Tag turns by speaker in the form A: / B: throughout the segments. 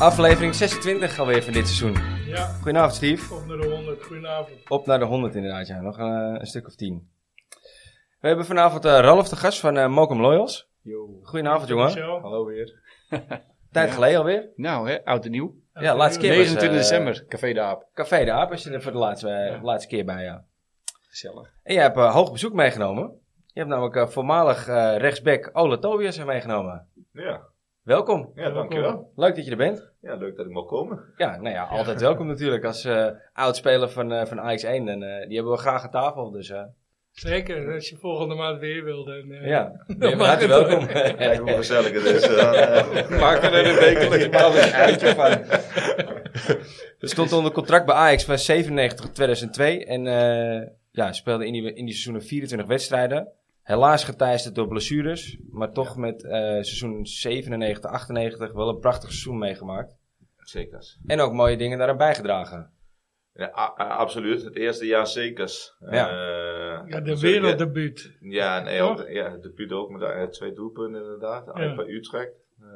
A: Aflevering 26 alweer van dit seizoen.
B: Ja,
A: Goedenavond Steve.
B: op naar de 100. Goedenavond.
A: Op naar de 100 inderdaad, ja. Nog eh, een stuk of 10. We hebben vanavond eh, Ralf de gast van eh Mokum Loyals.
C: Yo.
A: Goedenavond jongen.
B: Michel.
C: Hallo weer.
A: Tijd geleden alweer.
C: Nou, hè, oud en nieuw.
A: Ja, laatste keer.
C: 29
A: eh,
C: december, Café de Aap.
A: Café de Aap is er voor de laatste, eh, laatste keer bij, ja.
C: Gezellig.
A: En jij hebt eh, hoog bezoek meegenomen. Je hebt namelijk eh, voormalig eh rechtsback Ole Tobias meegenomen.
D: Ja,
A: Welkom.
D: ja dankjewel.
A: Leuk dat je er bent.
D: Ja, leuk dat ik mag komen.
A: Ja, nou ja, altijd welkom natuurlijk. Als eh oud-speler van, eh van AX1, en, eh, die hebben we graag aan tafel. Dus eh,
B: Zeker, als je volgende maand weer wil. Dan, eh,
A: ja, ben je van
B: mag
A: harte
B: het
A: welkom.
D: Kijk hoe gezellig het is. eh.
C: Maak er een wekelijks een uitje van.
A: Je stond onder contract bij Ajax van 97 tot 2002 en eh, ja, speelde in die, in die seizoenen 24 wedstrijden. Helaas geteisterd door blessures, maar toch met eh, seizoen 97, 98 wel een prachtig seizoen meegemaakt.
D: Zekers.
A: En ook mooie dingen daaraan bijgedragen.
D: Ja, a- a- absoluut. Het eerste jaar zekers.
A: Ja.
D: Eh,
B: Ja, de
D: zeker.
B: werelddebuut.
D: Ja, nee,
B: Toch?
D: ook, ja, de Puut ook met eh, twee doelpunten inderdaad.
B: Ja.
D: Bij Utrecht. Eh,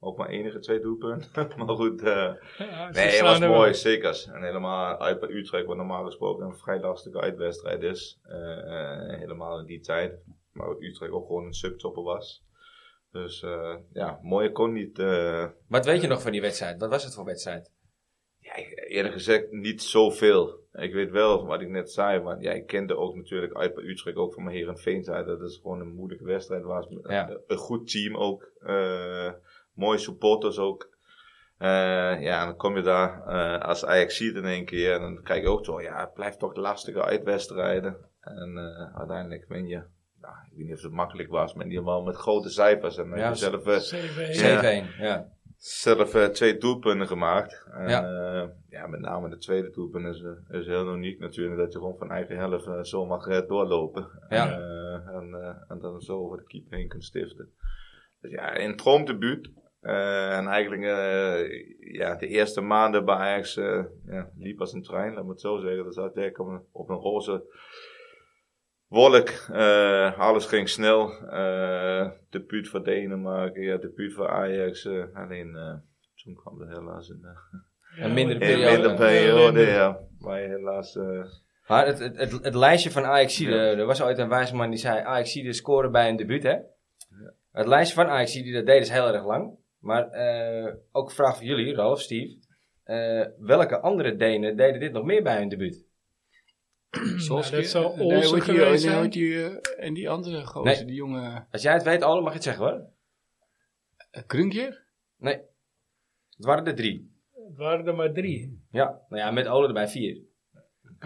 D: ook maar enige twee doelpunten. maar goed, eh,
B: Ja, ze
D: nee, het
B: staan
D: was
B: er
D: mooi,
B: wel.
D: zekers. En helemaal uit bij Utrecht, wat normaal gesproken een vrij lastige uitwedstrijd is. Eh, eh, helemaal in die tijd. Maar Utrecht ook gewoon een subtopper was. Dus eh, ja, mooier kon niet... eh,
A: Wat weet je nog van die wedstrijd? Wat was het voor wedstrijd?
D: Ja, eerlijk gezegd niet zoveel. Ik weet wel wat ik net zei, want ja, ik kende ook natuurlijk uit bij Utrecht, ook van mijn Herenveen zei dat het gewoon een moeilijke wedstrijd was.
A: Ja.
D: Een, een goed team ook, eh, mooie supporters ook. Eh, ja, en dan kom je daar eh, als Ajax ziet in één keer en dan kijk je ook zo, ja, het blijft toch lastige uitwedstrijden. En eh, uiteindelijk win je, nou, ik weet niet of het makkelijk was, maar in ieder geval met grote cijfers en met
A: Ja,
D: jezelf eh,
B: 7-1.
A: 7-1,
D: Ja.
A: ja.
D: zelf eh, twee doelpunten gemaakt. En,
A: Ja.
D: ja. ja, met name de tweede doelpunt is, eh, is heel uniek natuurlijk. Dat je gewoon van eigen helft eh, zo mag eh, doorlopen.
A: Ja.
D: Eh, en, eh, en dan zo over de keeper heen kunt stiften. Dus ja, een droomdebuut. Eh en eigenlijk eh, ja, de eerste maanden bij Ajax eh, ja, liep als een trein, laat me het zo zeggen. Dat zat ik op een, op een roze wolk. Eh, alles ging snel. Eh de puut voor Denemarken, ja, de puut voor Ajax. eh, alleen eh, toen kwam er helaas een eh,
A: Een mindere
D: een
A: periode.
D: hele periode. Ja, waar je helaas eh,
A: Maar het, het, het, het lijstje van ajax er was ooit een wijsman die zei, ajax scoren bij een debuut, hè? Het lijstje van ajax dat deed is heel erg lang. Maar eh, ook een vraag voor jullie, Ralf, Steve. Eh, welke andere Denen deden dit nog meer bij hun debuut?
B: Zoals
C: die-
B: Hmm. dat zou
C: eh, nee,
B: Olsen
C: hoort die-
B: geweest
C: nee,
B: zijn.
C: hoort die, eh, En die andere gozer,
A: Nee.
C: die jonge
A: Als jij het weet, Ole, mag je het zeggen, hoor.
C: eh, Krunkje?
A: Nee. Het waren er drie.
B: Het waren er maar drie.
A: Ja, nou ja, met Ole erbij vier.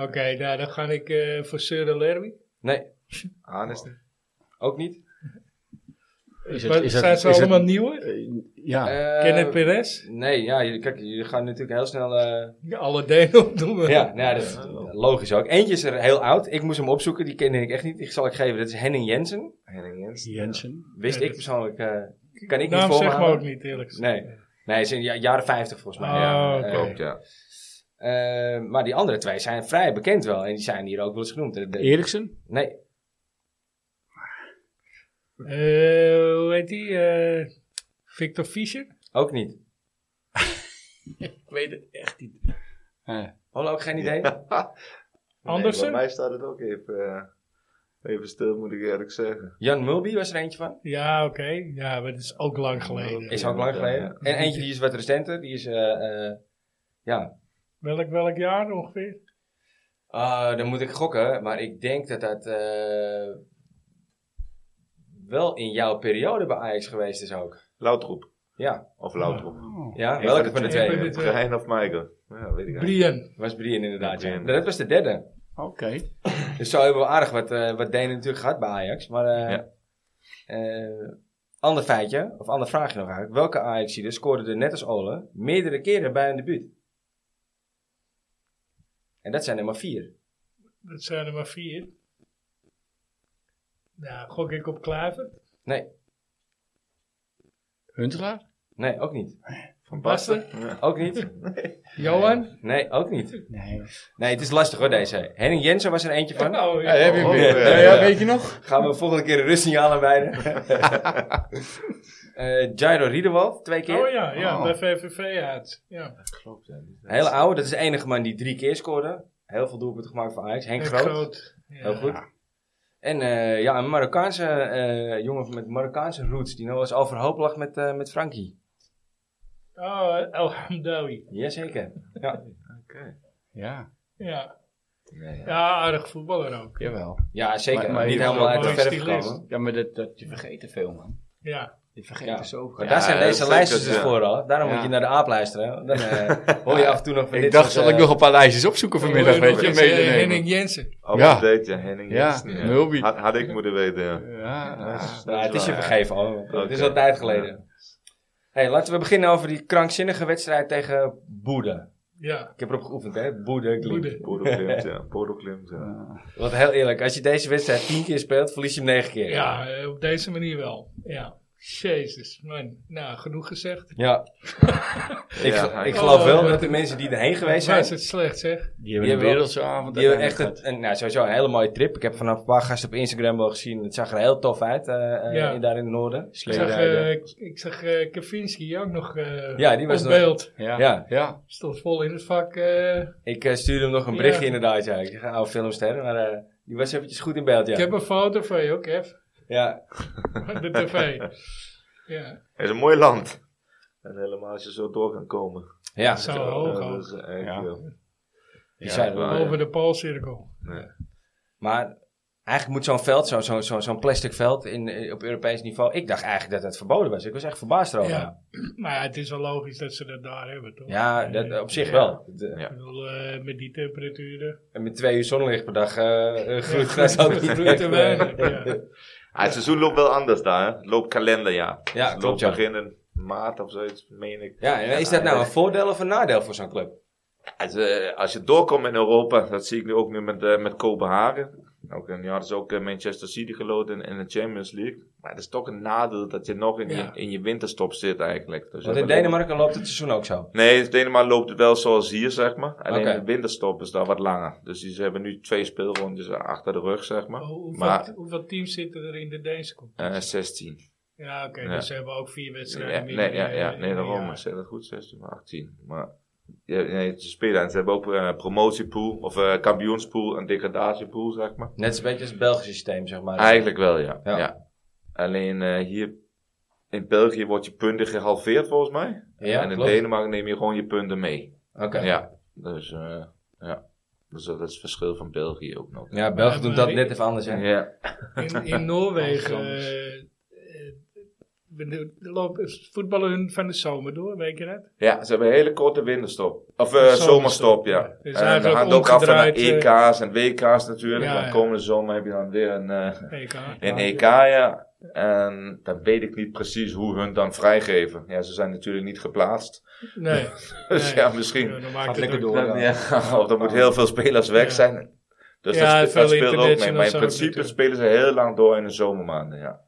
B: Oké, nou, dan ga ik eh, voor Søren Lerby.
A: Nee,
D: aan is.
A: ook niet.
C: Is
B: Maar zijn ze allemaal nieuwe?
C: ja.
A: Eh,
B: Kenneth Perez?
A: Nee, ja, jullie- kijk, jullie gaan natuurlijk heel snel... eh,
B: Ja, alle Denen opnoemen.
A: Ja, nou ja, dat is logisch ook. Eentje is er heel oud. Ik moest hem opzoeken, die kende ik echt niet. Ik zal ik geven, dat is Henning Jensen.
D: Henning Jensen.
C: Jensen.
A: Wist
B: Ja,
A: ik
B: dat-
A: persoonlijk, eh, kan ik niet
B: Naam
A: voor
B: zeg maar ook niet, eerlijk gezegd.
A: Nee. Nee, is in de ja- jaren 50 volgens mij.
B: Ah,
A: ja.
B: oké.
A: Eh,
D: Klopt, ja.
A: eh, maar die andere twee zijn vrij bekend wel. En die zijn hier ook wel eens genoemd. De- de-
C: Eriksen?
A: nee,
B: Eh, hoe heet die? Eh, Victor Fischer?
A: ook niet.
C: Ik weet het echt niet.
A: Hola, ook geen idee?
B: Andersen?
D: Nee, bij mij staat het ook even, eh, even stil, moet ik eerlijk zeggen.
A: Jan Mulby was er eentje van.
B: Ja, oké. Ja, maar dat is ook lang geleden.
A: Is ook lang geleden. En eentje die is wat recenter. Die is, eh, eh, ja.
B: Welk, welk jaar ongeveer?
A: Ah, dan moet ik gokken. Maar ik denk dat dat eh, wel in jouw periode bij Ajax geweest is ook.
D: Loutroep.
A: Ja,
D: Of Loutroep.
C: Oh,
A: ja
D: Eén
A: welke van de
B: Eén van
A: twee?
B: de twee.
D: Brian of Michael? Ja, weet ik eigenlijk.
B: Brian.
A: Was Brian inderdaad. Ja.
D: Brian.
A: Dat was de derde.
C: Oh, Oké.
A: Dus zo hebben we aardig wat, eh, wat Denen natuurlijk gehad bij Ajax. Maar eh
D: Ja.
A: eh, ander feitje, of ander vraagje nog eigenlijk. Welke Ajaxiden scoorde er net als Ole meerdere keren bij een debuut? En dat zijn er maar vier.
B: Dat zijn er maar vier. Nou, gok ik op Klaver.
A: Nee,
C: Huntelaar?
A: nee, ook niet.
D: Van
B: Basten?
D: Ja.
A: Ook niet.
B: Johan?
A: Nee, ook niet.
C: Nee.
A: Nee, het is lastig hoor deze. Henning Jensen was er eentje van.
B: Nou,
C: Ja, heb je
D: Oh,
C: weer. eh,
D: ja,
C: Ja, ja,
D: ja.
C: weet je nog?
A: Gaan we volgende keer een rustsignaal aan beide. Eh Jairo Riedewolf, twee keer.
B: Oh ja, ja
D: Oh.
B: bij VVV uit. Ja.
D: Dat klopt. ja. Die-
A: Hele oude, dat is de enige man die drie keer scoorde. Heel veel doelpunten gemaakt voor Ajax. Henk,
B: Henk
A: Groot.
B: Ja.
A: Heel goed. En eh, ja, een Marokkaanse eh, jongen met Marokkaanse roots. Die nou eens overhoop lag met, eh, met Frankie.
B: Oh, El Hamdawi.
A: Jazeker. Ja.
D: Oké.
C: Ja,
B: Ja.
D: Nee, ja.
B: ja, aardig voetballer ook.
C: jawel.
A: ja, zeker.
C: Maar- maar
A: Niet
C: je
A: helemaal
B: bent
A: uit
B: ook
A: de
B: wel
A: verf
B: een stylist.
A: gekomen.
C: Ja, maar dat, dat, je vergeet er veel, man.
B: Ja.
C: Je vergeet
A: Ja.
C: er zoveel.
A: Maar
C: Ja,
A: daar zijn
D: dat
A: deze
D: is
A: lijstjes
D: zeker,
A: dus
D: ja.
A: voor al. Daarom
C: Ja.
A: moet je naar de aap luisteren. hè. Dan eh, hoor je af en toe nog van
C: ik
A: dit
C: dacht,
A: soort,
C: zal ik
A: eh,
C: nog een paar lijstjes opzoeken vanmiddag,
B: Wil je
C: weet
B: nog
C: je,
B: eens, eh, Henning
C: meenemen.
B: Jensen.
D: ja. ja, Henning.
C: Ja,
D: Jensen,
C: Mulby.
D: Had, had ik moeten weten, ja.
C: Ja, ja.
A: Nou, het is je
D: waar.
A: vergeven al. Het is al
D: Oké.
A: tijd geleden. Hey, laten we beginnen over die krankzinnige wedstrijd tegen Boede.
B: Ja.
A: Ik heb erop geoefend, hè? Boede. Glee.
B: Boede.
D: Bodo Klimt, ja. Bodo Klimt, ja.
A: Want heel eerlijk, als je deze wedstrijd tien keer speelt, verlies je hem negen keer.
B: Ja, eh, op deze manier wel. Ja. Jezus, man. Nou, genoeg gezegd.
A: Ja. ik,
D: Ja,
A: ik
D: ja.
A: geloof wel
B: Oh,
A: dat de mensen die erheen geweest zijn,
B: Waar is het slecht, zeg?
C: Die hebben een
A: wel-
C: wereldse avond.
A: die hebben echt
C: uiteindelijk
A: een, een- nou, sowieso een hele mooie trip. Ik heb vanaf een paar gasten op Instagram wel gezien. Het zag er heel tof uit, eh, eh,
B: Ja.
A: in- daar in het noorden.
B: Ik zag,
A: Sleerijden.
B: eh, ik- ik zag eh, Kavinsky ook nog eh
A: Ja, die was
B: op
A: nog-
B: beeld.
C: gehad. Ja.
A: ja,
C: Ja.
B: Stond vol in het vak. eh,
A: ik eh, stuurde hem nog een berichtje
B: Ja.
A: inderdaad. Ja. Ik zeg, oude filmster, maar eh, die was eventjes goed in beeld, ja.
B: Ik heb een foto van je ook, Kev.
A: ja.
B: De tv. Ja,
D: Het is een mooi land. En helemaal als je zo door kan komen.
A: Ja,
B: zo hoog
D: Ja,
B: ook.
D: dat is echt,
C: Ja.
D: joh.
A: bizar.
D: ja, waar.
B: Over de Poolcirkel.
A: maar eigenlijk moet zo'n veld, zo, zo, zo, zo'n plastic veld in, eh, op Europees niveau... Ik dacht eigenlijk dat het verboden was. Ik was echt verbaasd erover. Ja,
B: Ja. Maar ja, het is wel logisch dat ze dat daar hebben, toch?
A: dat, op zich
B: Ja.
A: wel. De-
D: Ja.
B: Ik bedoel, eh, met die temperaturen.
A: en met twee uur zonlicht per dag eh eh, groeit
B: Ja,
A: gras ook niet
B: groeit
A: echt,
B: te
A: eh.
B: weinig, ja.
D: Ah, het seizoen loopt wel anders daar, hè? Het loopt kalenderjaar.
A: Ja,
D: het
A: klopt,
D: loopt
A: ja.
D: beginnen maart of zoiets, meen ik.
A: Ja, en is dat nou een voordeel of een nadeel voor zo'n club?
D: Als, eh, als je doorkomt in Europa, dat zie ik nu ook nu met, eh, met Kopenhagen. Ook, en nu hadden ze ook eh, Manchester City geloten in, in de Champions League. Maar het is toch een nadeel dat je nog in,
B: Ja.
D: je, in je winterstop zit eigenlijk. Dus
A: Want
D: dat
A: in
D: alleen-
A: Denemarken loopt het seizoen ook zo.
D: Nee, in Denemarken loopt het wel zoals hier, zeg maar. Alleen
A: Oké.
D: de winterstop is daar wat langer. Dus die- ze hebben nu twee speelrondes achter de rug, zeg maar.
B: Hoe- Hoeveel,
D: maar
B: hoeveel teams zitten er in de Deense competitie?
D: eh 16.
B: ja, oké,
D: ja.
B: dus ze hebben ook vier wedstrijden
D: Ja,
B: meer.
D: nee, ja,
B: eh,
D: ja,
B: in
D: nee,
B: een
D: daarom.
B: jaar.
D: Ik zei dat goed, 16 maar 18. Maar ja, nee, ze spelen. En ze hebben ook eh, een promotiepool, of eh kampioenspool en degradatiepool, zeg maar.
A: Net een beetje als het Belgische systeem, zeg maar.
D: Eigenlijk wel, ja.
A: Ah, Ja.
D: ja. Alleen eh, hier in België wordt je punten gehalveerd, volgens mij.
A: Ja,
D: en in
A: klopt.
D: Denemarken neem je gewoon je punten mee.
A: Oké. Ja.
D: Ja, dus eh, ja. Dus dat is het verschil van België ook nog.
A: België doet dat net even anders, hè.
D: Ja.
B: In, in Noorwegen
C: Anders.
B: eh, eh, we- lopen voetballen hun van de zomer door, weet je dat?
D: Ja, ze hebben een hele korte winterstop. Of eh,
B: Zomerstop,
D: zomerstop,
B: ja.
D: ja.
B: Dus
D: en dan
B: eigenlijk
D: gaan het ook af van de
B: omgedraaid, eh.
D: EK's en WK's natuurlijk.
B: Ja,
D: dan
B: ja.
D: komende zomer heb je dan weer een, eh,
B: EK.
D: een EK, ja. En dan weet ik niet precies hoe hun dan vrijgeven. Ja, ze zijn natuurlijk niet geplaatst.
B: Nee.
D: Dus
B: nee.
D: ja, misschien.
B: Ja, dan maakt
C: Gaat
B: het
C: lekker
B: ook-
C: door.
D: Dan,
C: ja.
D: ja, of er moet heel veel spelers weg
B: Ja.
D: zijn. Dus
B: Ja,
D: dat, spe-
B: veel
D: dat speelt ook mee. Maar
B: internationals
D: in
B: ook
D: principe
B: natuurlijk.
D: spelen ze heel lang door in de zomermaanden, ja.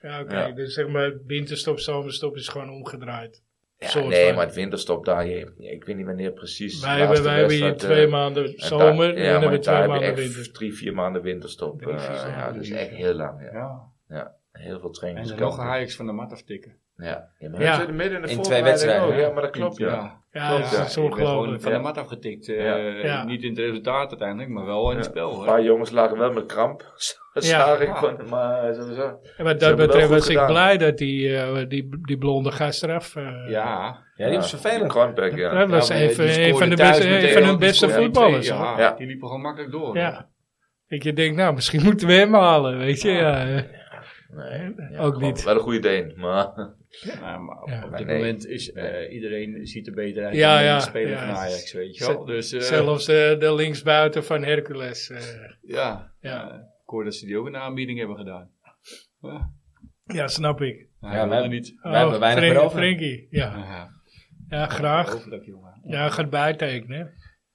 B: Ja, oké.
D: Ja.
B: Dus zeg maar, winterstop, zomerstop is gewoon omgedraaid.
D: Ja,
B: Soort
D: nee,
B: van.
D: maar het winterstop daar, je, ik weet niet wanneer precies. de
B: Wij hebben,
D: laatste
B: wij hebben hier
D: wedstrijd, eh,
B: twee maanden
D: En
B: zomer
D: daar-
B: en dan hebben we
D: maar daar
B: twee
D: heb je
B: maanden
D: echt
B: winter.
D: Drie, vier maanden winterstop.
B: Drie, vier
D: eh,
B: maanden
D: ja, dat is echt heel lang. Ja.
C: Ja.
D: Heel veel
C: En
D: trainings.
C: dan nog een Ajax van de mat aftikken.
D: Ja. Ja, maar
B: Ja.
D: we zitten midden in de
A: In twee
D: voorbereiding
A: wedstrijden,
D: ook,
A: hè?
D: Ja, maar dat klopt, ja.
B: Ja,
D: Klopt,
B: dat
D: ja.
B: is
C: Ik werd gewoon
B: ongelooflijk.
C: van
D: Ja.
C: de mat afgetikt. eh,
D: Ja.
B: Ja.
C: Niet in het resultaat uiteindelijk, maar wel in het spel.
D: Een
C: hoor.
D: paar jongens lagen wel met kramp. Zag ik
C: Ja.
D: van, maar eh, sowieso.
B: En wat
D: Ze
B: dat
D: hebben wel
B: betreft
D: goed
B: was ik
D: gedaan.
B: blij dat die, eh, die, die blonde gast eraf... eh,
C: Ja.
A: Ja, die was vervelend.
D: Cornback, ja.
B: Dat was
C: Ja, maar
B: even
C: die
B: een van,
C: scoorde
B: de
C: thuis
B: beste,
C: meteen
B: een van hun
C: ook, die
B: beste
C: scoorde die twee,
B: voetballers. hoor.
C: Ja,
D: Ja.
C: Die liepen gewoon makkelijk door.
B: Ja. Ik denk, nou, misschien moeten we hem halen, weet je. Ja, eh.
D: Nee, ja,
B: Ook
D: gewoon
B: niet.
D: Wel een goede Deen, maar...
C: Nou, maar op,
B: Ja.
C: op
D: Maar
C: dit
D: nee.
C: moment is eh, iedereen ziet er beter uit
B: Ja,
C: dan
B: ja,
C: de speler
B: ja.
C: van Ajax, weet je
B: Ze-
C: wel. Dus, eh,
B: Zelfs eh, de linksbuiten van Hercules. eh.
C: Ja.
B: Ja.
C: ja. ik hoor dat ze die ook een aanbieding hebben gedaan. Ja,
B: ja, snap ik.
C: ja,
A: wij-
C: niet.
A: Wij hebben weinig
B: Frenkie-
A: meer over.
B: Frenkie, ja.
C: Ja,
B: ja, graag.
C: Hoofdelijk, jongen.
B: Ja, gaat bijtekenen, hè.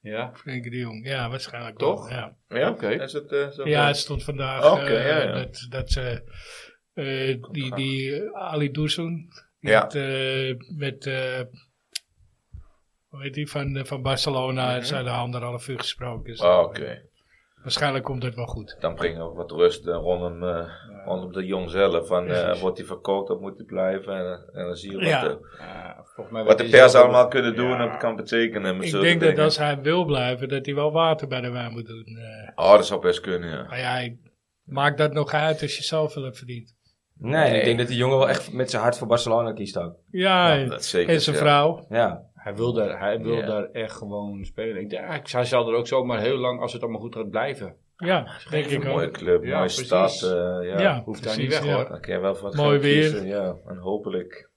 C: Ja,
B: Frenkie de Jong. Ja, waarschijnlijk
C: Toch?
B: wel, Ja.
D: Ja,
C: Oké.
D: Is het eh, zo?
B: ja, het stond vandaag
D: Oké,
B: eh,
D: ja, ja.
B: dat, dat ze... eh, die, die eh, Ali Doezoen.
D: Ja.
B: Met, eh, met eh, hoe heet die, van, eh, van Barcelona. Zijn er anderhalf uur gesproken. Dus
D: Oh, Oké.
B: Waarschijnlijk komt het wel goed.
D: Dan brengen we wat rust eh, rond een... eh, Onder de jong zelf, van, eh, wordt hij verkoopt of moet hij blijven? En, eh, en dan zie je wat,
B: Ja.
D: de,
C: Ja, volgens mij
D: wat de
C: weet hij
D: pers
C: zelf
D: allemaal
C: ook-
D: kunnen doen
C: Ja.
D: en kan betekenen. met
B: Ik
D: zulke
B: denk dat
D: dingen.
B: als hij wil blijven, dat hij wel water bij de wijn moet doen. eh.
D: Oh, dat zou best kunnen, ja.
B: maar Nou ja, ik- maakt dat nog uit als je zelf wel hebt verdiend.
A: Nee,
D: Nee.
A: ik denk dat die jongen wel echt met zijn hart voor Barcelona kiest ook.
B: Ja,
D: Ja, dat zeker,
B: en zijn
D: ja.
B: vrouw.
A: Ja.
C: Hij wil, daar, hij wil
D: Ja.
C: daar echt gewoon spelen. Ik, denk, ja, ik- hij zal er ook zomaar heel lang, als het allemaal goed gaat, blijven.
B: Ja, denk
D: Een
B: ik
D: mooie
B: ook.
D: club,
C: Ja,
D: mooie
C: precies.
D: stad. eh, ja.
B: Ja,
C: Hoeft daar
B: precies,
C: niet weg,
B: ja.
C: hoor.
D: Dan kan je wel voor het
B: Mooi
D: geld
B: weer.
D: kiezen, ja. En hopelijk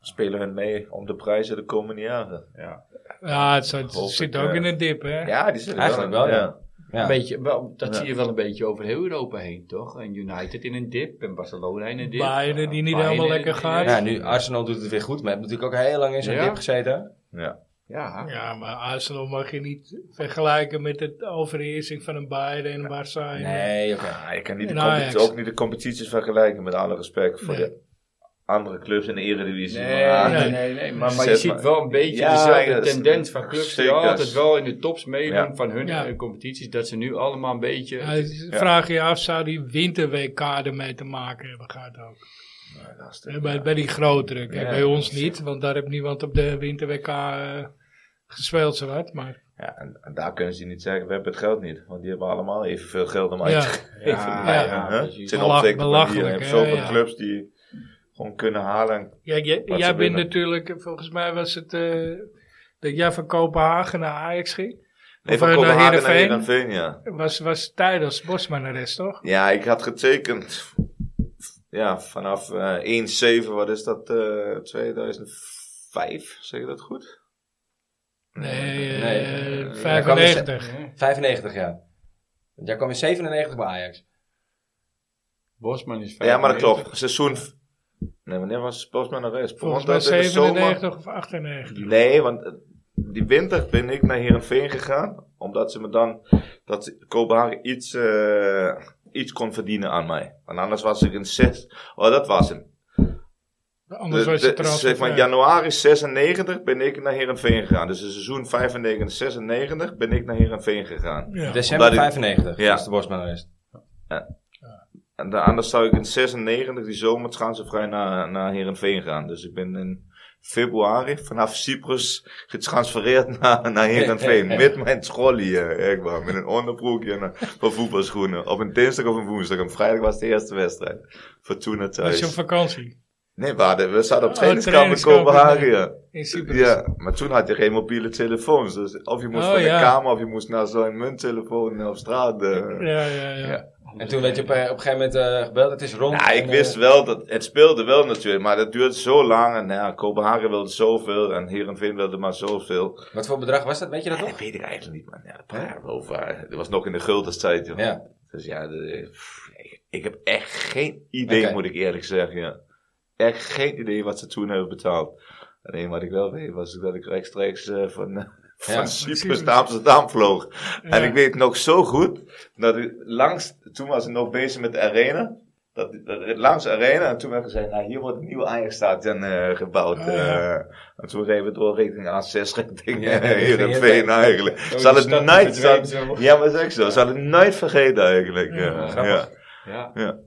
D: spelen hun mee om de prijzen de komende jaren.
C: Ja.
B: Ja, het, zit-
D: Hoop
B: zit
D: ik,
B: ook
D: eh.
B: in een dip, hè?
D: Ja, die zitten
A: Eigenlijk wel, ja.
C: Een
A: ja.
C: Beetje, wel, dat
D: Ja.
C: zie je wel een beetje over heel Europa heen, toch? En United in een dip, en Barcelona in een dip.
B: Bayern die niet
C: Bayern
B: helemaal
C: in
B: lekker
C: een-
B: gaat.
A: Ja, nu Arsenal doet het weer goed, maar heeft natuurlijk ook heel lang in zo'n
C: Ja.
A: dip gezeten.
D: Ja.
C: Ja,
B: Ja, maar Arsenal mag je niet vergelijken met de overheersing van een Bayern en een Barça.
A: Nee, oké.
D: Ah, je kan niet de
B: En Ajax.
D: competi- ook niet de competities vergelijken, met alle respect voor
B: Nou Nee.
D: de andere clubs in de Eredivisie.
C: Nee,
D: maar-
C: nee, nee, nee, Maar, maar je
D: Zet
C: ziet
D: maar-
C: wel een beetje
D: Ja,
C: dezelfde
D: dat is-
C: tendens van clubs die
D: zeker.
C: altijd wel in de tops meedoen
D: Ja.
C: van hun
B: Ja.
C: eh, competities. Dat ze nu allemaal een beetje...
B: Ja, dus Vraag je af, zou die winter-WK ermee te maken hebben gehad ook?
D: Ja, lastig,
B: Hè, Bij,
D: ja.
B: bij die grotere. Kijk,
D: Ja,
B: bij ons
D: precies.
B: niet, want daar heeft niemand op de winter-WK eh, gespeeld zowat. Maar
D: Ja, en, en daar kunnen ze niet zeggen, we hebben het geld niet. Want die hebben allemaal evenveel geld om
B: Ja.
D: uit te geven.
C: Ja,
D: Ja,
C: ja,
D: hè?
C: precies.
D: Ten
B: Belach-
D: opzichte van hier. Je
B: belachelijk,
D: hebt
B: hè,
D: zoveel
B: ja.
D: clubs die gewoon kunnen halen. en-
B: ja, jij-
D: Wat
B: jij
D: ze
B: bent
D: willen.
B: natuurlijk, volgens mij was het eh, dat jij van Kopenhagen naar Ajax ging.
D: Nee,
B: Of,
D: van
B: eh, naar
D: Kopenhagen naar
B: Heerenveen.
D: Heerenveen, ja.
B: Was, was tijdens Bosman arrest, toch?
D: Ja, ik had getekend. Ja, vanaf eh 1-7, wat is dat? eh 2005, zeg je dat goed?
B: Nee, eh,
A: Nee, eh,
B: 95.
C: Ja.
A: 95 jaar. Want jij kwam in 97 bij Ajax.
C: Bosman is
D: Ja, maar dat
C: 95.
D: klopt. Seizoen. v- Nee, wanneer was Bosman naar rest?
B: Volgens
D: Want
B: mij
D: dat in de zomer-
B: 97 of 98.
D: Nee, want eh, die winter ben ik naar Heerenveen gegaan. Omdat ze me dan, dat ze- Kopenhagen iets, eh, iets kon verdienen aan mij. Want anders was ik in 6. Oh, dat was hem.
B: Anders
D: De-
B: was je eh,
D: de- zeg maar,
B: transfer.
D: januari 96 ben ik naar Herenveen gegaan. Dus in seizoen 95, 96 ben ik naar Herenveen gegaan.
B: Ja.
A: December
D: Omdat ik-
A: 95
D: Ja.
A: is de Bosman-arrest.
D: En da- anders zou ik in 96 die zomer transfervrij naar, naar Herenveen gaan. Dus ik ben in februari vanaf Cyprus getransfereerd naar, naar Herenveen. Met mijn trolley, eh, echt waar. Met een onderbroekje en een paar voetbalschoenen. Op een dinsdag of een woensdag. En vrijdag was de eerste wedstrijd. Fortuna
B: Was je op
D: thuis.
B: vakantie
D: Nee, we, hadden, we zaten op
B: Oh,
D: trainingskamp in
B: trainingskamp,
D: Kopenhagen.
B: ja.
D: ja.
B: in Cyprus?
D: Ja, maar toen had je geen mobiele telefoons. Dus of je moest
B: Oh,
D: van de
B: ja.
D: kamer of je moest naar zo'n munttelefoon eh, op straat. eh.
B: Ja, ja, ja.
D: Ja.
A: En toen werd je op, eh, op een gegeven moment eh, gebeld, het is rond.
D: Nou, ik
A: en,
D: wist
A: eh,
D: wel dat het speelde wel natuurlijk, maar dat duurde zo lang. En nou ja, Kopenhagen wilde zoveel en Herenveen wilde maar zoveel.
A: eh, Wat voor bedrag was dat, weet je dat nog?
D: Dat weet ik eigenlijk niet, man. Ja, daar praten we over. Dat was nog in de guldenstijd, joh.
A: Ja.
D: Dus ja, de- pff, ik, ik heb echt geen idee,
A: Oké.
D: moet ik eerlijk zeggen. Ja. Echt geen idee wat ze toen hebben betaald. Alleen wat ik wel weet was dat ik rechtstreeks eh, van, eh, van
A: Ja.
D: Cyprus naar Amsterdam vloog. En ik weet nog zo goed dat ik langs, toen was ik nog bezig met de arena. Dat, dat- langs de arena en toen werd gezegd, nou hier wordt een nieuwe Ajax-stadion eh, gebouwd.
B: Ah, ja.
D: eh. en toen reden we door richting A6, richting
A: Oh, Ja,
D: eh,
A: richting Oh,
D: Heerenveen
A: Heerenveen.
D: eigenlijk.
C: Zo
D: Zal
C: die
D: het
C: stad
D: nooit,
C: verdwijnt
D: zal-
C: zo.
D: ja, maar zeg zo. Zal het nooit vergeten eigenlijk.
C: Mm,
B: Ja,
D: Ja, ja, ja.
A: grappig.
C: Ja.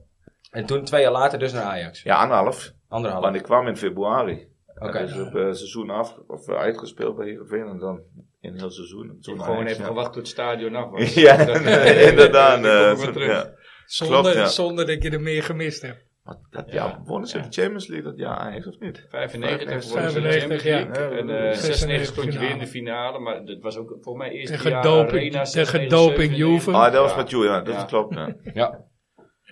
A: En toen twee jaar later dus naar Ajax.
D: anderhalf.
A: Anderhalf.
D: Want ik kwam in februari.
A: Oké.
D: Oké. Dus op eh, seizoen af, of eh, uitgespeeld bij Heerenveen en dan in heel seizoen. En Toen
C: Gewoon
D: Ajax,
C: even
D: ja.
C: gewacht tot het stadion af was.
D: Ja, inderdaad.
C: Dan komen we
D: eh,
C: terug.
D: ja.
B: zonder,
D: klopt, ja.
B: zonder dat je er meer gemist hebt.
D: Maar dat jaar wonnen ze de Champions League dat jaar eigenlijk of niet?
C: 95 gewonnen ze de
B: 95,
C: Champions
B: ja.
C: League. En eh,
D: 96
C: 96 stond je weer in
B: finale.
C: de finale. Maar dat was ook volgens mij eerst
B: Tegen
C: jaar
B: doping-
C: Arena,
B: tegen
C: 96,
B: doping
C: 97.
B: Juve.
D: Ah, dat was
C: Ja.
D: met jou, ja, dat
C: Ja.
D: klopt. Ja.
A: Ja.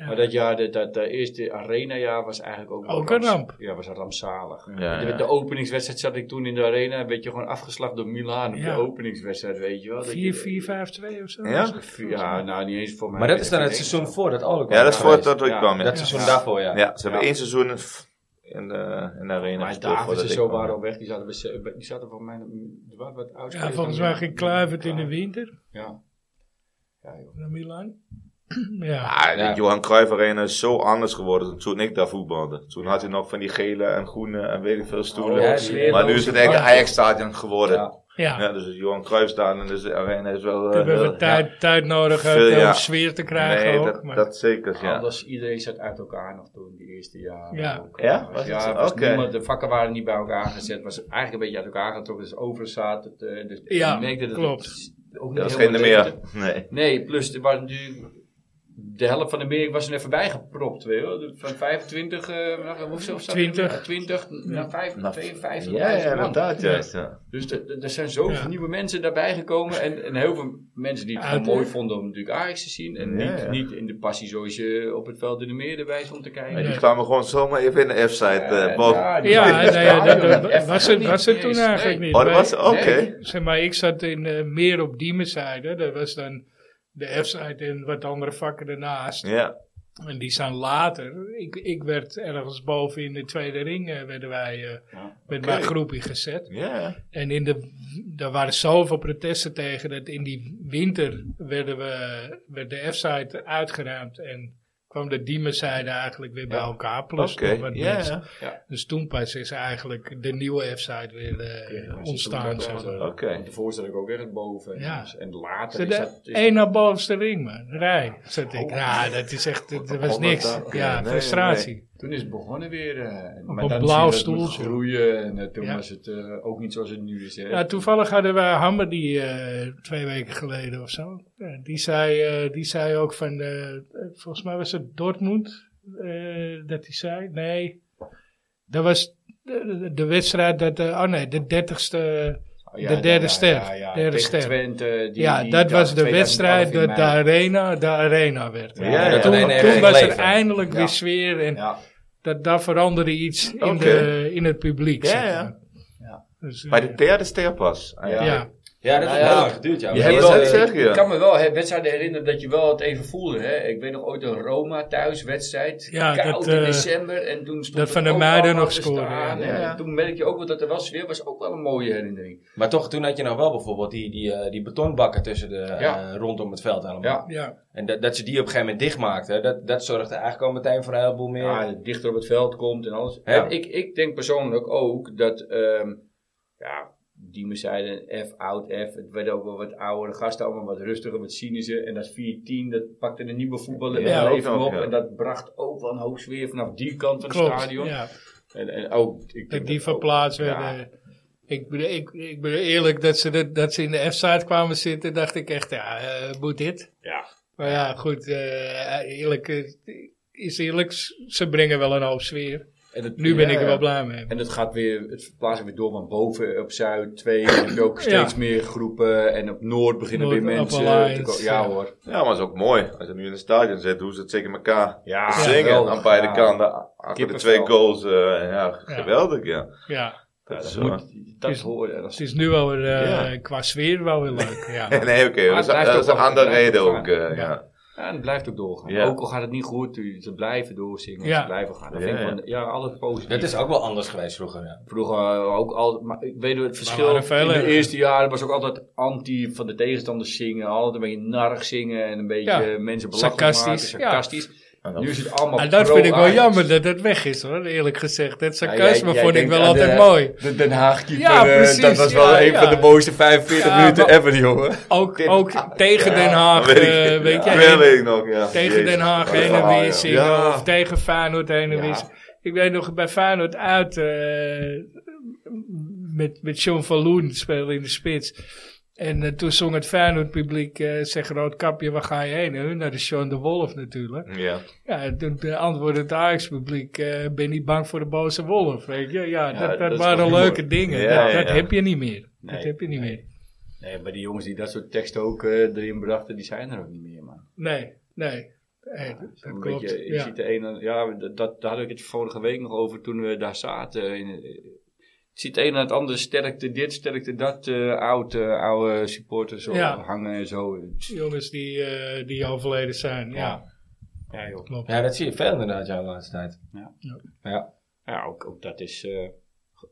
B: Ja.
C: Maar dat jaar, dat, dat eh, eerste arena-jaar was eigenlijk ook... wel
B: Ook een
C: rams-
B: ramp.
C: Ja, was rampzalig.
D: Ja,
C: De,
D: ja.
C: de openingswedstrijd zat ik toen in de arena, een beetje gewoon afgeslacht door Milaan. Op
B: Ja.
C: de openingswedstrijd, weet je wel. Dat
B: 4-4-5-2
C: je-
B: of zo?
D: Ja?
C: Ja, nou niet eens voor mij.
A: Maar dat is dan het
C: 95.
A: seizoen voor dat Ole kwam.
D: ja, dat is
A: geweest.
D: voordat ik
C: Ja.
D: kwam. Ja.
A: Dat
D: Ja.
A: seizoen
C: Ja.
A: daarvoor, ja.
D: ze hebben één seizoen in, in, de, in de arena
C: Maar
D: gespeeld
C: Davids
D: voordat
C: en
D: ik
C: zo
D: kwam.
C: waren al weg. Die zaten, bij- die zaten voor mij er waren wat ouders.
B: Ja, volgens mij ging Kluivert in de winter
C: Ja. Ja, joh.
B: naar Milan. Ja.
D: Ah, de
A: Ja.
D: Johan Cruijff Arena is zo anders geworden toen ik daar voetbalde. Toen had je nog van die gele en groene en weet ik veel stoelen.
A: Oh, ja, die-
D: maar nu is het echt een Ajax-stadion geworden. Ja.
A: Ja.
B: ja.
D: dus het Johan Cruijff-stadion is de arena is wel... eh,
B: we hebben
D: heel-
B: we tijd, tijd nodig eh,
D: Veel,
B: om
D: ja.
B: sfeer te
D: ja.
B: krijgen
D: Nee,
B: ook.
D: dat,
B: maar,
D: dat zeker, ja.
C: Anders, iedereen zat uit elkaar nog toen, die eerste jaren.
B: Ja.
C: ook.
D: Ja? Was het
C: ja
D: zo?
C: was
D: Oké.
C: niemand- de vakken waren niet bij elkaar gezet. was eigenlijk een beetje uit elkaar getrokken. Dus overigens zaten het, eh, dus
B: Ja,
C: je merkte dat
B: klopt.
C: Het ook niet
D: Dat was geen
C: helemaal
D: de
C: leefde.
D: meer. Nee.
C: Nee, plus er waren natuurlijk... De helft van de merk was er even bijgepropt. Weet je wel. Van 25, eh nou, hoeveel zat er?
B: 20.
C: Ja, 20 naar 5, 52.
D: Ja, ja,
C: man.
D: inderdaad, juist. Ja.
C: Dus er- er er zijn zoveel
B: Ja.
C: nieuwe mensen daarbij gekomen. En, en heel veel mensen die het
B: Ja,
C: gewoon
B: het-
C: mooi vonden om natuurlijk Ajax te zien. En
D: Ja,
C: niet,
D: ja.
C: niet in de passie zoals je op het veld in de meer erbij stond te kijken.
D: Nee, die
B: Ja.
D: kwamen gewoon zomaar even in de F-site eh, boven.
C: Ja, die
B: ja,
C: waren in het
B: nee, ja, dat,
C: stadion.
B: dat-
C: Even
B: was het,
C: niet
B: was het toen
C: eens.
B: eigenlijk
C: Nee.
B: niet.
D: Oh, dat
B: Wij-
D: was... Oké.
C: Nee.
B: Zeg maar, ik zat in, eh, meer op die zijde. Dat was dan de F-side en wat andere vakken ernaast.
D: Ja.
B: En die zijn later. Ik, ik werd ergens boven in de tweede ring eh, werden wij eh,
C: Ja.
B: met
D: Oké.
B: mijn groepje gezet.
D: Ja.
B: En in de, daar waren zoveel protesten tegen dat in die winter werden we, werd de F-site uitgeruimd en kwam de Diemerzijde eigenlijk weer bij
D: Ja.
B: elkaar. Plus
D: Oké.
B: nog wat
D: Ja,
B: mensen.
D: ja.
B: Dus toen pas is eigenlijk de nieuwe F-site weer eh,
C: Ja, ze
B: ontstaan.
C: doen
B: zeg
C: dat
B: maar.
C: wel zo.
D: Oké.
C: Want Daarvoor zat ik ook erg boven. Dus,
B: Ja.
C: En later
B: Zit
C: is dat...
B: de
C: is-
B: één naar bovenste ring, man. Rij, zat ik.
C: Oh.
B: Nou, dat is echt, dat was
D: Honderd
B: niks.
D: dagen.
B: Ja,
D: Nee,
B: frustratie.
C: Toen is het begonnen weer. eh,
B: Op
C: maar
B: een
C: dan
B: blauw
C: zie je dat het
B: stoeltje.
C: groeien. En eh, toen
B: Ja.
C: was het eh, ook niet zoals het nu is. Hè.
B: Ja, Nou, toevallig hadden we Hammer die eh, twee weken geleden of zo. Eh, die, zei, eh, die zei ook van, eh, eh, volgens mij was het Dortmund eh, dat hij zei. Nee, dat was de, de- de wedstrijd dat, eh, oh nee, de 30ste.
C: Oh, ja,
B: de
C: ja,
B: derde
C: ja,
B: ster.
C: ja, ja.
B: Derde
C: Tegen
B: ster.
C: Twente, die-
B: ja,
C: die
B: dat
C: dag
B: was de
C: 2011
B: wedstrijd
C: in
B: dat de
C: mei.
B: arena, de arena werd.
D: Ja, ja,
B: toen
D: de arena
B: toen
A: heeft
B: was er
A: leven.
B: eindelijk
C: Ja.
B: weer sfeer en
C: Ja.
B: dat, daar veranderde iets in,
D: Oké.
B: de, in het publiek.
D: Ja,
B: zeg maar.
D: ja.
C: Ja.
B: Dus, eh,
D: Bij de derde ster pas. Ah,
C: Ja.
D: eigenlijk.
B: ja.
A: Ja, dat
C: Nou
A: heeft
C: ja.
A: heel lang geduurd, ja.
D: Je
A: Maar
D: hebt
A: dat
D: wel
A: is, eh,
D: zeggen,
C: Ik
D: ja.
C: kan me wel hè, wedstrijden herinneren dat je wel het even voelde. Hè. Ik weet nog ooit een Roma thuiswedstrijd.
B: Ja,
C: koud
B: dat,
C: in
B: eh,
C: december. En toen stond
B: dat
C: het
B: Van der
C: ook
B: Meijden
C: allemaal
B: nog
C: te
B: scoorde,
C: staan.
B: ja.
C: En
D: Ja.
C: Toen merk je ook wel dat er wel sfeer was. Ook wel een mooie herinnering.
A: Maar toch, toen had je nog wel bijvoorbeeld die, die, eh, die betonbakken tussen de, eh,
C: Ja.
A: rondom het veld allemaal.
C: Ja.
B: ja.
A: En dat, dat ze die op een gegeven moment dichtmaakten, dat, dat zorgde eigenlijk al meteen voor een heleboel meer.
C: Ja, dichter op het veld komt en alles.
A: Ja.
C: En ik, ik denk persoonlijk ook dat... ehm ja, Diemen zeiden F, oud F. Het werden ook wel wat oudere gasten. Allemaal wat rustiger, wat cynischer. En dat 4-10, dat pakte de nieuwe voetballer
D: Ja,
C: ja,
D: ook
C: even
D: nog,
C: op.
D: ja.
C: En dat bracht ook wel een hoop sfeer vanaf die kant van
B: Klopt,
C: het stadion.
B: Ja.
C: En, en ook, ik oh. denk
B: Dat die
C: dat ook-
B: verplaatst
C: ja.
B: werden. eh, Ik, bedoel- ik, ik ben eerlijk, dat ze, dat, dat ze in de F-site kwamen zitten, dacht ik echt, ja, eh, moet dit?
C: Ja.
B: Maar ja, goed, eh, eerlijk eh, is eerlijk, s- ze brengen wel een hoop sfeer.
C: En het,
B: Nu ben
D: Ja,
B: ik er
D: ja.
B: wel blij mee.
C: En het gaat weer, het verplaatst weer door van boven op Zuid 2. Dan heb je ook steeds
B: Ja.
C: meer groepen. En op Noord beginnen
B: Noord,
C: weer mensen.
B: Upper Lines,
C: te ko-
B: ja.
C: ja hoor.
D: Ja, maar het is ook mooi. Als je nu in het stadion zit, hoe ze het zeker elkaar
C: Ja,
D: zingen
C: geweldig,
D: aan beide
C: ja.
D: kanten. Achter de
C: Kippenvel.
D: twee goals, eh, ja, geweldig, ja.
B: Ja,
D: Dat is,
C: Dat,
D: eh,
C: moet, dat
B: Is-
C: hoor je. Dat
B: het
C: is-
B: is nu wel weer, eh,
D: Ja.
B: qua sfeer wel weer leuk. Ja.
D: nee, oké,
C: Maar
D: dat
C: het
D: is-
C: blijft
D: dat
C: ook
D: is een
C: wel-
D: andere
C: blijft
D: reden
C: ook
D: ook. eh,
B: Ja.
D: ja.
C: ja, en het blijft ook doorgaan.
D: Ja.
C: Ook al gaat het niet goed, u- ze blijven doorzingen.
B: Ja.
C: Ze blijven gaan. Dat
D: Ja,
C: vind ik
D: ja.
C: wel- ja, alles positief.
A: dat is ook wel anders geweest vroeger, ja.
C: Vroeger eh, ook altijd, maar ik weet het verschil.
B: waren veel
C: In de
B: erger.
C: eerste jaren was ook altijd anti van de tegenstanders zingen. Altijd een beetje narrig zingen en een beetje
B: Ja.
C: eh, mensen belachelijk
B: Sarcastisch,
C: maken.
B: ja.
C: Sarcastisch.
D: En dan-
C: Nu is het allemaal
B: En Nou, dat vind ik wel
C: pro-Ajax.
B: jammer dat het weg is hoor, eerlijk gezegd. Dat
C: Ja,
B: sarcasme
C: jij- jij
B: vond ik
C: denkt
B: wel
C: aan
B: altijd
C: de-
B: mooi.
C: De Den Haag keeper,
B: Ja,
C: eh,
B: precies,
C: dat was
B: ja,
C: wel een
B: ja.
C: van de mooiste 45
B: Ja,
C: minuten
B: maar-
C: ever, jongen.
B: Ook,
D: Den
B: ook tegen Den Haag,
D: Weet ik-
B: eh, weet
D: ja,
B: jij.
D: dat weet ik nog, ja.
B: Tegen
D: Jezus,
B: Den Haag
D: wat een
B: heen en
D: verhaal, ja.
B: weer zingen.
C: Ja.
B: Of tegen Feyenoord heen en
C: Ja.
B: weer zingen. Ik weet nog bij Feyenoord uit. eh, met, met John van Loen speelde in de spits. En eh, toen zong het Feyenoord publiek. eh zeg Roodkapje, waar ga je heen? En hun naar de Sean de Wolf natuurlijk.
D: Ja.
B: Ja, en toen eh, antwoordde het Ajax publiek. eh, ben niet bang voor de boze wolf. Weet je? Ja, dat, dat,
C: dat is
B: waren
C: toch
B: leuke
C: humor.
B: dingen.
D: Ja,
B: dat
D: ja,
B: dat
D: ja.
B: heb je niet meer. dat
C: Nee,
B: heb je niet
C: nee.
B: meer.
C: Nee, maar die jongens die dat soort teksten ook eh, erin brachten, die zijn er ook niet meer, man.
B: Nee, nee. Nee,
C: Ja,
B: dat,
C: zo'n
B: dat klopt.
C: beetje, je
B: ja.
C: ziet de ene, ja, dat, dat- daar had ik het vorige week nog over toen we daar zaten. In, je ziet de een en het andere sterkte dit, sterkte dat, eh oud, eh, oude supporters zo
B: Ja.
C: hangen en zo.
B: Jongens die, eh, die overleden zijn. ja.
C: Ja, joh.
B: Klopt.
A: Ja, dat zie je veel inderdaad, ja, de laatste tijd.
C: Ja.
A: ja.
C: ja ook, ook dat is eh,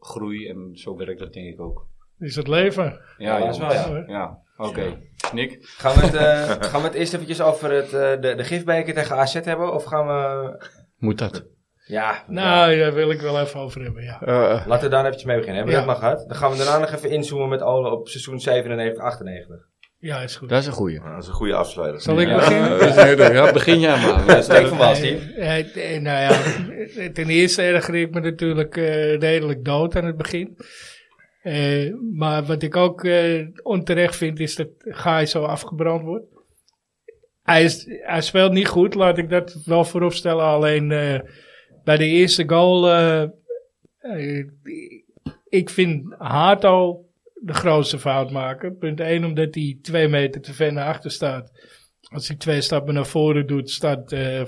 C: groei en zo werkt dat denk ik ook.
B: is het leven.
A: Ja, dat is wel, Oh ja.
B: hoor.
C: Ja, oké. Nick?
A: Gaan we het, eh, gaan we het eerst eventjes over het, eh, de, de gifbeker tegen AZ hebben? Of gaan we...
E: Moet dat?
A: Ja, ja.
B: Nou, daar wil ik wel even over hebben, ja.
E: Eh,
A: laten we daar eventjes mee beginnen. Hebben we dat
B: Ja.
A: maar gehad? Dan gaan we daarna nog even inzoomen met Ole op seizoen 97, 98.
B: Ja, is goed.
E: dat is een goeie.
D: Nou, dat is een goede afsluiter.
B: Zal ik
E: Ja.
B: beginnen?
E: Dat is een hele- ja, begin jij maar. Dat is
A: Steek van Waal, Steve.
B: Eh, eh, eh, nou ja, eh, ten eerste erger ik me natuurlijk eh, redelijk dood aan het begin. Eh, maar wat ik ook eh, onterecht vind is dat Gaai zo afgebrand wordt. Hij, is, hij speelt niet goed, laat ik dat wel vooropstellen. Alleen eh, bij de eerste goal, eh, eh, ik vind Hato de grootste fout maken. Punt 1, omdat hij twee meter te ver naar achter staat. Als hij twee stappen naar voren doet, staat eh,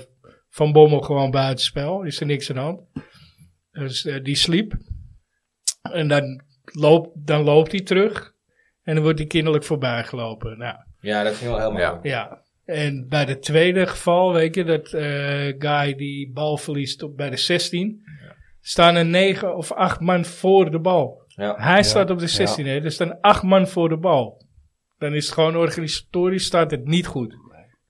B: Van Bommel gewoon buitenspel. Is er niks aan de hand. Dus eh, die sliep. En dan loopt, dan loopt hij terug. En dan wordt hij kinderlijk voorbij gelopen. Nou,
A: Ja, dat ging wel helemaal
D: Ja.
A: goed.
B: ja. En bij het tweede geval, weet je, dat eh, guy die bal verliest op, bij de 16. Staan er negen of acht man voor de bal.
A: Ja.
B: Hij staat op de 16, hè. Er staan acht man voor de bal. Dan is het gewoon organisatorisch staat het niet goed.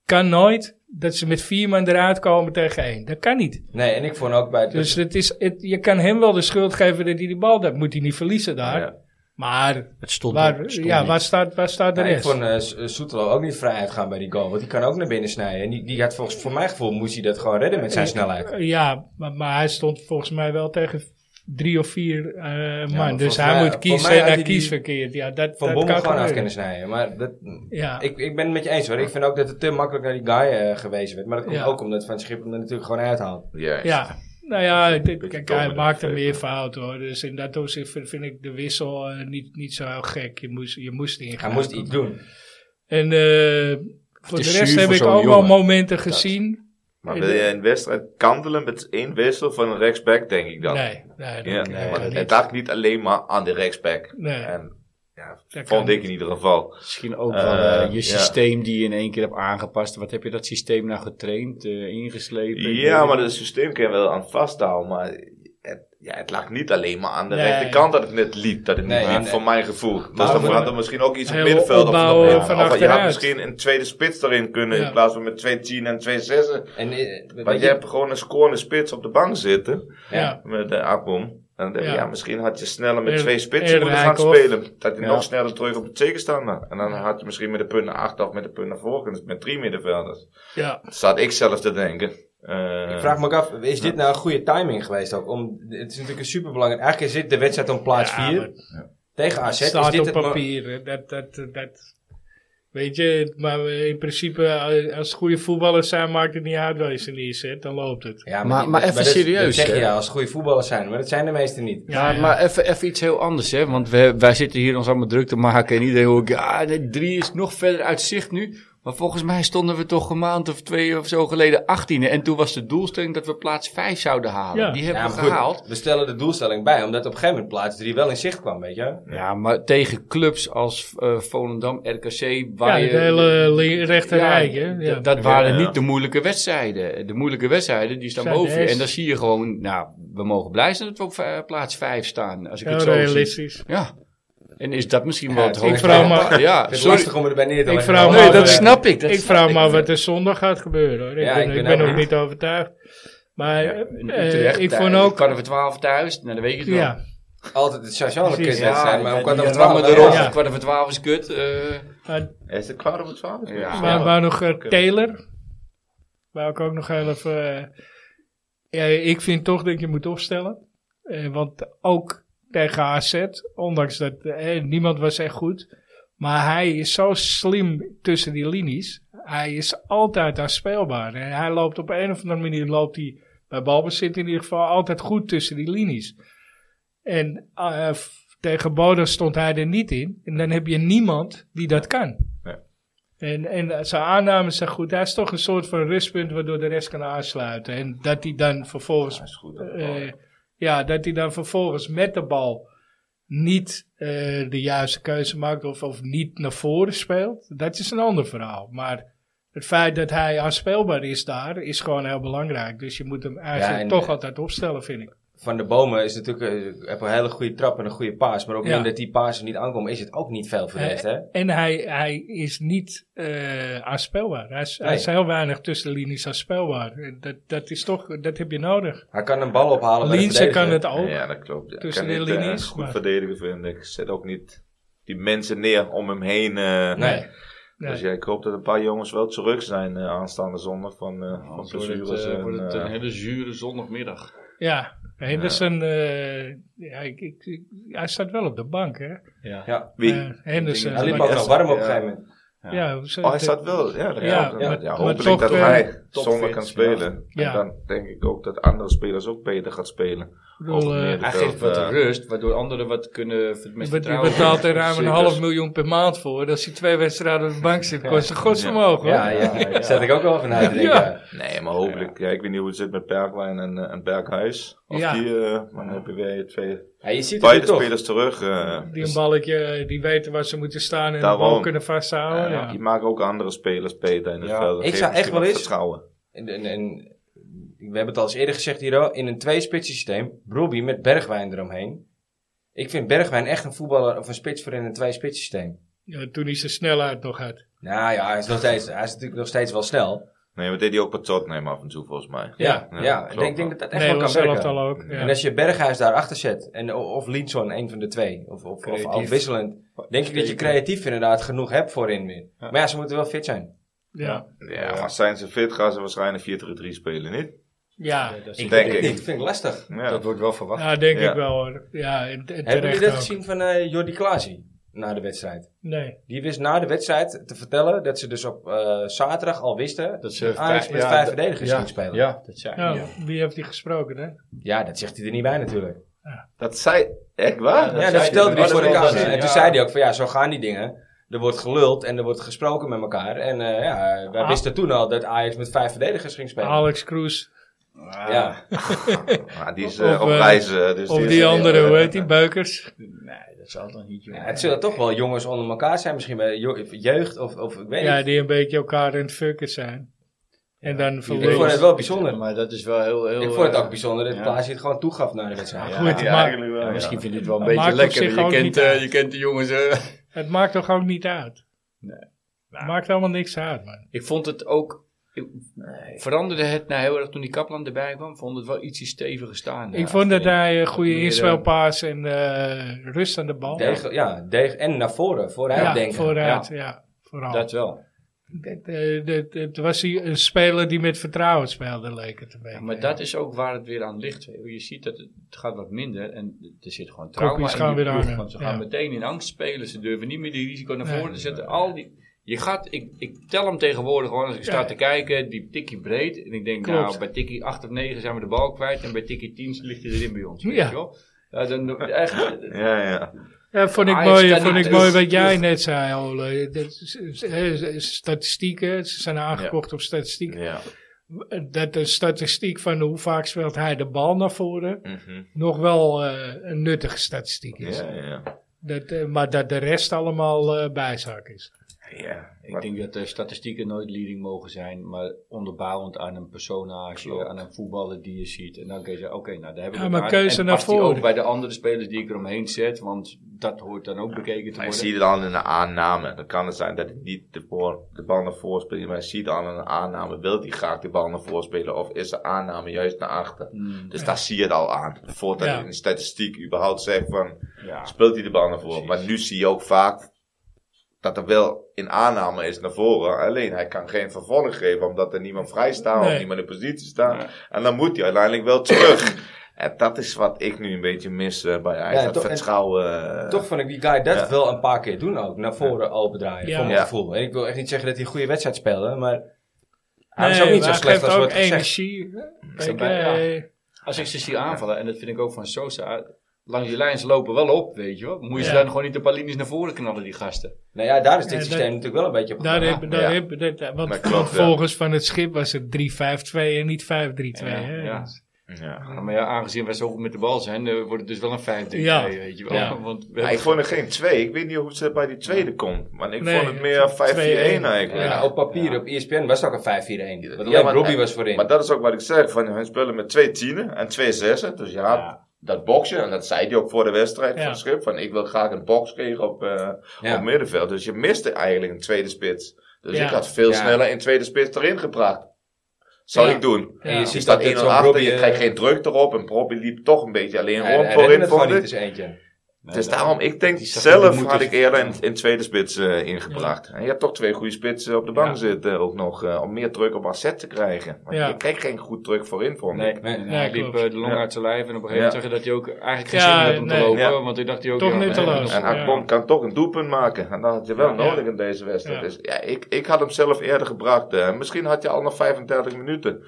B: Kan nooit dat ze met vier man eruit komen tegen één. Dat kan niet.
A: Nee, en ik vond ook bij...
B: Dus het is, het, je kan hem wel de schuld geven dat hij die bal dat moet hij niet verliezen daar.
D: Ja.
B: Maar
E: Het stond,
B: waar,
E: het stond
B: ja,
E: niet.
B: waar, staat, waar staat de
A: Ja, ik
B: rest?
A: vond eh, S- eh, Soetelo ook niet vrij uitgaan bij die goal. Want die kan ook naar binnen snijden. En die, die had volgens voor mijn gevoel moest hij dat gewoon redden met zijn snelheid.
B: eh, Ja, maar, maar hij stond volgens mij wel tegen drie of vier eh, man.
A: volgens
B: Dus hij
A: mij-
B: moet
A: voor mij
B: kiezen
A: had
B: en hij
A: hij die-
B: kiest verkeerd. Ja, dat,
A: Van
B: dat
A: Bommel
B: kan
A: gewoon af
B: gebeuren.
A: kunnen snijden. Maar dat,
B: Ja,
A: ik, ik ben het met je eens hoor. Ik vind ook dat het te makkelijk naar die guy eh, gewezen werd. Maar dat komt
B: Ja.
A: ook omdat Van Schip hem er natuurlijk gewoon uithaalt.
D: Ja.
B: ja. Nou ja, dit-
D: Beetje
B: kijk, hij
D: dominant
B: maakt er
D: effect,
B: meer
D: ja.
B: fout hoor. Dus in dat opzicht vind, vind ik de wissel eh, niet, niet zo heel gek. Je moest, je moest ingaan.
A: Hij moest iets doen.
B: En eh, voor de
E: is
B: rest
E: zuur
B: heb
E: voor
B: ik
E: zo'n
B: ook wel
E: jongen.
B: momenten gezien.
D: Maar wil je een wedstrijd kantelen met één wissel van een rechtsback, denk ik dan.
B: Nee, nee,
D: Ja,
B: dat- dat
D: maar
B: kan
D: het
B: niet.
D: lag niet alleen maar aan de rechtsback.
B: Nee.
D: En, ja,
B: kan
D: vond ik
B: niet.
D: in ieder geval.
C: Misschien ook
D: Eh,
C: wel eh,
D: ja.
C: je systeem die je in één keer hebt aangepast. Wat heb je dat systeem nou getraind, eh, ingeslepen?
D: Ja, maar het systeem kan je wel aan vasthouden, maar... Het, ja, het lag niet alleen maar aan de
B: Nee.
D: rechterkant dat het net liep. Dat het
A: Nee,
D: niet liep,
A: en-
D: voor mijn gevoel. Dus
A: Maar
D: dan
A: we-
D: had er misschien ook iets op
B: Heel
D: middenveld op
B: opbouwen
D: of,
B: van
D: of je had
B: achteruit.
D: misschien een tweede spits erin kunnen
B: Ja.
D: in plaats van met twee tien en twee zessen.
A: En, eh,
D: Want
A: weet
D: je hebt gewoon een scorende spits op de bank zitten
B: Ja.
D: met de Akom. En dan denk je,
B: Ja.
D: ja. misschien had je sneller met
B: Eer-
D: twee spitsen
B: eerder
D: moeten gaan
B: Eikhoff.
D: spelen. Dat je
C: Ja.
D: nog sneller terug op de tegenstander. En dan had je misschien met de punt naar achter of met de punt naar voren kunnen, met drie middenvelders.
B: Ja,
D: Dat zat ik zelf te denken. Eh,
A: Ik vraag me ook af, is dit nou een goede timing geweest ook? Om, het is natuurlijk een superbelangrijk. Eigenlijk is dit de wedstrijd om plaats
B: Ja,
A: 4
B: maar
A: tegen AZ.
B: het staat
A: is dit
B: op
A: het mo-
B: papier. hè. Dat, dat, dat, weet je, maar we- in principe, eh, als het goede voetballers zijn, maakt het niet uit waar je ze neerzet. Dan loopt het.
A: Ja, maar,
E: Maar-
A: die-
E: maar
A: dat-
E: even
A: dat-
E: serieus,
A: Dat zeg je
E: hè?
A: ja, als goede voetballers zijn. Maar dat zijn de meesten niet.
B: Ja,
E: Ja,
B: ja.
E: maar even, even iets heel anders, hè. Want we, wij zitten hier ons allemaal druk te maken. En iedereen hoort, ja, nee, drie is nog verder uit zicht nu. Maar volgens mij stonden we toch een maand of twee of zo geleden 18e. En toen was de doelstelling dat we plaats 5 zouden halen.
B: Ja.
E: Die
A: Ja,
E: hebben
A: maar
E: we
A: goed,
E: gehaald.
A: we stellen de doelstelling bij, omdat op een gegeven moment plaats 3 wel in zicht kwam, weet je?
E: Ja, maar tegen clubs als eh, Volendam, RKC,
B: Ja,
E: waar
B: het
E: je...
B: hele li- rechte
E: Ja,
B: rijk, hè. Ja.
E: d- Dat waren
D: Ja, ja.
E: niet de moeilijke wedstrijden. De moeilijke wedstrijden, die staan
B: Zijn
E: boven je.
B: deze.
E: En dan zie je gewoon, nou, we mogen blij zijn dat we op eh, plaats 5 staan. Als ik
B: Heel
E: het zo zie.
B: realistisch.
E: Ja. En is dat misschien wel
A: Ja,
E: het
A: ik
E: hoogste?
B: vraag me-
E: Ja,
A: Het is
E: sorry.
A: lastig om erbij neer te
B: Ik
A: leggen.
B: vraag me
E: Nee,
B: af,
E: dat
B: eh,
E: snap ik. Dat
B: ik
E: snap
B: vraag
E: ik.
B: me af wat er zondag gaat gebeuren, hoor. Ik
A: Ja,
B: ben,
A: ik
B: ik
A: ben
B: ben
A: ook
B: nog
A: niet.
B: niet overtuigd. Maar eh,
C: in
B: eh,
C: Utrecht,
B: ik
E: Eh,
B: vond ook...
E: Kwart over twaalf thuis, nou, dan weet je het wel.
B: Ja,
A: Altijd, het zou zo'n
B: Precies.
A: kutwedstrijd zijn, maar om kwart over
E: rammen
A: twaalf.
E: erop.
A: ja.
B: Ja.
E: Kwart over twaalf is kut. eh,
B: maar
D: Is het kwart over twaalf?
E: Ja.
B: Maar, maar nog eh, Taylor. Waar ik ook nog heel even. eh, ja, ik vind toch dat je moet opstellen. Eh, want ook tegen AZ, ondanks dat eh, niemand was echt goed. Maar hij is zo slim tussen die linies. Hij is altijd aanspeelbaar. En hij loopt op een of andere manier, loopt hij bij balbezit in ieder geval, altijd goed tussen die linies. En eh, f- tegen Bodo stond hij er niet in. En dan heb je niemand die dat kan. En, en eh, zijn aannames zijn goed. Hij is toch een soort van rustpunt waardoor de rest kan aansluiten. En dat hij dan vervolgens.
D: is goed.
B: eh, ja, dat hij dan vervolgens met de bal niet eh, de juiste keuze maakt of, of niet naar voren speelt. Dat is een ander verhaal. Maar het feit dat hij aanspeelbaar is daar, is gewoon heel belangrijk. Dus je moet hem eigenlijk
A: Ja, en-
B: toch altijd opstellen, vind ik.
A: van de bomen is natuurlijk eh, heb een hele goede trap en een goede paas. Maar op het
B: Ja.
A: moment dat die paas er niet aankomt, is het ook niet veel voor de
B: Eh,
A: rest, hè?
B: En hij, hij is niet eh aanspelbaar. Hij is, hij
A: Nee.
B: is heel weinig tussen de linies aanspelbaar. En Dat, dat is toch, dat heb je nodig.
A: Hij kan een bal ophalen. bij de
B: Linse kan
A: verdediger.
B: het ook.
D: Ja, dat klopt. Ja.
B: Tussen
D: Ik kan
B: de
D: niet, eh,
B: linies,
D: goed
B: maar-
D: verdedigen, vind ik. Ik zet ook niet die mensen neer om hem heen. eh.
A: Nee.
B: Nee.
D: Dus ja, ik hoop dat een paar jongens wel terug zijn eh, aanstaande zondag van, eh van
E: Anders wordt het,
D: blessures.
E: eh,
D: en,
E: wordt het
D: eh,
E: een hele zure zondagmiddag.
B: Ja, Henderson, eh, ja, ik, ik, ik- hij staat wel op de bank, hè?
E: Ja.
A: Ja.
D: wie?
B: Eh, Henderson.
A: Hij liep
B: Maar-
A: ook nog warm op een
D: Ja.
A: gegeven moment.
B: Ja, hoe zou
D: Oh, hij
B: het-
D: staat wel. Ja, dat
B: Ja,
D: klopt. ja,
B: maar-
D: ja,
B: maar
D: hopelijk
B: toch,
D: dat
B: eh,
D: hij zondag
E: topfit,
D: kan spelen.
B: Ja.
D: En dan denk ik ook dat andere spelers ook beter gaan spelen.
B: ik bedoel, eh,
D: Algemeen.
C: Hij
D: Dat,
C: geeft wat
D: eh,
C: rust, waardoor anderen wat kunnen... met
B: je bet- je
C: vertrouwen-
B: betaalt er ruim een
D: Zeker.
B: half miljoen per maand voor. En Als hij twee wedstrijden op de bank zit, kost het godsvermogen, hoor.
A: Ja, ja, daar zet ik ook wel van uit te denken.
B: Ja.
D: Nee, maar hopelijk. Ja, ik weet niet hoe het zit met Berglijn en, eh, en Berghuis. Of
B: Ja.
D: die, eh, maar dan heb je weer twee,
A: Ja, je ziet het nu
D: beide
A: toch.
D: spelers terug. eh,
B: Die
D: dus
B: een balletje, eh, die weten waar ze moeten staan en de
D: Daarom.
B: bal kunnen vasthouden.
D: Ja,
B: Oh, ja.
D: eh, Die maken ook andere spelers beter in het
E: Ja.
D: veld. Dat
A: Ik
D: geeft
A: zou echt
D: misschien
A: wel
D: wat
A: eens-
D: Vertrouwen.
A: En, en- en we hebben het al eens eerder gezegd hier al. In een tweespitsen systeem, Robbie met Bergwijn eromheen. Ik vind Bergwijn echt een voetballer of een spits voor in een tweespitsen systeem.
B: Ja, toen hij zijn snelheid nog had.
A: Nou ja, hij is, nog steeds, hij is natuurlijk nog steeds wel snel.
D: Nee, maar deed hij ook bij Tottenham af en toe volgens mij.
A: Ja, ja,
D: Ja,
A: ik
D: klopt.
A: denk, ik denk dat dat echt
B: Nee,
A: wel
B: was
A: kan
B: zelf
A: werken.
B: al ook. Ja.
A: En als je Berghuis daarachter zet, en, o- of Linson, een van de twee, of, of, of
C: Creatief.
A: afwisselend, denk ik dat je creatief inderdaad genoeg hebt voorin weer. Maar ja, ze moeten wel fit zijn.
B: ja.
D: Ja, maar zijn ze fit, gaan ze waarschijnlijk 4-3-3 spelen, niet?
B: Ja.
C: Ja, dat is-
A: Ik
D: Denk
A: denk het
D: ik.
A: niet, dat vind ik lastig.
D: Ja.
C: Dat wordt wel verwacht.
B: Ja, denk
D: Ja.
B: ik wel hoor. Ja, en, en
A: Hebben jullie
B: terecht
A: dat
B: ook.
A: gezien van eh Jordi Klaasie na de wedstrijd?
B: Nee.
A: Die wist na de wedstrijd te vertellen dat ze dus op eh, zaterdag al wisten
E: Dat
A: dat
E: ze
A: ze Ajax
E: vijf-
A: met
E: ja,
A: vijf
E: dat-
A: verdedigers ging spelen. Ja.
E: Ja.
C: Dat zijn
B: Nou,
C: ja.
B: wie heeft die gesproken hè?
A: dat zegt hij er niet bij natuurlijk.
D: Dat zei... Echt waar?
A: Ja,
C: zei
A: dat
C: hij
A: vertelde
C: er
A: hij
C: niet
A: voor de
C: bij.
A: camera.
C: Ja.
A: En toen zei hij ook van ja, zo gaan die dingen. Er wordt geluld en er wordt gesproken met elkaar. En eh, ja, wij
B: Ah.
A: wisten toen al dat Ajax met vijf verdedigers ging spelen.
B: Alex Kroes.
A: Ja.
D: Maar die is
B: Of,
D: eh, op
B: eh,
D: reis. eh, dus
B: Of
D: is-
B: die andere,
D: eh,
B: hoe heet die? Beukers.
C: Nee, dat zal toch niet,
A: Ja,
C: jongen.
A: het zullen toch wel jongens onder elkaar zijn, misschien bij jo- jeugd of, of ik weet
B: Ja,
A: niet.
B: die een beetje elkaar in het fucken zijn. En dan
A: Ik vond het
B: verliezen.
A: wel bijzonder.
C: Maar dat is wel heel... heel
A: Ik vond het
C: eh,
A: ook bijzonder dat
C: ja.
A: Klaas het gewoon toegaf na de wedstrijd.
C: Ja,
B: Goed,
D: Ja,
B: maar
D: eigenlijk wel.
C: ja,
D: ja.
C: misschien vind je het wel een
B: Dat
C: beetje
B: maakt op
C: lekker.
B: zich ook
C: Je
B: niet
C: kent, eh,
B: uit.
C: je kent de jongens... eh.
B: het maakt toch ook niet uit?
C: Nee.
E: Nou.
B: Het maakt allemaal niks uit, man.
E: Ik vond het ook... ik- Veranderde het nou heel erg toen die Kaplan erbij kwam? Vond het wel ietsje steviger staan.
B: ik vond dat
E: daar.
B: hij een goede
E: Meer, eh,
B: inspelpaas en eh, rust aan de bal.
A: Degel- ja, degel- en naar voren, vooruit
B: ja,
A: denken.
B: vooruit, ja. vooral.
C: Dat wel.
B: Het, eh, het- het was hier een speler die met vertrouwen speelde, leek het een beetje.
E: Ja, maar dat is ook waar het weer aan ligt. Je ziet dat het, het gaat wat minder en er zit gewoon
B: Kopjes
E: trauma in die
B: gaan weer
E: ploeg,
B: hangen,
E: Want ze
B: ja.
E: gaan meteen in angst spelen. Ze durven niet meer die risico naar
B: Nee.
E: voren te zetten. Al die, je gaat, ik, ik tel hem tegenwoordig gewoon als ik sta
B: Ja.
E: te kijken. Die tikkie breed. En ik denk
B: Klopt.
E: nou bij tikkie 8 of 9 zijn we de bal kwijt. En bij tikkie 10 ligt hij erin bij ons.
B: Ja.
E: Weet je wel? Ja, dan, echt,
D: Ja, ja.
B: Ja, vond ik
E: Ajax
B: mooi,
E: kan
B: vond
E: niet
B: ik
E: terug.
B: mooi wat jij net zei, Ole. Dat is- is- hè, Statistieken, ze zijn aangekocht op statistiek.
D: ja.
B: Dat de statistiek van hoe vaak speelt hij de bal naar voren
D: Mhm.
B: nog wel eh, een nuttige statistiek is.
D: ja, ja.
B: Dat, eh, maar dat de rest allemaal eh, bijzaak is.
D: Ja,
E: Ik denk dat eh, statistieken nooit leading mogen zijn, maar onderbouwend aan een personage,
D: Klopt.
E: aan een voetballer die je ziet. En dan kun je zeggen, oké, nou daar hebben we
B: Ja, maar
E: elkaar.
B: keuze
E: en
B: naar
E: past die
B: voren.
E: ook bij de andere spelers die ik eromheen zet, want dat hoort dan ook bekeken te
D: Maar je
E: worden.
D: ziet het al in een aanname. Dan kan het zijn dat het niet de, boor- de bal naar voren speelt. Maar je ziet al in een aanname. Wil hij graag de bal naar voren spelen? Of is de aanname juist naar achter?
E: Hmm,
D: Dus daar zie je het al aan. Voordat
B: Ja.
D: je in de statistiek überhaupt zegt van...
E: ja.
D: Speelt hij de bal naar voren?
E: Precies.
D: Maar nu zie je ook vaak dat er wel een aanname is naar voren. Alleen hij kan geen vervolg geven omdat er niemand vrij staat
B: Nee.
D: of niemand in positie staat. En dan moet hij uiteindelijk wel terug. en dat is wat ik nu een beetje mis eh, bij Ajax.
A: Ja,
D: dat
A: toch- en-
D: vertrouwen. eh,
A: Toch vond ik die guy dat
D: Ja.
A: wel een paar keer doen ook. Naar voren opendraaien,
B: Ja.
A: voor mijn
D: Ja.
A: gevoel. En ik wil echt niet zeggen dat hij een goede wedstrijd speelde, maar... Hij
B: Nee,
A: was Ah, ook niet zo
B: maar hij
A: slecht
B: geeft
A: als
B: ook
A: wordt gezegd.
B: energie.
E: Zo
B: Kijk,
E: bij- ja.
B: eh,
E: Als ik ze zie aanvallen, en dat vind ik ook van Sosa, langs die lijn ze lopen wel op, weet je wel. Moet je ze
B: Ja.
E: dan gewoon niet een paar linies naar voren knallen, die gasten.
A: Nou ja, daar is dit
B: Ja, dat-
A: systeem natuurlijk wel een beetje op
B: Daar
A: gegaan.
B: heb, daar
D: ja.
B: heb, dat, eh, want
D: Dat klopt, ja.
B: volgens van het schip was het 3-5-2 en niet 5-3-2.
E: Ja,
B: hè?
E: ja.
B: Dus-
D: Ja.
E: Maar ja, aangezien wij zo goed met de bal zijn, eh, wordt het dus wel een 5-3.
B: Ja.
E: Weet je wel.
B: Ja.
E: Want we
D: Maar ik
E: hebben-
D: vond er geen twee. Ik weet niet hoe ze bij die tweede komt. Maar ik
B: Nee,
D: vond het meer 5-4-1 eigenlijk.
A: Ja, op papier, op E ESPN was het ook een 5-4-1. Want
D: Ja,
A: alleen
D: maar-
A: Robbie was voorin.
D: Maar dat is ook wat ik zeg. Van, hun spelen met twee tienen en twee zessen. Dus ja, dat boksen. En dat zei hij ook voor de wedstrijd
B: Ja.
D: van Schip. Van, ik wil graag een bokskegel op, eh,
A: Ja.
D: op middenveld. Dus je miste eigenlijk een tweede spits. Dus
B: Ja.
D: ik had veel
A: Ja.
D: sneller een tweede spits erin gebracht. Zou
B: Ja.
D: ik doen.
B: Ja.
A: En je
D: Je
A: ziet
D: staat
A: dat
D: 1-0
A: dit zo'n
D: achter, je
A: Robbie... eh,
D: krijgt geen druk erop. En Robbie liep toch een beetje alleen
A: Hij,
D: rond
A: hij redde
D: voorin,
A: het gewoon
D: vond
A: niet
D: ik.
A: eens eentje.
D: dus daarom, ik denk
E: die zag dat
D: zelf
E: die
D: had
B: dus
E: moeten-
D: ik eerder in, in tweede spits eh, ingebracht. En je hebt toch twee goede spitsen op de bank zitten ook nog. eh, om meer druk op asset te krijgen. Want
B: Ja.
D: je kreeg geen goed druk voorin, vond
E: Nee,
D: ik.
A: Nee,
E: en
A: nee,
E: hij
B: klopt.
E: liep eh, de long
D: Ja.
E: uit zijn lijf. En op een gegeven moment
D: Ja.
E: zag je dat hij ook eigenlijk geen
B: Ja,
E: zin had om
B: nee.
E: te lopen.
D: Ja.
E: Want ik dacht hij ook...
B: Toch
E: ja,
B: nutteloos.
C: eh,
E: nee,
D: En hij
B: Ja.
D: kon- kan toch een doelpunt maken. En dat had je wel
B: Ja.
D: nodig in deze wedstrijd.
B: Ja.
D: Dus ja, ik, ik had hem zelf eerder gebracht. eh, misschien had je al nog 35 minuten.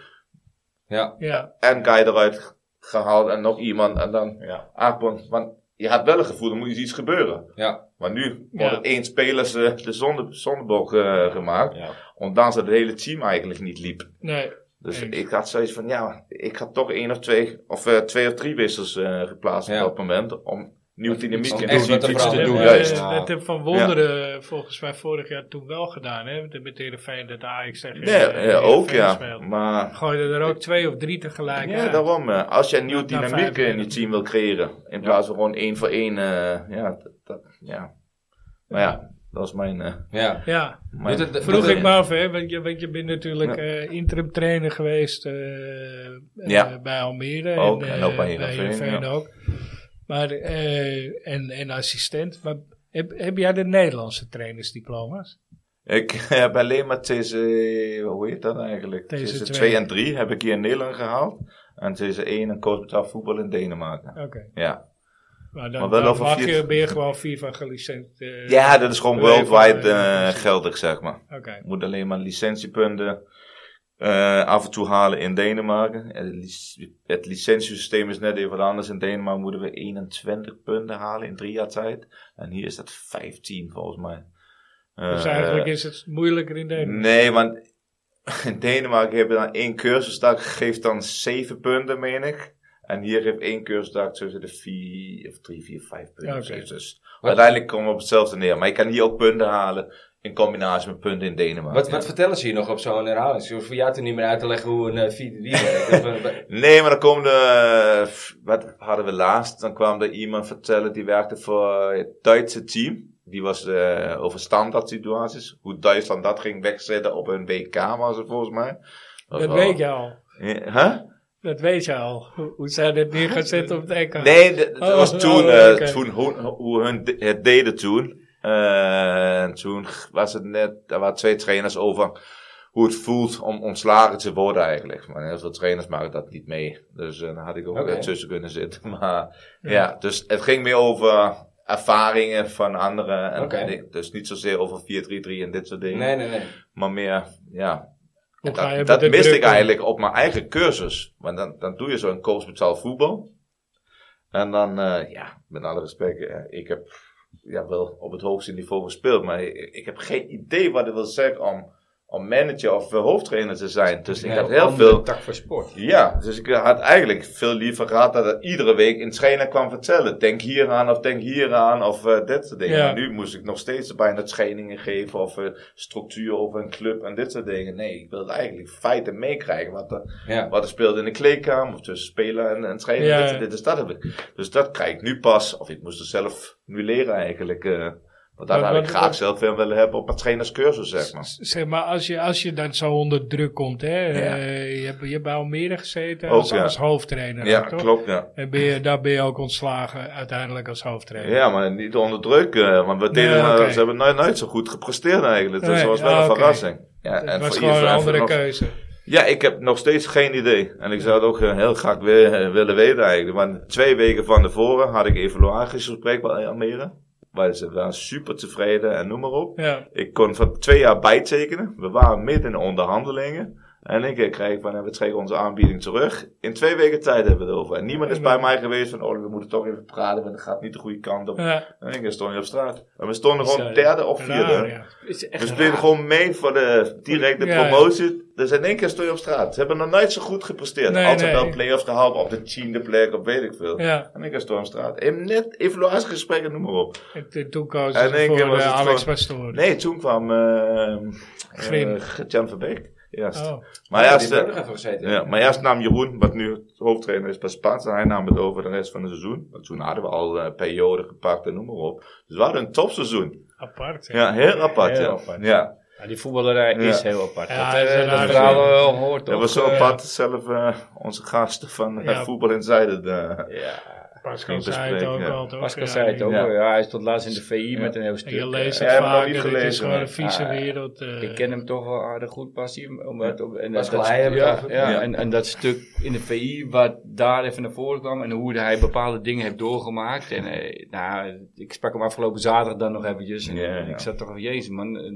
A: Ja,
B: Ja,
D: En Guy eruit gehaald en nog iemand. En dan
C: Ja.
D: Aapon. Want je had wel het gevoel, er moet iets gebeuren.
A: ja.
D: Maar nu
B: Ja.
D: wordt het één spelers eh, de zonde, zondebok eh, gemaakt.
C: Ja.
D: Ondanks dat het hele team eigenlijk niet liep.
B: nee.
D: Dus
B: Eens.
D: ik had zoiets van, ja, ik had toch één of twee, of eh, twee of drie wissels eh, geplaatst
A: Ja.
D: op dat moment. Om nieuw dynamiek
A: om
D: in
A: echt wat te
D: iets te
A: veranderen. Ja.
D: doen. Juist.
B: Eh, Dat heb Van Wonderen volgens mij vorig jaar toen wel gedaan. Hè? Met de- Met de fijn dat Ajax tegen
D: Nee,
B: eh,
D: eh, ook
B: VVV
D: ja.
B: speelt.
D: Maar
B: Gooide er ook twee of drie tegelijk
D: ja,
B: uit.
D: daarom, eh, als je een nieuwe
B: Na
D: dynamiek
B: vijf
D: in je team wil creëren, in plaats van gewoon één voor één, eh, ja, dat, dat- ja. Maar ja, dat is mijn... eh,
A: ja.
B: Ja,
D: mijn
A: Doet het-
B: vroeg
A: Dat-
B: ik me af, hè, want, je, want je bent natuurlijk eh, interim trainer geweest eh, eh,
D: Ja.
B: bij Almere.
D: Ook, en
B: eh,
D: ook bij Heerenveen, ja.
B: ook. Maar, eh, en, en assistent. Maar heb, heb jij de Nederlandse trainersdiploma's?
D: Ik heb alleen maar TC, hoe heet dat eigenlijk?
B: TC2.
D: TC 2 en 3 heb ik hier in Nederland gehaald. En E TC 1 en coach betaald voetbal in Denemarken.
B: Oké,
D: Ja.
B: maar dan,
D: Maar wel
B: dan
D: over
B: mag
D: vier-
B: je, ben je gewoon vier van gelicent. eh,
D: ja, dat is gewoon
B: Even,
D: worldwide
B: eh,
D: eh, geldig, zeg maar.
B: Oké,
D: Je moet alleen maar licentiepunten eh, af en toe halen in Denemarken. Het, lic- het licentiesysteem is net even wat anders. In Denemarken moeten we 21 punten halen in drie jaar tijd. En hier is dat 15 volgens mij.
B: dus
D: Eh,
B: eigenlijk is het moeilijker in Nederland.
D: Nee, want in Denemarken heb je dan één cursusdag, geeft dan zeven punten, meen ik. En hier heeft één cursusdag tussen de vier, of drie, vier, vijf punten.
B: Oké.
D: of zoiets. Dus uiteindelijk komen we op hetzelfde neer. Maar je kan hier ook punten halen in combinatie met punten in Denemarken.
A: Wat, wat vertellen ze hier nog op zo'n herhaling? Ze hoeven voor jou toen niet meer uit te leggen hoe een eh, 4-3 werkt. Of een-
D: Nee, maar dan kwam de, f- wat hadden we laatst? Dan kwam er iemand vertellen, die werkte voor het Duitse team. Die was eh, over standaard situaties. Hoe Duitsland dat ging wegzetten op hun WK was het volgens mij. was
B: Dat
D: wel-
B: weet je al.
D: Ja, Huh?
B: Dat weet je al. Hoe, hoe zij dit neer gaan zetten op het EK.
D: Nee, d- dat
B: Oh,
D: was
B: oh,
D: toen,
B: oh,
D: eh,
B: oké.
D: toen hoe, hoe hun d- het deden toen. Eh, en toen g- was het net, er waren twee trainers over hoe het voelt om ontslagen te worden eigenlijk. Maar heel veel trainers maken dat niet mee. Dus eh, daar had ik ook
A: Oké.
D: eh, tussen kunnen zitten. Maar ja. dus het ging meer over ervaringen van anderen. En
A: Oké.
D: di- Dus niet zozeer over 4-3-3 en dit soort dingen.
A: Nee, nee, nee.
D: Maar meer, ja,
B: Hoe ga je
D: dat
B: met
D: dat
B: de
D: miste
B: druk
D: ik
B: om?
D: eigenlijk op mijn eigen cursus. Want dan, dan doe je zo'n coach betaald voetbal. En dan, eh, ja, met alle respect, eh, ik heb ja, wel op het hoogste niveau gespeeld. Maar ik, ik heb geen idee wat het wil zeggen om, om manager of eh, hoofdtrainer te zijn. Dus ik
A: Nee,
D: had
A: op
D: heel
C: Andere
D: veel...
C: tak van sport.
D: Ja, dus ik had eigenlijk veel liever gehad dat er iedere week een trainer kwam vertellen. Denk hier aan of denk hier aan of eh dit soort dingen.
B: Ja.
D: Maar nu moest ik nog steeds bijna trainingen geven of eh, structuur of een club en dit soort dingen. Nee, ik wilde eigenlijk feiten meekrijgen. Wat er,
A: Ja.
D: wat er speelde in de kleedkamer of tussen speler en, en trainer.
B: Ja.
D: Dit, dit is dat heb ik. Dus dat krijg ik nu pas. Of ik moest het zelf nu leren eigenlijk. eh want dat
B: Wat-
D: had ik
B: wat-
D: graag
B: wat-
D: zelf wel willen hebben op mijn trainerscursus, zeg maar.
B: S- Zeg maar, als je, als je dan zo onder druk komt, hè?
D: Ja.
B: eh, je, hebt, je hebt bij Almere gezeten
D: Ook,
B: als,
D: ja.
B: als hoofdtrainer.
D: Ja,
B: toch?
D: klopt, ja.
B: En ben je, daar ben je ook ontslagen uiteindelijk als hoofdtrainer.
D: Ja, maar niet onder druk. eh, want we deden,
B: Nee,
D: eh,
B: oké.
D: ze hebben nooit, nooit zo goed gepresteerd eigenlijk. Dus
B: Nee,
D: dat was wel
B: ah,
D: een
B: oké.
D: verrassing. Ja,
B: Het was
D: voor
B: gewoon een
D: iedereen
B: andere
D: nog-
B: keuze.
D: Ja, ik heb nog steeds geen idee. En ik zou het ook eh, heel graag weer, eh, willen weten eigenlijk. Want twee weken van tevoren had ik evaluatiegesprek bij Almere. Waar ze waren super tevreden en noem maar op.
B: Ja,
D: Ik kon voor twee jaar bijtekenen. We waren midden in de onderhandelingen. En in één keer kreeg ik van, eh, we trekken onze aanbieding terug. In twee weken tijd hebben we het over. En niemand is bij mij geweest van, oh, we moeten toch even praten, want het gaat niet de goede kant op.
B: Ja,
D: En in één keer stond je op straat. En we stonden gewoon
B: Bizar,
D: derde of vierde. Dus
B: raar, ja.
C: is echt
D: We spelen gewoon mee voor de directe
B: Ja, ja.
D: promotie. Dus in één keer stond je op straat. Ze hebben nog nooit zo goed gepresteerd.
B: Nee,
D: Altijd
B: nee.
D: wel play-offs gehaald op de tiende plek, op weet ik veel.
B: Ja,
D: En ik keer stond je op straat. En net evaluatiegesprekken, noem maar op.
B: ik- ik- toen koos
D: En
B: ik
D: in één
B: voor
D: keer was
B: eh,
D: het
B: Alex
D: gewoon-
B: Pastoor.
D: Nee, toen kwam ehm
B: Grim.
D: eh, Gert-Jan Verbeek. Juist.
B: Oh,
D: Maar
A: ja,
D: juist,
A: die heb ik
D: eh,
A: ook nog even gezeten.
D: ja, maar juist nam Jeroen, wat nu hoofdtrainer is bij Spaans, en hij nam het over de rest van het seizoen. Want toen hadden we al eh periode gepakt en noem maar op. Dus we hadden een topseizoen.
B: apart. hè.
D: Ja, heel apart.
C: Heel
D: ja.
C: apart.
D: Ja.
C: Ja, die voetballerij is
D: Ja.
C: heel apart.
B: Ja,
C: dat
B: is een
C: eh, dat
B: raar
C: verhaal
B: ding.
C: wel hoort toch?
D: Dat was zo
C: eh,
D: apart, zelf eh, onze gasten van eh,
B: Ja.
D: Voetbal eh, Insider. De,
C: Ja,
B: Pascal
D: Misschien
B: zei het ook
D: bespreken, ja.
B: al. toch?
C: Pascal
B: Ja,
C: zei het
B: die-
C: ook.
D: Ja.
C: hoor. Ja, hij stond laatst in de VI met een heel
B: en
C: stuk.
B: Je leest
C: eh,
B: het
D: Ja, heb ik nog
B: vaker.
D: niet
B: Het is
D: gelezen,
B: gewoon
D: nee.
B: een vieze
C: Ah,
B: wereld. eh.
C: Ik ken hem toch wel aardig goed, Passie. Omdat, op- en
A: Pascal
C: dat,
A: Heij hebben we het
C: ja,
A: over.
C: ja,
D: Ja.
C: En,
E: En, en dat stuk in de VI, wat daar even naar voren kwam en hoe hij bepaalde dingen heeft doorgemaakt. En eh, nou, ik sprak hem afgelopen zaterdag dan nog eventjes. En,
D: Ja, ja.
E: ik zat toch van, jezus man, eh,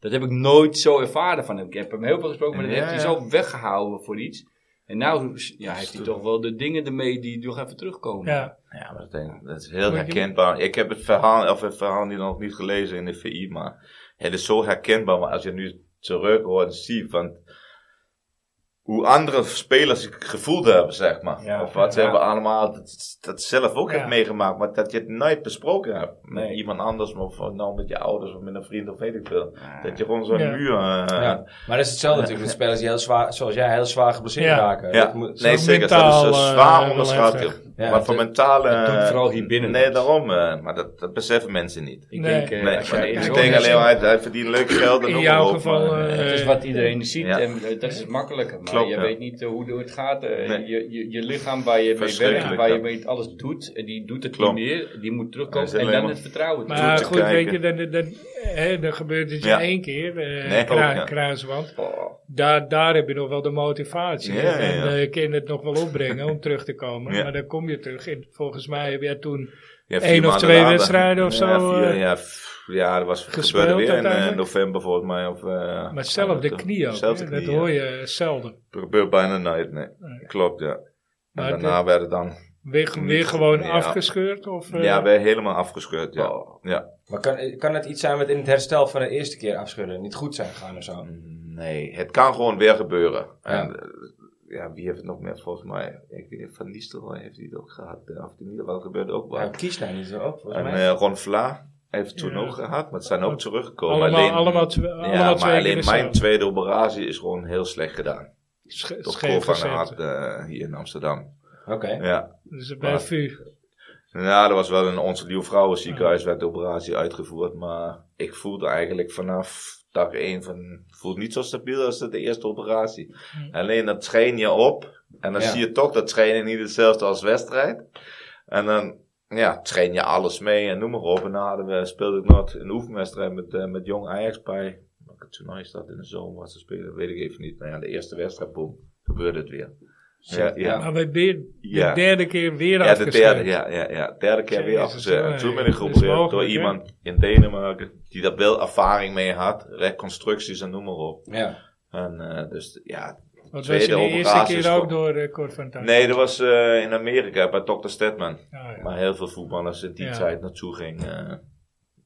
E: dat heb ik nooit zo ervaren van hem. Ik heb hem heel veel gesproken, maar dat
D: Ja,
E: heeft hij
D: ja.
E: zo weggehouden voor iets. En nou ja, heeft hij toch wel de dingen ermee die nog even terugkomen.
B: Ja,
D: ja, maar dat, denk- dat is heel
B: Moet je-
D: herkenbaar. Ik heb het verhaal, of het verhaal niet, nog niet gelezen in de VI, maar het is zo herkenbaar. Maar als je nu terug hoort en ziet van hoe andere spelers het gevoeld hebben, zeg maar.
C: Ja.
D: of wat ze
C: Ja.
D: hebben allemaal, dat, dat zelf ook
B: Ja.
D: heeft meegemaakt, maar dat je het nooit besproken hebt. Met
C: Nee.
D: iemand anders, of nou met je ouders, of met een vriend, of weet ik veel.
E: Ja.
D: Dat je gewoon zo'n
B: Ja.
D: muur... eh,
A: Ja, maar dat is hetzelfde natuurlijk met spelers die heel zwaar, zoals jij, heel zwaar geblesseerd
B: Ja.
A: raken.
D: Ja,
A: Dat moet-
D: nee,
B: zo
D: zeker. dat
B: mentaal,
D: is eh,
B: eh,
D: zwaar
B: wel
D: onderschat.
B: heftig.
D: joh.
A: Ja,
D: Wat voor mentale...
E: dat doet
D: eh,
E: vooral hier binnen
D: Nee,
E: wat.
D: daarom. eh, maar dat, dat beseffen mensen niet.
E: Ik
B: Nee.
E: denk, eh,
D: Nee,
E: als
D: maar
E: jij in
D: ik
E: zo'n-
D: denk alleen
B: ja.
D: maar, hij, hij verdient leuk geld. En
B: In
D: noem
B: jouw
D: maar op,
B: geval,
D: maar, eh,
B: eh,
E: Het is wat iedereen ziet
D: Ja.
E: en eh, dat is makkelijker. Maar
D: Klopt,
E: je
D: ja.
E: weet niet eh, hoe het gaat. eh,
D: Nee.
E: je, je, je lichaam waar je mee werkt,
D: Verschrikkelijk,
E: waar je
D: ja.
E: mee alles doet, en die doet het
D: Klopt.
E: niet meer. Die moet
D: Hij is
E: terugkomen en
D: alleen
E: dan
D: maar-
E: het vertrouwen. terug.
B: maar
D: te
B: goed, weet
D: kijken.
B: je, dan, dan, hè, dan gebeurt het je
D: Ja.
B: één keer. eh
D: Nee,
B: kra-
D: ook, ja.
B: Kruiswand.
E: Oh,
B: Daar, daar heb je nog wel de motivatie.
D: Ja,
B: hè.
D: ja, ja.
B: En eh, kun je het nog wel opbrengen om terug te komen.
D: Ja.
B: Maar dan kom je terug. En volgens mij heb jij toen
D: ja,
B: één
D: vier
B: of
D: maanden
B: twee
D: later.
B: wedstrijden of
D: Ja,
B: zo,
D: vier,
B: eh,
D: ja, pff, ja, dat was
B: gespeeld
D: gebeurde weer in eh,
B: uiteindelijk.
D: november volgens mij. Of, eh,
B: Maar zelf de
D: eh,
B: knie ook.
D: zelf
B: hè?
D: de
B: dat
D: knie,
B: hoor
D: ja.
B: je zelden.
D: Gebeurt bijna nooit, nee.
B: Nee.
D: Klopt, ja. En
B: Maar
D: daarna werd het dan...
B: Weer, weer
D: Niet-
B: gewoon
D: ja.
B: afgescheurd? Of, eh,
D: Ja, werd helemaal afgescheurd, ja.
E: oh.
D: ja.
A: Maar kan, kan het iets zijn wat in het herstel van de eerste keer afschudden niet goed zijn gegaan of zo?
D: Nee, het kan gewoon weer gebeuren. En, eh, ja, wie heeft het nog meer volgens mij? Ik weet niet, Van Nistelrooy heeft die het ook gehad. eh, Of in ieder geval gebeurde ook wel.
A: Ja, kies nou niet zo op, volgens
D: En
A: mij.
D: eh, Ron Vla heeft toen
B: Ja.
D: ook gehad, maar ze zijn ook teruggekomen.
B: allemaal,
D: alleen,
B: allemaal, twe-
D: ja,
B: allemaal twee
D: maar
B: keer eh,
D: alleen mijn
B: dezelfde.
D: tweede operatie is gewoon heel slecht gedaan.
B: Sche-
D: Door
B: scheef
D: Cor van der
B: gezet.
D: Hart eh, hier in Amsterdam.
A: Oké.
D: Ja.
B: Dus bij
D: Maar-
B: VU.
D: ja, dat was wel een onze nieuw vrouwenziekenhuis werd de operatie uitgevoerd, maar ik voelde eigenlijk vanaf dag één van, voelt niet zo stabiel als de eerste operatie.
B: Hm.
D: Alleen dat train je op en dan
A: Ja.
D: zie je toch dat trainen niet hetzelfde als wedstrijd. En dan ja, train je alles mee en noem maar op. En dan hadden we, speelde ik nog een oefenwedstrijd met, eh, met Jong Ajax bij. Welke toernooi is dat in de zomer wat ze spelen? Weet ik even niet. Nou ja, de eerste wedstrijd, boom, gebeurde het weer. Ja, ja.
B: Maar bij Beer-
D: Ja.
B: de derde keer weer
D: Ja, de
B: afgescheurd.
D: derde, ja, ja, ja. Derde keer weer
B: Jezus,
D: afgezet. En
B: jongen,
D: toen ben
B: dat
D: ik
B: is
D: geopereerd door
B: mogelijk, hè?
D: iemand in Denemarken die daar wel ervaring mee had. Reconstructies en noem maar op.
A: Ja.
D: En eh, dus ja.
B: Want was
D: Tweede
B: je de eerste
D: operatie is
B: keer ook
D: voor-
B: door eh, Cor van Tuin?
D: Nee, dat was eh, in Amerika bij Dr. Stedman.
B: Ah, ja.
D: Waar heel veel voetballers in die
B: Ja.
D: tijd naartoe gingen. eh.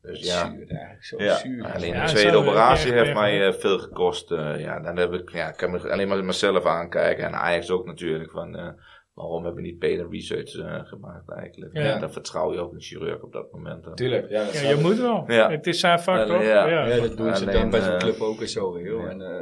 D: dus ja.
E: Zuur eigenlijk, zo
D: Ja,
E: zuur.
D: alleen
B: Ja,
D: de
B: zo
D: tweede
B: heb ik
D: operatie
B: echt
D: heeft
B: pech
D: mij
B: gehad.
D: eh, veel gekost. eh, ja, dan heb ik, ja, ik kan me alleen maar mezelf aankijken. En Ajax ook natuurlijk. Van, eh, waarom hebben we niet beter research eh, gemaakt eigenlijk?
B: Ja.
D: Ja. dan vertrouw je ook een chirurg op dat moment. dan.
A: Tuurlijk. Ja, dat
B: Ja,
A: snap
B: je
A: ik.
B: moet wel.
D: Ja.
B: Het is zijn vak,
D: Ja,
B: toch?
D: ja.
E: Ja, dat doen ze dan
D: Alleen,
E: bij zo'n
D: eh,
E: club ook en zo. joh.
D: ja.
E: En, eh,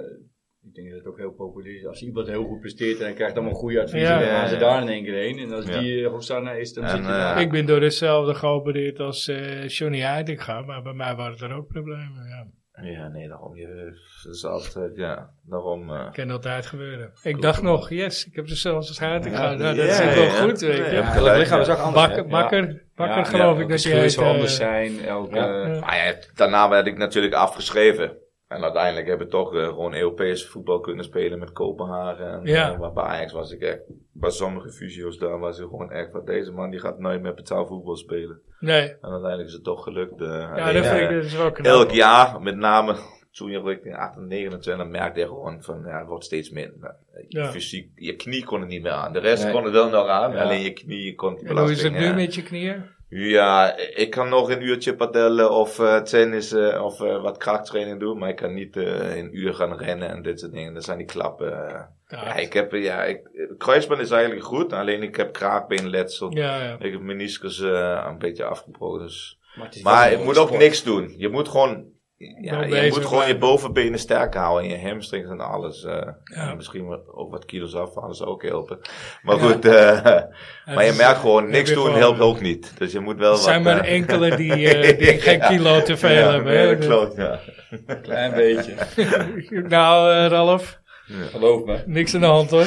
E: ik denk dat het ook heel populair is. Als iemand heel goed presteert en hij krijgt allemaal goede adviezen,
B: Ja.
E: dan gaan ze
D: Ja, ja.
E: daar in één keer heen. En als
D: Ja.
E: die eh, Hosanna is, dan
D: En,
E: zit je
D: eh,
E: daar.
B: Ik ben door hetzelfde geopereerd als eh, Johnny Heitinga, maar bij mij waren er ook problemen. Ja.
D: Ja, nee, daarom. Je, dat is altijd, ja, daarom. eh,
B: Kan altijd gebeuren. Ik dacht nog, yes, ik heb dezelfde als Heitinga.
D: Ja,
B: nou, dat
D: ja,
B: is ook wel
D: ja.
B: goed, weet
D: Nee,
B: je.
D: ja.
A: Ja, dat lichaam is ook anders. hè?
B: Bakker, bakker, bakker
E: Ja,
B: geloof
D: ja,
B: ik
E: Elke
B: dat je
E: scheur
B: heet.
E: zal
B: eh,
E: anders zijn. Elke,
A: ja.
E: eh,
D: Maar ja, daarna werd ik natuurlijk afgeschreven. En uiteindelijk heb ik toch eh, gewoon Europees voetbal kunnen spelen met Kopenhagen. En,
B: Ja.
D: eh, maar bij Ajax was ik echt, bij sommige fusio's daar was ik gewoon echt van deze man die gaat nooit meer betaalvoetbal spelen.
B: Nee,
D: En uiteindelijk is het toch gelukt. eh,
B: ja,
D: alleen,
B: dat vind
D: eh,
B: ik dat is wel knap.
D: elk jaar, met name Toen je richting 28, dan merkte je gewoon van, ja, het wordt steeds minder. Je
B: Ja.
D: Fysiek, je knie kon het niet meer aan. De rest
A: Nee.
D: kon het wel nog aan, maar
A: Ja.
D: alleen je knie kon die
B: En hoe is het
D: belasting...
B: nu
D: eh,
B: met je knieën?
D: ja, ik kan nog een uurtje padellen of eh, tennis eh, of eh, wat krachttraining doen, maar ik kan niet eh, een uur gaan rennen en dit soort dingen. Dat zijn die klappen. eh. Ja, ik heb, eh, ja, ik, eh, kruisband is eigenlijk goed, alleen ik heb kraakbeenletsel.
B: ja, ja.
D: Ik heb meniscus eh, een beetje afgebroken, dus...
C: Maar, het is wel
D: Maar
C: een
D: je moet ook
C: sport.
D: niks doen. Je moet gewoon, ja,
B: Wel
D: je,
B: bezig
D: moet gewoon je
B: blijven.
D: bovenbenen sterk houden. En je hamstrings en alles. eh.
B: Ja.
D: en misschien wat- ook wat kilo's afvallen zou ook helpen. Maar goed, eh, maar je merkt gewoon,
B: heb
D: niks
B: je
D: doen
B: gewoon-
D: helpt ook niet. Dus je moet wel
B: Er
D: wat...
B: zijn maar
D: eh,
B: enkele die, eh, die geen kilo te veel
D: ja,
B: hebben.
D: nee,
B: hè. dus-
D: dat klopt, ja.
C: Klein beetje.
B: Nou, eh, Ralf,
C: Geloof me.
B: niks aan de hand hoor.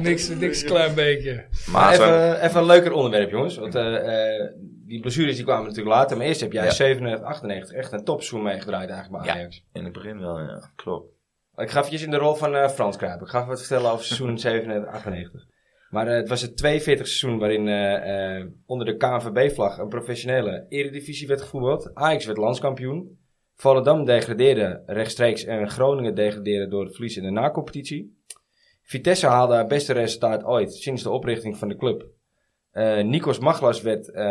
B: niks, niks klein beetje.
D: Maar zo'n-
A: even, even een leuker onderwerp, jongens. Want eh, eh, die blessures die kwamen natuurlijk later. Maar eerst heb jij
D: Ja.
A: 97, 98 echt een topseizoen meegedraaid eigenlijk bij
D: Ja.
A: Ajax.
D: in het begin wel, ja. Klopt.
A: Ik ga eventjes in de rol van eh, Frans kruipen. Ik ga even wat vertellen over seizoen 97, 98. Maar eh, het was het 42 seizoen waarin eh, eh, onder de KNVB-vlag een professionele eredivisie werd gevoetbald. Ajax werd landskampioen. Volendam degradeerde rechtstreeks en Groningen degradeerde door het verlies in de nacompetitie. Vitesse haalde haar beste resultaat ooit sinds de oprichting van de club. Eh Nikos Maglas werd eh,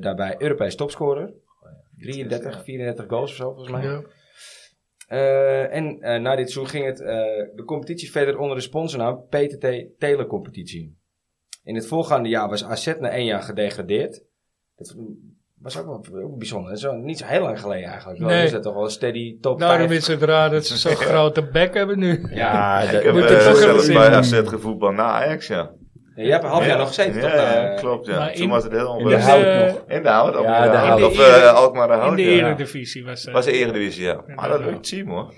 A: daarbij Europees topscorer. 33, 34 goals of zo volgens mij.
B: Ja.
A: Eh, en eh, na dit seizoen ging het, eh, de competitie verder onder de sponsornaam PTT Telecompetitie. In het voorgaande jaar was AZ na één jaar gedegradeerd. Dat was ook wel ook bijzonder. Dat is wel niet zo heel lang geleden eigenlijk. Dan
B: Nee.
A: is dat toch wel een steady top
B: Daarom
A: 5.
B: is het raar dat ze zo'n grote bek hebben nu.
A: Ja,
D: Ik heb
B: moet
D: eh,
B: het toch even
D: zelfs
B: zien.
D: bij AZ gevoetbal na Ajax, ja.
A: je hebt een half jaar nog gezeten.
D: Ja,
A: toch?
D: ja,
A: Eh,
D: klopt, ja.
B: maar
D: Toen
B: in-
D: was het heel
A: in de
D: onrustig.
A: hout
B: eh,
A: nog.
D: In de hout, op
A: Ja,
D: de
A: de
D: hout.
B: Hout.
D: Of eh, Alkmaar de
B: In
D: hout,
B: de
D: ja.
B: Eredivisie was eh, dat.
D: was de Eredivisie, ja. Maar dat
B: Ja.
D: leuk team, hoor.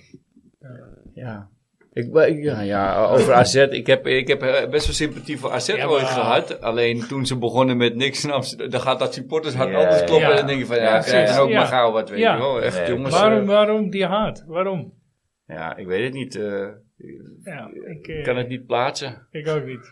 E: Ja. Ik, wa- ik- ja, ja, over AZ. Ik heb, ik heb eh, best wel sympathie voor AZ
B: Ja, maar-
E: ooit gehad. Alleen toen ze begonnen met niks in Amsterdam, dan gaat dat supportershart
D: Ja,
E: altijd kloppen.
B: ja.
E: En dan denk je van, ja,
B: Ja,
E: krijg
B: precies.
E: er ook
B: Ja.
E: maar gauw wat, weet
B: Ja.
E: je wel. Echt,
D: Nee.
E: jongens.
B: Waarom,
E: eh,
B: waarom die haat? Waarom?
E: ja, ik weet het niet. eh,
B: Ja, ik,
E: ik
B: eh,
E: kan het niet plaatsen.
B: ik ook niet.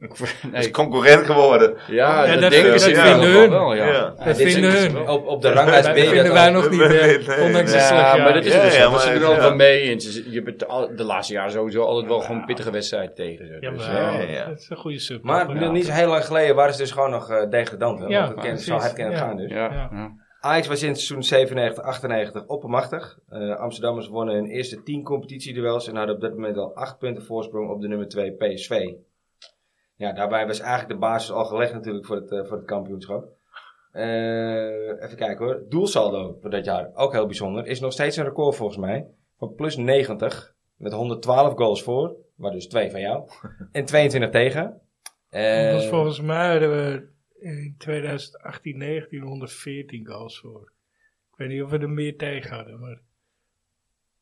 D: Is
E: nee.
D: concurrent geworden.
E: Ja,
B: Ja,
E: dat,
B: dat
E: denken
B: vind-
E: ze
B: dat
E: wel
B: vinden
E: wel,
B: hun.
E: wel, ja.
D: Ja.
A: ja,
B: dat
A: dit is- dus
B: vinden hun.
A: Op, op de ranglijst
B: Dat
A: ben je
B: vinden
A: dat
B: wij
A: al.
B: nog niet,
D: Nee,
B: hè.
D: nee, nee.
B: Ondanks
E: Ja,
B: het slecht
E: maar dat is
D: Ja,
E: dus
D: ja,
E: zo. want ze
D: maar
E: doen
D: ja.
E: er altijd wel mee. En ze, je betaalt de laatste jaren sowieso altijd wel gewoon pittige wedstrijd tegen ze.
B: Ja,
E: Dus,
B: maar,
E: eh,
D: ja, ja.
B: dat is een goede sub.
A: Maar
B: ja.
A: niet zo heel lang geleden waren ze dus gewoon nog eh, degradant. Hè?
B: Ja,
A: Want dat kennen- zo
B: precies.
A: hard kennen
B: Ja.
A: gaan dus.
E: ja,
B: Ja.
E: ja.
A: Ajax was in seizoen 97-98 oppermachtig. Eh, Amsterdammers wonnen hun eerste 10 competitieduels en hadden op dat moment al 8 punten voorsprong op de nummer 2 PSV. Ja, daarbij was eigenlijk de basis al gelegd natuurlijk voor het, eh, voor het kampioenschap. Eh, even kijken hoor. Doelsaldo voor dat jaar, ook heel bijzonder, is nog steeds een record volgens mij. Van plus 90, met 112 goals voor, waar dus 2 van jou, en 22 tegen. Eh,
B: Want volgens mij hadden we in 2018, 19, 114 goals voor. Ik weet niet of we er meer tegen hadden, maar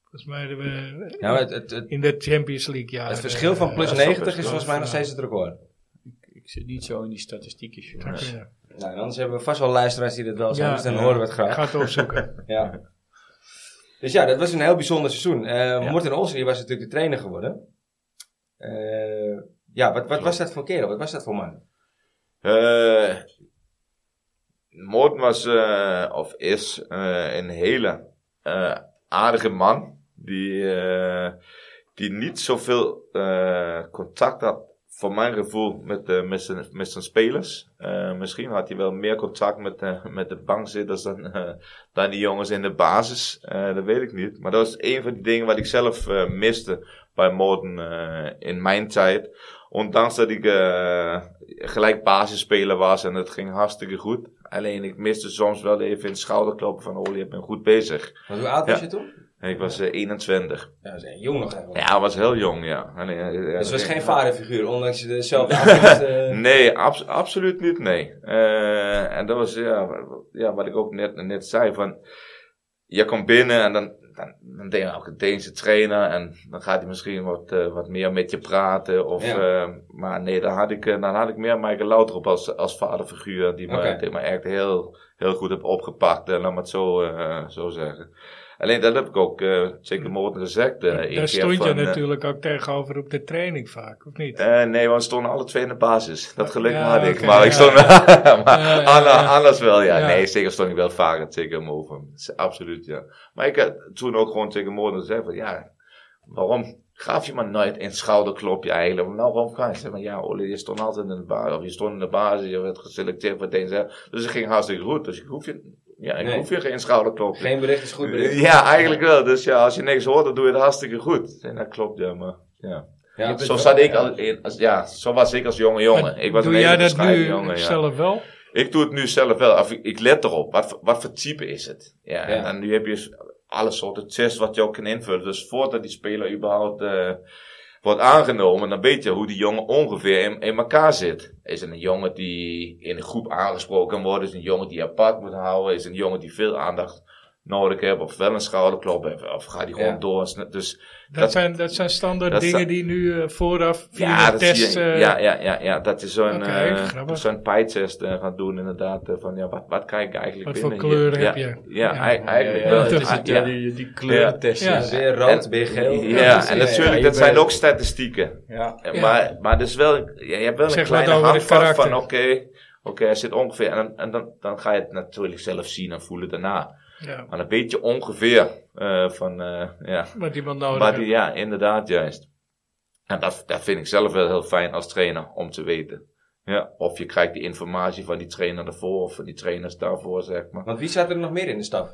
B: volgens mij hadden we
A: nou, het, het, het,
B: in de Champions League eh, jaar.
A: het verschil van plus
D: dat is wel
A: 90 is
D: best
A: volgens mij nog steeds het record.
C: Ik zit niet zo in die statistieken. joh.
B: Dank je.
A: Nou, en anders hebben we vast wel luisteraars die dat wel zijn,
B: Ja.
A: dus dan horen we het
B: Ik
A: graag.
B: ga het opzoeken.
A: Ja. Dus ja, dat was een heel bijzonder seizoen. Eh Morten Olsen die was natuurlijk de trainer geworden. Eh, ja, wat, wat was dat voor kerel? Wat was dat voor man?
D: Eh Morten was, eh, of is, eh, een hele eh, aardige man. Die, eh, die niet zoveel eh, contact had, voor mijn gevoel, met, eh, met, zijn, met zijn spelers. Eh, misschien had hij wel meer contact met, eh, met de bankzitters dan, eh, dan die jongens in de basis. Eh, dat weet ik niet. Maar dat was een van de dingen wat ik zelf eh, miste bij Morten eh, in mijn tijd. Ondanks dat ik eh, gelijk basisspeler was en het ging hartstikke goed. Alleen ik miste soms wel even een schouderkloppen van oh, je bent goed bezig.
A: Want hoe oud was
D: Ja.
A: je toen?
D: En ik was eh, 21.
A: Ja, dat is jong nog eigenlijk.
D: Ja, ik was heel jong, ja. En, eh, eh,
A: dus het was
D: eh,
A: geen vaderfiguur, ondanks je dezelfde afkomst. eh.
D: Nee, abs- absoluut niet, nee. Eh, en dat was ja, wa- ja, wat ik ook net, net zei. Van, je komt binnen en dan, dan, dan denk je ook een Deense trainer. En dan gaat hij misschien wat, eh, wat meer met je praten. Of,
A: Ja.
D: eh, maar nee, dan had ik, eh, dan had ik meer Michael Laudrup als, als vaderfiguur. Die me,
A: Oké.
D: die me echt heel, heel goed heb opgepakt. eh, laat me het zo, eh, zo zeggen. Alleen dat heb ik ook eh, zeker morgen gezegd. eh, één
B: Hm. Daar
D: keer
B: stond je
D: van, eh,
B: natuurlijk ook tegenover op de training vaak, of niet?
D: eh, nee, want we stonden alle twee in de basis. Dat geluk
B: Ja,
D: had ik.
B: oké,
D: maar
B: ja,
D: ik stond. maar
B: Ja, ja,
D: Anna,
B: ja.
D: Anna's wel, ja.
B: Ja.
D: Nee, zeker stond ik wel vaker tegen Morgen. Absoluut, ja. Maar ik had toen ook gewoon tegen Morgen gezegd: van, ja, waarom gaf je maar nooit een schouderklopje eigenlijk? Nou, waarom kan je zeggen: ja, Ole, je stond altijd in de basis. Of je stond in de basis, je werd geselecteerd voor deze. Dus het ging hartstikke goed. Dus ik hoef je, ja, ik
A: Nee.
D: hoef je geen schouderklopje.
A: Geen bericht is goed bericht.
D: Ja, eigenlijk wel. Dus ja, als je niks hoort, dan doe je het hartstikke goed. En dat klopt, ja, maar ja.
A: Ja, dat is
D: Zo
A: wel-
D: zat ik als, in- als- ja, zo was ik als jonge jongen.
B: Maar
D: Ik was
B: Doe
D: een hele
B: jij dat
D: bescheiden
B: nu
D: jongen, ja.
B: zelf wel?
D: Ik doe het nu zelf wel. Of ik, ik let erop. Wat, voor- wat voor type is het? Ja, En,
A: Ja.
D: dan nu heb je s- alle soorten tests wat je ook kan invullen. Dus voordat die speler überhaupt eh, wordt aangenomen, dan weet je hoe die jongen ongeveer in, in elkaar zit. Is het een jongen die in een groep aangesproken kan worden? Is het een jongen die apart moet houden? Is het een jongen die veel aandacht nodig heeft? Of wel een schouderklop heeft? Of gaat die gewoon
A: Ja.
D: door? Sne- Dus
B: Dat,
D: Dat-
B: zijn, dat zijn standaard
D: dat
B: dingen
D: zijn-
B: die nu eh, vooraf via een
D: dat
B: test...
D: zie je.
B: eh,
D: ja, ja, ja, ja, dat is zo'n
B: Oké,
D: eh,
B: grappig.
D: zo'n pie test eh, gaan doen inderdaad. eh, van ja, wat, wat krijg ik eigenlijk
B: Wat voor
D: binnen
B: kleuren
D: hier?
B: heb
D: ja,
B: je?
D: Ja,
B: Ja.
D: ei- eigenlijk
C: ja,
D: wel.
C: dat is het,
D: Ja,
C: eh, die, die kleurentest.
B: Ja.
C: is.
A: Ben je rood,
D: En-
A: ben je geel?
D: ja,
A: precies.
D: en
A: Ja,
D: natuurlijk,
A: je
D: dat
A: bent-
D: zijn ook statistieken.
C: Ja.
D: Eh,
B: Ja.
D: Maar, maar dus wel, ja, je hebt wel een
B: Zeg wat
D: kleine
B: over het
D: handvat van
B: karakter.
D: oké, oké, hij zit ongeveer. En, dan, en dan, dan ga je het natuurlijk zelf zien en voelen daarna.
B: ja,
D: Maar dan weet je ongeveer eh, van, eh, ja,
B: wat iemand nodig
D: maar die-
B: heeft.
D: ja, inderdaad, juist. En dat, dat vind ik zelf wel heel fijn als trainer om te weten. Ja, of je krijgt die informatie van die trainer daarvoor of van die trainers daarvoor, zeg maar.
A: Want wie zat er nog meer in de staf?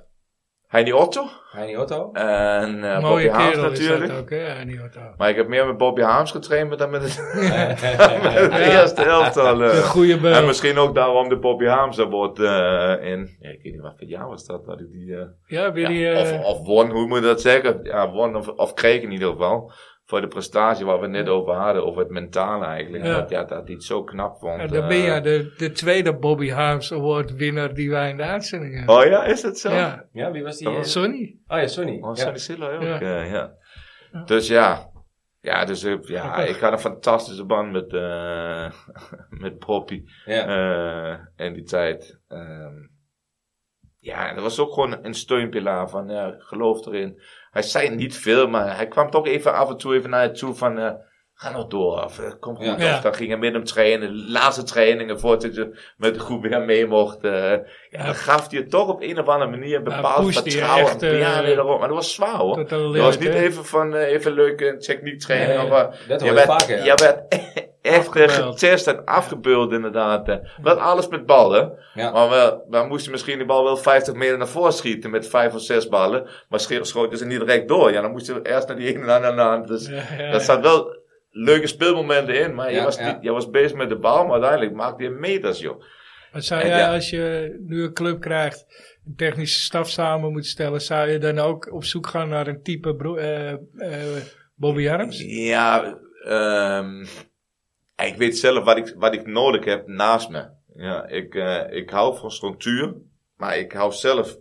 D: Heini Otto
A: Heini Otto?
D: en eh, Bobby
B: Mooie
D: Haams
B: kerel is
D: natuurlijk.
B: dat ook, hè? Ja, die wordt daar.
D: Maar ik heb meer met Bobby Haams getraind dan met het, met het eerste elftal. eh.
B: De goede
D: En
B: beul.
D: misschien ook daarom de Bobby Haams award eh, in. Ja, ik weet niet wat voor jaar was dat, dat ik die... eh,
B: Ja, weer die...
D: Ja,
B: eh,
D: of, of won, hoe moet je dat zeggen? Ja, won of, of kreeg in ieder geval. Voor de prestatie waar we het net over hadden, over het mentale eigenlijk.
B: Ja.
D: Dat, ja, dat hij het zo knap vond.
B: ja, dan
D: eh.
B: ben je de, de tweede Bobby Harms Award winnaar die wij in de uitzending hebben.
D: Oh ja, is het zo?
B: ja,
A: Ja, wie was die? eh?
B: Sonny.
A: Oh ja, Sonny.
D: Oh,
A: Ja.
D: Sonny Silla ook.
B: Ja.
D: Ja. eh, ja. Dus ja. Ja, dus eh, ja,
B: Grappig.
D: ik had een fantastische band met, eh met Bobby.
A: Ja.
D: eh in die tijd. Ehm, ja, en dat was ook gewoon een steunpilaar van, ja, ik geloof erin. Hij zei niet veel, maar hij kwam toch even af en toe even naar je toe van, eh, ga nou door, of eh, kom goed.
A: Ja.
B: Ja.
D: Of dan ging hij met hem trainen, de laatste trainingen voordat je met de groep weer mee mocht. eh, ja, dan gaf hij het toch op een of andere manier een
B: Ja,
D: bepaald
B: pushte je
D: vertrouwen.
B: echt, eh,
D: ja, nee, daarom. Maar dat was zwaar hoor.
B: Tot aan de
D: Oh, Dat
B: limit,
D: was niet
B: hè?
D: even van, eh, even leuke techniek training
A: Nee,
D: of wat.
A: dat hoor
D: Je
A: je
D: werd,
A: vaker.
D: je
A: Ja.
D: werd echt eh,
B: Afgebeuld.
D: getest en afgebeuld inderdaad. eh. Wel alles met ballen.
A: Ja.
D: Maar we, we moesten misschien die bal wel 50 meter naar voren schieten met vijf of zes ballen. Maar sche- schoten ze niet direct door. Ja, dan moesten we eerst naar die ene en dan naar de andere. Dus
B: Ja, ja,
D: dat zat wel leuke speelmomenten in. Maar je,
A: Ja,
D: was
A: ja.
D: niet- je was bezig met de bal, maar uiteindelijk maakte je meters, joh.
B: Wat zou
D: En
B: jij,
D: Eh, ja.
B: als je nu een club krijgt, een technische staf samen moet stellen, zou je dan ook op zoek gaan naar een type bro- eh, eh, Bobby Arms?
D: Ja, ehm, ik weet zelf wat ik, wat ik nodig heb naast me. Ja, ik, eh, ik hou van structuur, maar ik hou zelf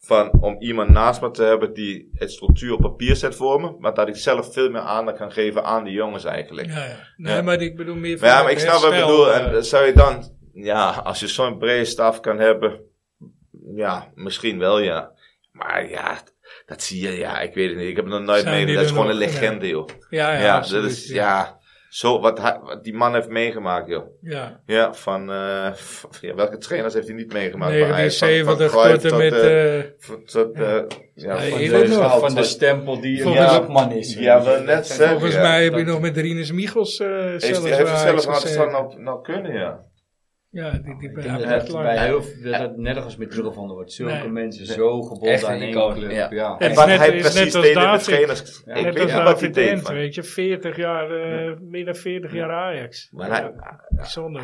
D: van om iemand naast me te hebben die het structuur op papier zet voor me, maar dat ik zelf veel meer aandacht kan geven aan de jongens eigenlijk.
B: Ja, ja. Nee,
D: Ja.
B: maar ik bedoel meer
D: Maar ja,
B: het
D: maar ik snap wat je
B: herstel,
D: bedoelt.
B: eh,
D: En zou je dan, ja, als je zo'n brede staf kan hebben, ja, misschien wel, ja. Maar ja, dat zie je, ja, ik weet het niet. Ik heb het nog nooit
B: Zijn die
D: meegemaakt. Dat
B: er
D: is gewoon een
B: nog? Nee.
D: legende, joh.
B: ja, ja,
D: Ja,
B: absoluut,
D: dat is, ja.
B: ja.
D: Zo, wat, hij- wat die man heeft meegemaakt, joh.
B: Ja.
D: Ja, van, eh, van- ja, welke trainers heeft hij niet meegemaakt? bij Ajax? Van-
B: 1970
D: van Cruyff
B: tot en
D: tot,
B: met...
D: eh,
B: eh,
D: v- tot, eh, ja,
B: Nee,
D: van
B: ik
D: de-
B: weet nog,
D: Schaal
C: Van de
D: tot-
C: stempel die een
B: Volgens-
C: clubman is.
D: Ja, wel net zeggen.
B: volgens
D: ja,
B: mij heb
D: dat-
B: je nog met Rinus Michels eh
D: Heeft
B: zelfs
D: hij heeft hij
B: bij
D: zelf
B: Ajax
D: had
B: gezeten.
D: het nou, nou kunnen, ja.
B: Ja, die, die,
C: Oh, Ik
B: ja,
C: denk dat
B: dat
C: dat,
B: lang.
C: bij heel, dat dat net als met teruggevonden wordt. Zulke
B: Nee.
C: mensen zo
A: Echt
C: gebonden
A: een
C: aan één
A: icoon.
C: club.
D: Ja.
C: Ja.
D: En
B: is
D: wat
B: net-
D: hij
B: is
D: precies
B: net als
D: deed in de
B: David.
D: trainers.
C: Ja,
D: ik
B: Net
D: weet
B: als
D: niet wat hij
B: David
D: deed.
B: Dent,
D: van-
B: weet je. 40 jaar, eh, meer dan 40 jaar Ajax.
D: Maar
B: Ja,
D: hij,
B: Bijzonder.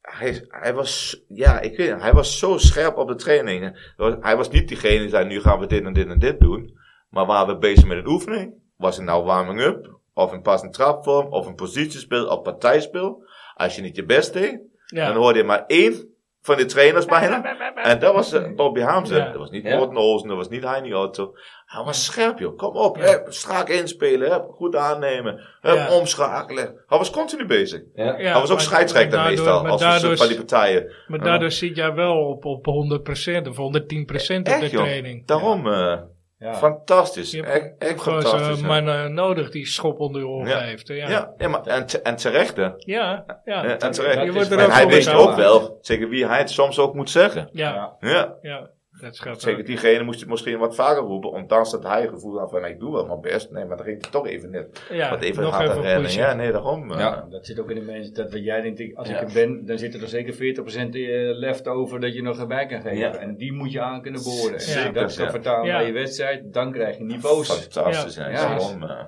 D: hij, hij was, ja, ik weet het, hij was zo scherp op de trainingen. Hij was niet diegene die zei, nu gaan we dit en dit en dit doen. Maar waren we bezig met een oefening? Was het nou warming-up? Of een pas- en trapvorm? Of een positiespel? Of partijspel? Als je niet je best deed,
B: Ja.
D: dan hoorde je maar één van de trainers bijna. En dat was eh, Bobby Hamsen.
B: Ja.
D: Dat was niet
A: Ja.
D: Morten Olsen, dat was niet Heini Otto. Hij was scherp, joh. Kom op, hè. strak inspelen, hè. goed aannemen, hè.
B: Ja.
D: omschakelen. Hij was continu bezig.
A: Ja.
B: Ja,
D: hij was ook
B: maar-
D: scheidsrechter
B: maar daardoor-
D: meestal,
B: maar
D: als we
B: daardoor-
D: van die partijen.
B: Maar
D: Ja.
B: daardoor zit jij wel op, op 100% of 110% op de
D: Echt, joh.
B: training.
D: Daarom, eh,
C: Ja.
D: Fantastisch.
B: Je hebt
D: Echt, echt
B: Gewoon zo'n
D: fantastisch. hè.
B: man eh, nodig die schop onder je oren
D: Ja.
B: heeft. hè, Ja. Ja.
D: Ja, ja, maar en, te- en terecht hè.
B: Ja.
D: Ja, en
C: dat
D: terecht.
B: Je
C: is
B: wordt er
D: En
C: mijn-
B: ook
D: hij
B: voor
D: weet
B: betaald.
D: ook wel, zeker wie hij het soms ook moet zeggen.
B: Ja.
D: Ja,
B: Ja. Dat schat
D: zeker diegene moest het misschien wat vaker roepen, ondanks dat hij het gevoel had van ik doe wel mijn best. Nee, maar dan ging het toch even net
B: Ja.
D: wat even
B: nog
D: harder
B: even
D: rennen.
B: pushen.
D: Ja, nee, daarom. eh,
A: Ja.
C: Dat zit ook in de mensen, dat wat jij denkt, ik- als
D: Ja.
C: ik er ben, dan zit er nog zeker 40% eh, left over dat je nog erbij kan geven.
D: Ja.
C: En die moet je aan kunnen boren. En
B: Zeker,
C: dat is
D: ja.
C: dan vertalen
B: Ja.
C: naar je wedstrijd, dan krijg je niet boos.
D: Fantastisch.
B: Ja.
D: hè,
C: Ja.
D: daarom, eh.
A: We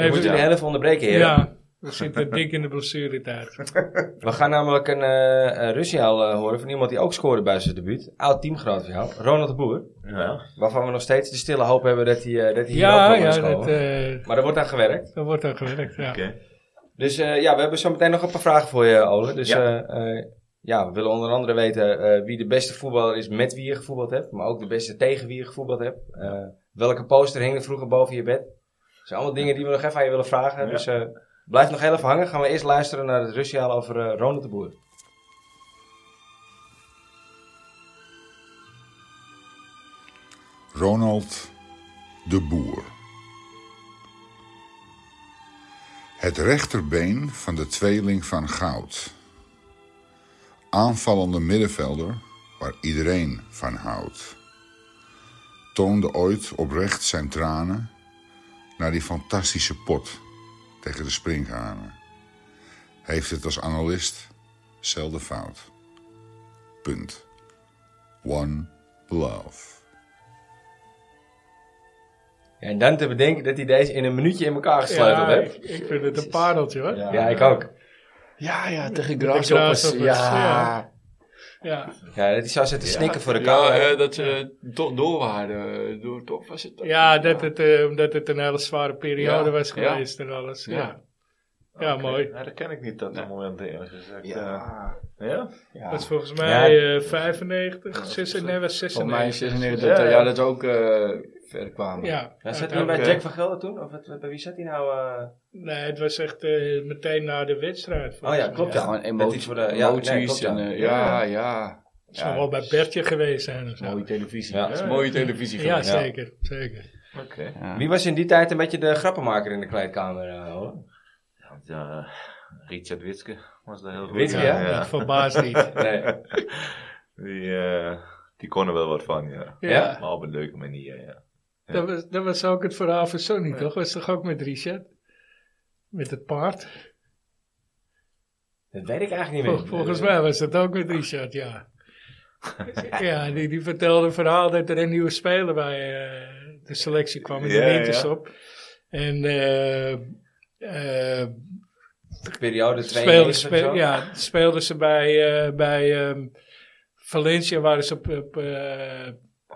B: Even-
A: moeten de helft onderbreken, heren.
B: Ja. We zitten dik in de blessuretijd.
A: We gaan namelijk een eh eh, rustsignaal, eh, horen van iemand die ook scoorde bij zijn debuut. Oud teamgenoot van jou, Ronald de Boer.
D: eh, Ja.
A: Waarvan we nog steeds de stille hoop hebben dat hij, eh, dat hij hier ook
B: Ja,
A: nog wel
B: ja,
A: eens
B: dat,
A: komen.
B: eh
A: Maar er wordt aan gewerkt.
B: dat wordt ook gewerkt. Ja.
D: Oké.
A: Dus eh, ja, we hebben zo meteen nog een paar vragen voor je, Ole. Dus
D: Ja.
A: ja, ja we willen onder andere weten eh, wie de beste voetballer is met wie je gevoetbald hebt. Maar ook de beste tegen wie je gevoetbald hebt. Eh, welke poster hing er vroeger boven je bed? Dat zijn allemaal dingen die we nog even aan je willen vragen.
D: Ja.
A: Dus eh, blijf nog heel even hangen. Gaan we eerst luisteren naar het rustsignaal over eh, Ronald de Boer.
F: Ronald de Boer. Het rechterbeen van de tweeling van goud. Aanvallende middenvelder waar iedereen van houdt. Toonde ooit oprecht zijn tranen naar die fantastische pot tegen de springhanen. Heeft het als analist zelden fout. Punt. One love.
A: Ja, en dan te bedenken dat hij deze in een minuutje in elkaar gesleuteld
B: Ja,
A: heeft.
B: ik, ik vind het een pareltje hoor. Ja.
A: Ja, ik ook.
E: Ja, ja, tegen
B: grasshoppers,
E: grasshoppers.
B: ja.
E: Ja,
B: Ja.
A: Ja, dat hij zou zitten snikken voor de camera.
E: eh, dat ze eh, toch door waren. eh, Door, toch was het dat?
B: dat het, eh, omdat het een hele zware periode
E: Ja,
B: was
E: ja.
B: geweest en alles. Ja, ja.
E: Ja.
D: Oké.
B: mooi.
D: Ja, dat ken ik niet, dat moment eerlijk gezegd. eh.
E: Ja.
D: ja?
E: ja.
B: Dat is volgens mij
A: Ja.
B: eh 95, 96, nee, was
C: Voor mij
B: 96.
D: Ja,
C: 96, dat, eh,
D: ja.
C: ja, dat ook eh ver kwamen.
B: Ja,
A: Ja, zat hij
B: uiteindelijk.
A: bij
D: Oké.
A: Jack van Gelder toen? Of wat- bij wie zat hij nou? eh?
B: Nee, het was echt eh, meteen na de wedstrijd.
A: Oh
B: volgens
A: ja,
B: mij.
A: klopt ja.
C: gewoon
A: Dat is
C: emoties,
A: voor de- ja,
C: emoties
A: nee, klopt, ja.
C: en eh, ja, ja.
B: Het zou
C: Ja,
B: wel bij Bertje geweest zijn of zo.
C: Mooie televisie.
A: Ja.
E: Dat is mooie televisie
B: Ja,
E: geweest.
B: zeker. zeker.
D: Oké.
A: Wie was in die tijd een beetje de grappenmaker in de kleedkamer? eh, hoor?
D: Ja, Richard Witske was daar heel goed.
A: Witske,
B: Ja,
A: Ja, ja.
B: Dat verbaast niet. Ja.
A: Nee.
D: Die, eh, die kon er wel wat van, ja.
A: Ja.
D: Maar op een leuke manier, ja.
B: Dat, was, dat was ook het verhaal van Sony, toch? Was toch ook met Richard? Met het paard?
A: Dat weet ik eigenlijk niet
B: Vol-
A: meer.
B: volgens mij was dat ook met Richard, ja. ja, die, die vertelde een verhaal dat er een nieuwe speler bij eh, de selectie kwam. In de
D: Ja, ja.
B: winters op. En... eh eh,
A: De periode 2
B: speelden, speel- ja, speelden ze bij, eh, bij ehm, Valencia, waren ze op, op, eh,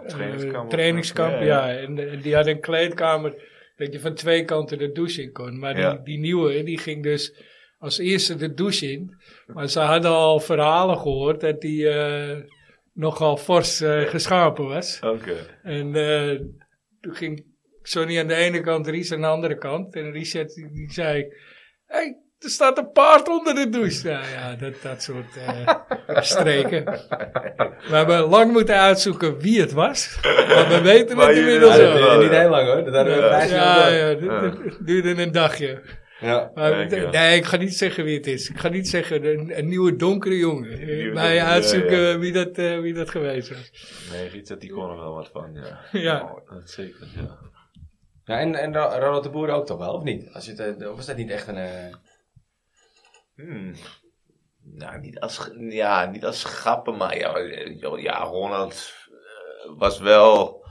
D: trainingskamp.
B: eh, trainingskamp,
D: Ja,
B: ja.
D: ja.
B: En, eh, die hadden een kleedkamer dat je van twee kanten de douche in kon. Maar
D: Ja.
B: die, die nieuwe, die ging dus als eerste de douche in. Maar ze hadden al verhalen gehoord dat die eh, nogal fors eh, geschapen was.
D: Oké.
B: En eh, toen ging Sonny aan de ene kant, Ries aan de andere kant. En Richard die, die zei, hey, er staat een paard onder de douche. Nou ja, dat, dat soort eh, streken. We hebben lang moeten uitzoeken wie het was. Maar we weten
D: Maar
B: het
D: jullie
B: inmiddels
D: weten
B: wel.
D: het
A: niet heel lang hoor. Dat hadden we
D: Ja.
A: vrij snel
B: Ja,
A: door.
B: ja, dat- dat duurde een dagje.
A: Ja.
B: Maar
D: Kijk, ja.
B: nee, ik ga niet zeggen wie het is. Ik ga niet zeggen een, een nieuwe donkere jongen.
D: Een nieuwe
B: Wij
D: donkere,
B: uitzoeken
D: ja, ja.
B: Wie, dat, eh, wie dat geweest was.
D: Nee, Richard die kon er wel wat van, ja.
B: Ja.
D: Dat zeker, ja.
A: Ja, en, en Ro- Ronald de Boer ook toch wel, of niet? Als je het, eh, of is dat niet echt een... eh,
D: Hmm. Nou, niet als, g- ja, niet als grappen, maar ja, ja, ja, Ronald eh, was wel.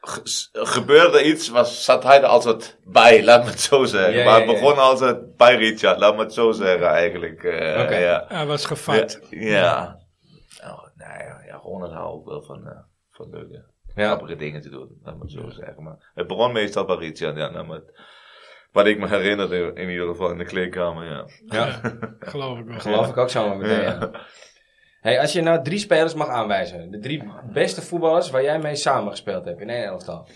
D: ge- s- Gebeurde iets, was, zat hij er altijd bij, laat me het zo zeggen.
A: Ja,
D: maar het
A: ja, ja.
D: begon altijd bij Richard, laat me het zo zeggen eigenlijk. eh,
A: Oké.
D: ja.
B: Hij was gevat.
D: Ja. ja. Nou, nou ja, ja, Ronald houdt ook wel van, eh, van leuke,
A: Ja.
D: grappige dingen te doen, laat me het zo zeggen. Maar het begon meestal bij Richard, ja, nou, maar het- wat ik me herinner in, in ieder geval in de kleedkamer, ja.
A: ja.
B: Geloof ik wel.
A: Geloof ik ook zomaar meteen.
D: Ja.
A: ja. Hey, als je nou drie spelers mag aanwijzen. De drie beste voetballers waar jij mee samengespeeld hebt in één elftal.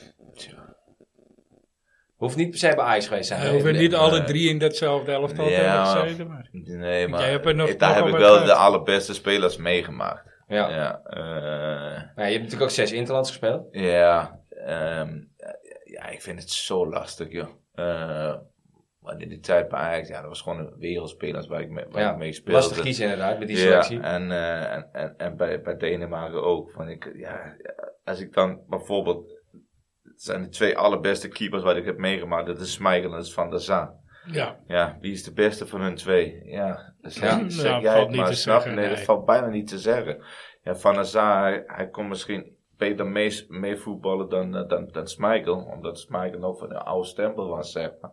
A: Hoeft niet per se bij Ajax geweest te zijn.
B: Hij hoeft niet
D: nee.
B: alle drie in datzelfde elftal
D: Ja,
B: te hebben
D: maar-
B: gezeten, maar...
D: Nee, maar
B: Jij hebt er nog-
D: ik- daar
B: nog
D: heb
B: op
D: ik
B: uit
D: wel
B: gehad.
D: de allerbeste spelers meegemaakt.
A: Ja.
D: Ja, eh,
A: Nou, je hebt natuurlijk ook zes Interlands gespeeld.
D: ja. Ehm, ja, ik vind het zo lastig, joh. Eh, want in die tijd bij Ajax, ja, dat was gewoon een wereldspelers waar ik mee, waar
A: Ja,
D: ik mee speelde.
A: Lastig kiezen inderdaad, met die selectie.
D: Ja, en, eh, en, en, en bij, bij Denemarken ook. Want ik, ja, als ik dan bijvoorbeeld... Het zijn de twee allerbeste keepers wat ik heb meegemaakt. Dat is Schmeichel en dat is Van der Sar.
B: Ja,
D: Ja, wie is de beste van hun twee? Ja, zeg,
B: Ja,
D: zeg
B: nou,
D: jij
B: valt
D: het
B: niet
D: maar,
B: te
D: snap je?
B: zeggen,
D: Nee, dat
B: nee.
D: valt bijna niet te zeggen. Ja, Van der Sar, hij, hij kon misschien beter mee, mee voetballen dan, eh, dan, dan Schmeichel. Omdat Schmeichel nog van een oude stempel was, zeg maar.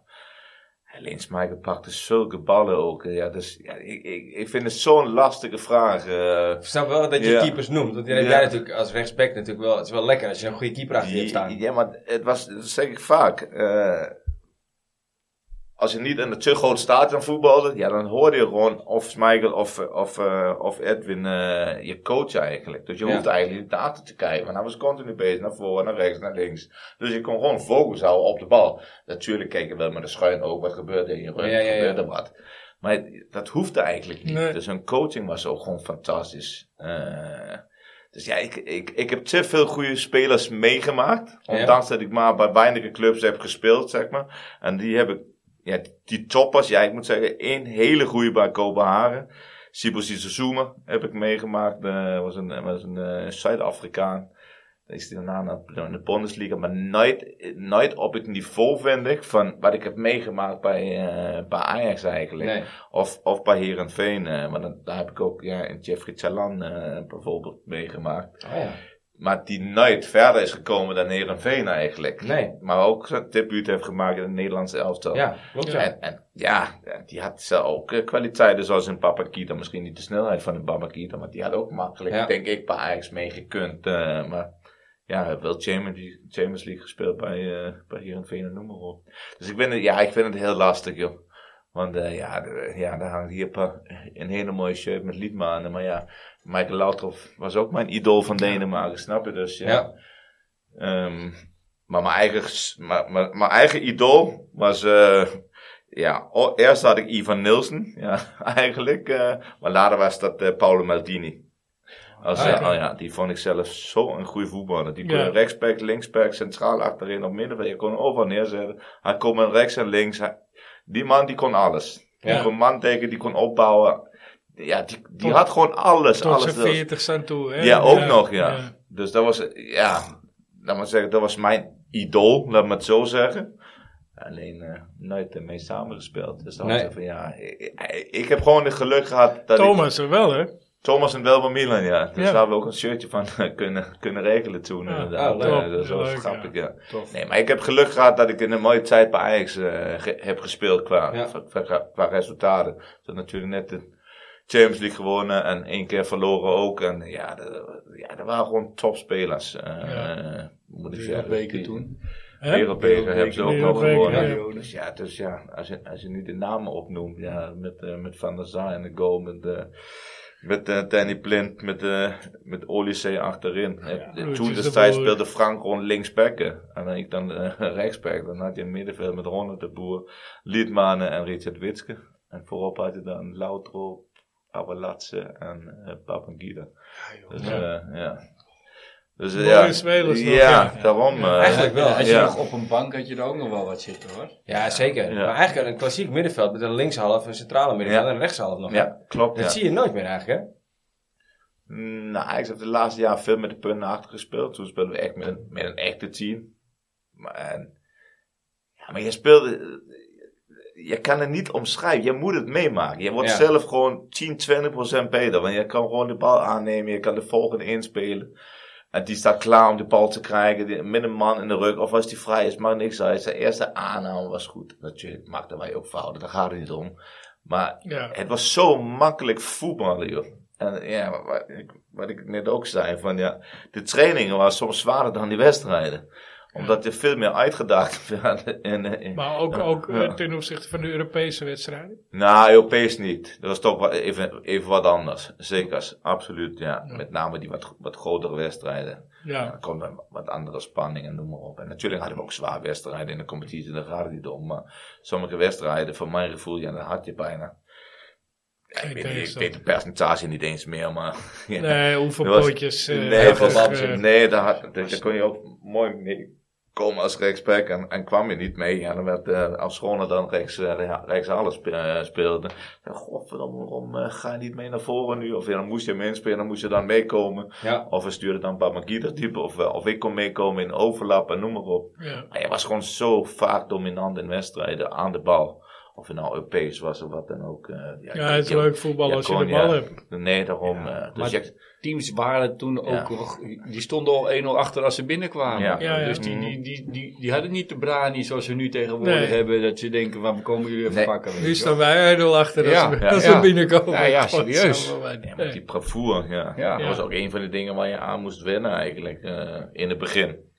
D: Alleen Schmeichel pakte zulke ballen ook. eh, Ja, dus, ja, ik, ik, ik vind het zo'n lastige vraag. eh.
A: Ik snap wel dat je
D: Ja.
A: keepers noemt. Want die heb
D: Ja.
A: jij natuurlijk als rechtsback natuurlijk wel. Het is wel lekker als je een goede keeper achter je hebt staan.
D: Ja, maar het was, dat zeg ik vaak. eh, als je niet in een te groot stadion voetbalde, ja, dan hoorde je gewoon of Schmeichel of, eh, of, eh, of Edwin eh, je coach eigenlijk. Dus je
A: Ja.
D: hoeft eigenlijk niet naar achter te kijken, want hij was continu bezig naar voren, naar rechts, naar links. Dus je kon gewoon focus houden op de bal. Natuurlijk keek je wel met de schuin ook, wat gebeurde in je rug,
A: Ja, ja, ja.
D: gebeurde wat. Maar het- dat hoefde eigenlijk niet.
B: Nee.
D: Dus hun coaching was ook gewoon fantastisch. Eh, dus ja, ik, ik, ik heb te veel goede spelers meegemaakt.
A: Ja.
D: Ondanks dat ik maar bij weinige clubs heb gespeeld, zeg maar. En die heb ik, ja, die toppers, ja, ik moet zeggen, één hele goede bij Kopenhagen. Sibo Sissoko heb ik meegemaakt. eh was een, was een eh, Zuid-Afrikaan. Die is daarna naar de Bundesliga. Maar nooit, nooit op het niveau, vind ik, van wat ik heb meegemaakt bij, eh, bij Ajax eigenlijk.
A: Nee.
D: Of, of bij Herenveen. eh maar dan, daar heb ik ook ja, in Jeffrey Chalan eh, bijvoorbeeld meegemaakt.
A: Oh, ja.
D: Maar die nooit verder is gekomen dan Herenveen eigenlijk.
A: Nee.
D: Maar ook zijn debuut heeft gemaakt in het Nederlandse elftal.
A: Ja, klopt ja.
D: En, en ja, die had zelf ook eh, kwaliteiten zoals een Babakita. Misschien niet de snelheid van een Babakita, maar die had ook makkelijk,
A: Ja.
D: denk ik, bij Ajax meegekund. eh, maar ja, hij heeft wel Champions League, Champions League gespeeld bij, eh bij Heerenveen en noem maar op. Dus ik vind het, ja, ik vind het heel lastig, joh. Want eh, ja, d- ja, daar hangt hier een paar- een hele mooie shirt met liedmanen. Maar ja, Michael Laudrup was ook mijn idool van Denemarken, snap je? Dus ja.
A: Ja.
D: Ehm, maar mijn eigen, s- maar, maar, mijn eigen idool was... eh, ja, o- eerst had ik Ivan Nielsen, ja, eigenlijk. eh, maar later was dat eh, Paolo Maldini. Als,
A: Ah,
D: eh,
A: oké.
D: oh ja, die vond ik zelf zo'n goede voetballer. Die kon
B: Ja.
D: rechtsback, linksback, centraal achterin, op middenveld. Je kon hem overal neerzetten. Hij kon met rechts en links. Hij- die man, die kon alles. Die
A: Ja.
D: kon man tegen, die kon opbouwen. Ja, die, die had gewoon alles.
B: tot
D: alles
B: zijn 40 cent toe. Hè?
D: ja, ook nog, ja. Dus dat was, eh, ja, laat maar zeggen, dat was mijn idool, laat maar het zo zeggen. Alleen eh, nooit ermee samengespeeld. Dus dan
A: Nee.
D: zeg ik van ja, ik, ik- ik heb gewoon het geluk gehad dat ik
B: Thomas er wel, hè?
D: Thomas en wel van Milan, ja. Dus
B: Ja.
D: daar hebben we ook een shirtje van eh, kunnen, kunnen regelen toen.
B: Ja.
D: inderdaad.
A: Oh,
D: Eh,
B: leuk.
D: dat is wel
B: Leuk,
D: grappig, ja.
B: Tof.
D: Nee, maar ik heb geluk gehad dat ik in een mooie tijd bij Ajax eh, ge- heb gespeeld qua,
A: Ja.
D: qua, qua- qua resultaten. Ze had natuurlijk net de Champions League gewonnen en één keer verloren ook. En ja, dat, ja, dat waren gewoon topspelers, eh,
B: Ja.
D: moet ik zeggen.
E: Wereldbeker
D: Die-
E: toen.
B: Hè?
D: Wereldbeker hebben ze ook nog
B: Wereldbeker,
D: gewonnen.
B: ja.
D: Dus ja, dus ja als, je, als je nu de namen opnoemt, ja, met, eh, met Van der Sar en de goal, met, eh, met eh, Danny Blind, met, eh met Olysee achterin. Eh,
B: Ruud
D: toen
B: is
D: de
B: de
D: tijd
B: broer.
D: speelde Frank rond linksbekken en dan ik dan eh, rechtsbek. Dan had je een middenveld met Ronald de Boer, Liedmanen en Richard Witske. En voorop had je dan Lautro, Abelatse en eh Papangida. Dus, eh, ja. Dus, eh,
B: Mooie
D: ja,
B: spelers nog,
D: ja,
B: ja.
D: daarom. eh,
A: Eigenlijk wel. Dus
E: Als je
D: ja.
E: nog op een bank had je er ook nog wel wat zitten hoor.
A: Ja, zeker.
D: Ja.
A: Maar eigenlijk een klassiek middenveld met een linkshalf, een centrale middenveld
D: Ja.
A: en een rechtshalf nog.
D: Ja, klopt.
A: Dat
D: ja.
A: zie je nooit meer eigenlijk, hè?
D: Mm, Nou, Ajax heeft de laatste jaar veel met de punten achter gespeeld. Toen speelden we echt met een, met een echte team. Maar, en- ja, maar je speelde... Je kan het niet omschrijven. Je moet het meemaken. Je wordt
A: Ja.
D: zelf gewoon 10, 20 beter. Want je kan gewoon de bal aannemen. Je kan de volgende inspelen. En die staat klaar om de bal te krijgen. Die- Met een man in de rug. Of als die vrij is, maakt niks uit. Zijn eerste aanname was goed. Natuurlijk maakten wij ook fouten. Daar gaat het niet om. Maar
B: Ja.
D: het was zo makkelijk voetballen, joh. En ja, wat ik, wat ik net ook zei, van ja, de trainingen waren soms zwaarder dan die wedstrijden. Omdat er veel meer uitgedaagd werd. En, eh, en-
B: Maar ook,
D: Ja.
B: ook eh,
D: Ja.
B: ten opzichte van de Europese wedstrijden.
D: Nou, Europees niet. Dat was toch wel even, even wat anders. Zeker, absoluut, ja. Met name die wat, wat grotere wedstrijden. Ja,
B: Ja.
D: dan komt er wat andere spanning en noem maar op. En natuurlijk hadden we ook zwaar wedstrijden in de competitie, daar gaat het niet om. Maar sommige wedstrijden, van mijn gevoel, ja, dan had je bijna. Ja,
B: Geen
D: ik, weet, niet, ik
B: tegenstander.
D: weet het percentage niet eens meer, maar. ja.
B: Nee, hoeveel
D: Dat was-
B: potjes. eh,
D: nee,
B: terug,
D: verband,
B: eh,
D: nee daar, had- daar, daar kon je ook mooi mee, komen als rechtsback en, en kwam je niet mee. En dan werd, eh, als Schone dan rechts, eh, rechts alles spe- eh, speelde. Ja, godverdomme, waarom eh, ga je niet mee naar voren nu? Of ja, dan moest je hem inspelen, dan moest je dan meekomen.
A: Ja.
D: Of we stuurden dan Bamagida diep, of, eh, of ik kon meekomen in overlap en noem maar op.
B: Ja.
D: Hij was gewoon zo vaak dominant in wedstrijden aan de bal. Of het nou Europees was of wat dan ook. eh,
B: ja, het is leuk voetbal als je de bal hebt.
D: Nee, daarom. eh, dus
E: Maar
D: je,
E: teams waren toen ook, nog- die stonden al 1-0 achter als ze binnenkwamen.
D: Ja.
B: Ja, ja.
E: Dus die, die, die, die, die hadden niet de brani zoals ze nu tegenwoordig
B: Nee.
E: hebben. Dat ze denken, waar komen jullie even
D: Nee.
E: pakken? weet
B: Nu
E: je wel.
B: staan wij 1-0 achter als
E: Ja,
B: we,
D: ja,
B: als
E: ja.
B: we binnenkomen.
E: Ja, ja,
B: God,
E: serieus.
B: zo, maar-
D: ja, maar die bravoer, ja.
E: Ja.
D: Dat was ook een van de dingen waar je aan moest wennen eigenlijk eh, in het begin.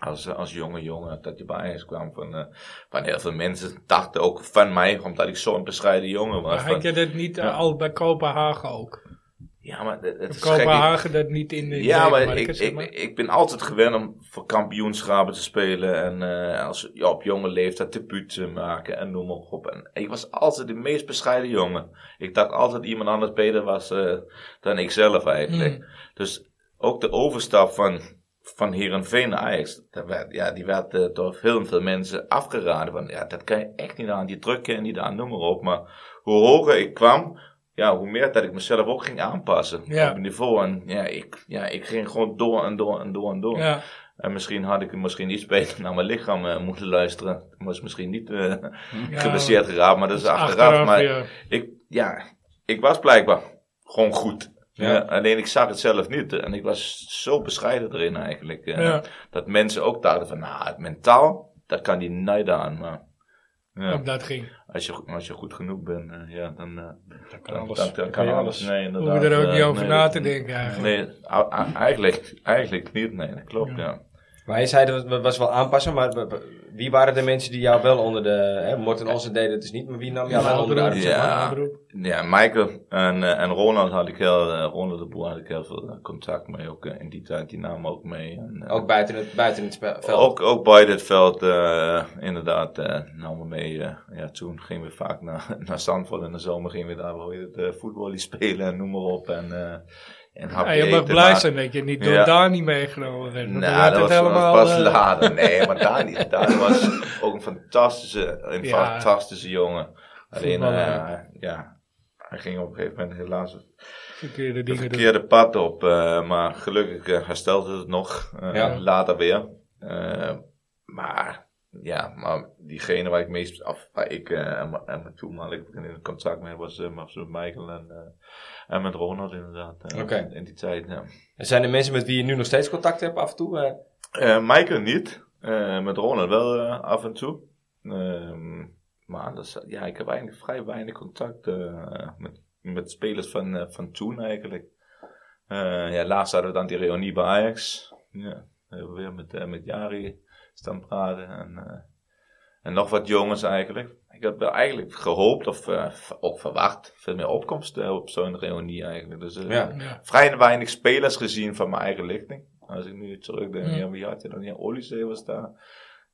D: Als, eh, als jonge jongen dat je bij Ajax kwam. Van, eh, van heel veel mensen dachten ook van mij, omdat ik zo'n bescheiden jongen was.
B: Maar had
D: Van,
B: je dat niet eh,
D: Ja.
B: al bij Kopenhagen ook?
D: ja, maar het, het is gek. ik-
B: Kopenhagen dat niet in de
D: Ja, maar ik,
B: Denemarken, zeg
D: ik, ik ben altijd gewend om voor kampioenschappen te spelen. En eh, als, ja, op jonge leeftijd debuut te maken en noem maar op. En ik was altijd de meest bescheiden jongen. Ik dacht altijd iemand anders beter was eh, dan ikzelf eigenlijk.
B: Hmm.
D: Dus ook de overstap van, van Heerenveen naar Ajax. Dat werd, ja, die werd eh, door heel veel mensen afgeraden. Van, ja, dat kan je echt niet aan. Die druk ken je niet aan, noem maar op. Maar hoe hoger ik kwam... Ja, hoe meer dat ik mezelf ook ging aanpassen
B: Ja.
D: op het niveau. En ja ik, ja, ik ging gewoon door en door en door en door.
B: Ja,
D: En misschien had ik misschien iets beter naar mijn lichaam eh, moeten luisteren. Ik was misschien niet eh geblesseerd geraakt, maar dat is achteraf. maar
B: ja.
D: ik, ja, ik was blijkbaar gewoon goed.
A: Ja.
D: Ja, alleen ik zag het zelf niet. En ik was zo bescheiden erin eigenlijk. eh,
B: Ja.
D: Dat mensen ook dachten van, nou, het mentaal, dat kan die nijden aan. Maar ja,
B: Ook dat ging.
D: als, je, als je goed genoeg bent, eh, ja, dan, eh,
C: Dat kan
D: dan,
C: alles.
D: dan- dan kan
C: je
D: alles. Nee,
B: Hoef
D: inderdaad.
B: je er ook
D: eh,
B: niet over
D: nee,
B: na
D: dat-
B: te denken eigenlijk.
D: Nee, a- a- eigenlijk, eigenlijk niet. Nee, dat klopt, ja.
A: Maar je zei dat het was wel aanpassen, maar w- w- wie waren de mensen die jou wel onder de... Hè, Morten Olsen deden het dus niet, maar wie nam jou wel onder de arm?
D: Ja.
A: zeg maar?
D: Ja, Michael en, eh, en Ronald had ik heel, eh, Ronald de Boer had ik heel veel eh, contact mee. Ook eh, in die tijd, die namen ook mee. En, eh,
A: Ook buiten het, buiten het spe- veld.
D: ook, ook bij dit veld, eh, inderdaad, eh, namen mee. eh, ja, toen gingen we vaak naar, naar Zandvoort in de zomer, gingen we daar wel weer het eh, voetballen spelen en noem maar op. En, eh, en
B: Ja,
D: hapje
B: je mag
D: eten,
B: blij
D: maar-
B: zijn dat je niet door
D: Ja.
B: daar niet meegenomen werd. want dan
D: Nou,
B: werd
D: dat was,
B: het
D: dat was
B: helemaal,
D: pas
B: eh,
D: later. Nee, maar daar niet. Daar was ook een fantastische, een
B: Ja.
D: fantastische jongen. Alleen,
B: Voetballer.
D: eh, ja, hij ging op een gegeven moment helaas het
B: verkeerde dingen doen.
D: verkeerde pad op. eh, maar gelukkig eh, herstelde het nog. eh,
A: Ja.
D: Later weer. Eh, maar, ja, maar diegene waar ik meest, af, waar ik eh, en mijn- en mijn toenmalig in contact mee was, eh, was met Michael en, eh, en met Ronald inderdaad. eh,
A: Oké.
D: In die tijd, ja.
A: En zijn er mensen met wie je nu nog steeds contact hebt af en toe? eh?
D: Eh, Michael niet. Eh, met Ronald wel eh, af en toe. Ehm, maar anders, ja, ik heb eigenlijk vrij weinig contact eh, met, met spelers van, eh, van toen eigenlijk. Eh, ja, laatst hadden we dan die reunie bij Ajax. Ja, we hebben weer met, eh, met Jari staan praten. En, eh, en nog wat jongens eigenlijk. Ik had wel eigenlijk gehoopt of eh, v- ook verwacht veel meer opkomst eh, op zo'n reunie eigenlijk. Dus, eh,
A: Ja.
B: Ja.
D: vrij weinig spelers gezien van mijn eigen lichting. Als ik nu terugdenk,
B: Mm.
D: ja, wie had je dan? Ja, Olysee was daar.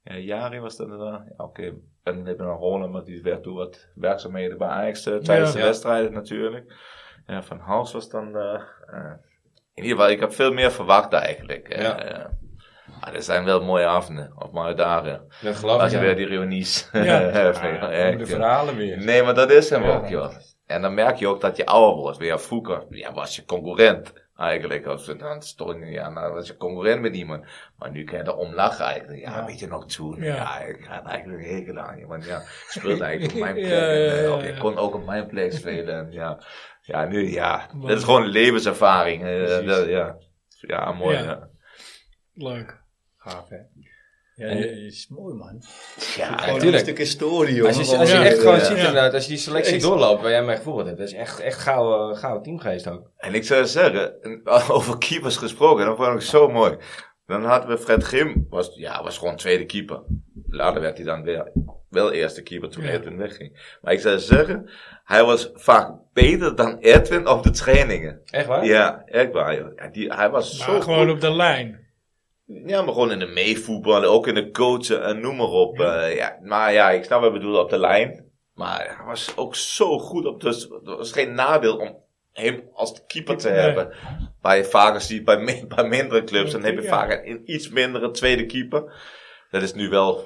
D: Ja, Jari was daar. daarna. Ja, Oké, en dan heb je nog Holland, maar die werd toen wat werkzaamheden bij Ajax eh, tijdens
B: Ja.
D: de
A: Ja.
D: wedstrijden natuurlijk. Ja, van Hals was dan... eh, eh, in ieder geval, ik heb veel meer verwacht eigenlijk. eh.
A: Ja.
D: Eh, maar er zijn wel mooie avonden, of mooie dagen.
A: Dat geloof
D: Als
A: ik,
D: je
A: ja.
D: weer die reunies
B: Ja.
D: hebt.
A: de verhalen weer.
D: Nee, maar dat is hem
E: Ja.
D: ook, joh. En dan merk je ook dat je ouder wordt. Weer vroeger ja, was je concurrent eigenlijk. Als we dan stonden, ja, nou was je concurrent met iemand. Maar nu kan je erom lachen eigenlijk. Ja, weet je nog toen?
B: Ja.
D: Ja, ik had eigenlijk een hekel aan je. Want ja, ik speelde eigenlijk op mijn plek.
B: Ja, ja,
D: en, eh,
B: ja,
D: of je
B: ja.
D: kon ook op mijn plek spelen. En, ja. ja, nu ja. Dat is gewoon een levenservaring. eh, dat- ja. ja, mooi.
B: Ja.
D: Ja,
B: Leuk.
C: Gaaf, hè? Ja, dat is mooi, man.
D: ja,
A: Ja, tuurlijk.
E: Een stuk historie, joh.
A: Als je, als je
B: Ja.
A: echt gewoon
D: Ja.
A: ziet
B: Ja.
A: inderdaad, als je die selectie
E: Eens.
A: doorloopt waar jij mee gevoeld hebt, dat is echt, echt eh, gouden, gouden teamgeest ook.
D: En ik zou zeggen, en over keepers gesproken, dat vond ik zo mooi. Dan hadden we Fred Grim, was, ja, was gewoon tweede keeper. Later werd hij dan weer, wel eerste keeper toen
B: Ja.
D: Edwin wegging. Maar ik zou zeggen, hij was vaak beter dan Edwin op de trainingen.
A: Echt waar?
D: Ja, echt waar. joh. Ja, die, hij was
B: Maar
D: zo
B: gewoon
D: goed.
B: op de lijn.
D: Ja, maar gewoon in de meevoetballen, ook in de coachen en noem maar op. eh, ja, maar ja, ik snap wat je bedoelt op de lijn. Maar hij was ook zo goed op, dus het was geen nadeel om hem als keeper te
B: Nee.
D: hebben. Waar je vaker ziet bij, min- bij mindere clubs, dan heb je
B: Ja.
D: vaak een, een iets mindere tweede keeper. Dat is nu wel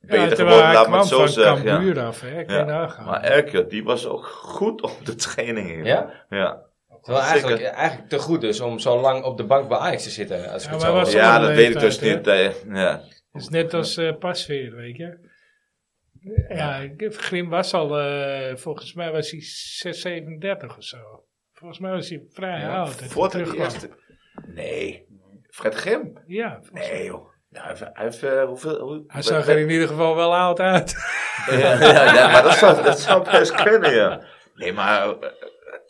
B: Ja,
D: beter
B: terwijl
D: geworden,
B: hij
D: laat maar
B: kwam
D: het zo
B: van
D: zeggen. ja.
B: Cambuur af, hè. Kan je
D: Ja,
B: nagaan.
D: Maar Erkjot, die was ook goed op de trainingen.
A: Ja?
D: Ja,
A: Terwijl eigenlijk,
D: Zeker.
A: eigenlijk te goed is om zo lang op de bank bij Ajax te zitten. Als ik
B: Ja,
A: het
B: maar
A: zo
B: was-
A: hoor.
D: ja
B: wel
D: dat
B: een
D: weet ik dus
B: leeftijd,
D: niet. eh, Ja.
B: Het is net als eh pasveer, weet je. Ja, ik- Grim was al, eh, volgens mij was hij 6, 37 of zo. Volgens mij was hij vrij oud. dat hij
D: Voor het
B: terugkwam.
D: eerste. Nee. Fred Grim?
B: Ja, volgens mij.
D: Nee, joh. Nou, hij heeft, hij heeft, eh, hoeveel... hoe-
B: Hij zag er in ieder geval wel oud uit.
D: Ja, ja, ja, maar dat zou, dat zou best kunnen, ja. Nee, maar eh,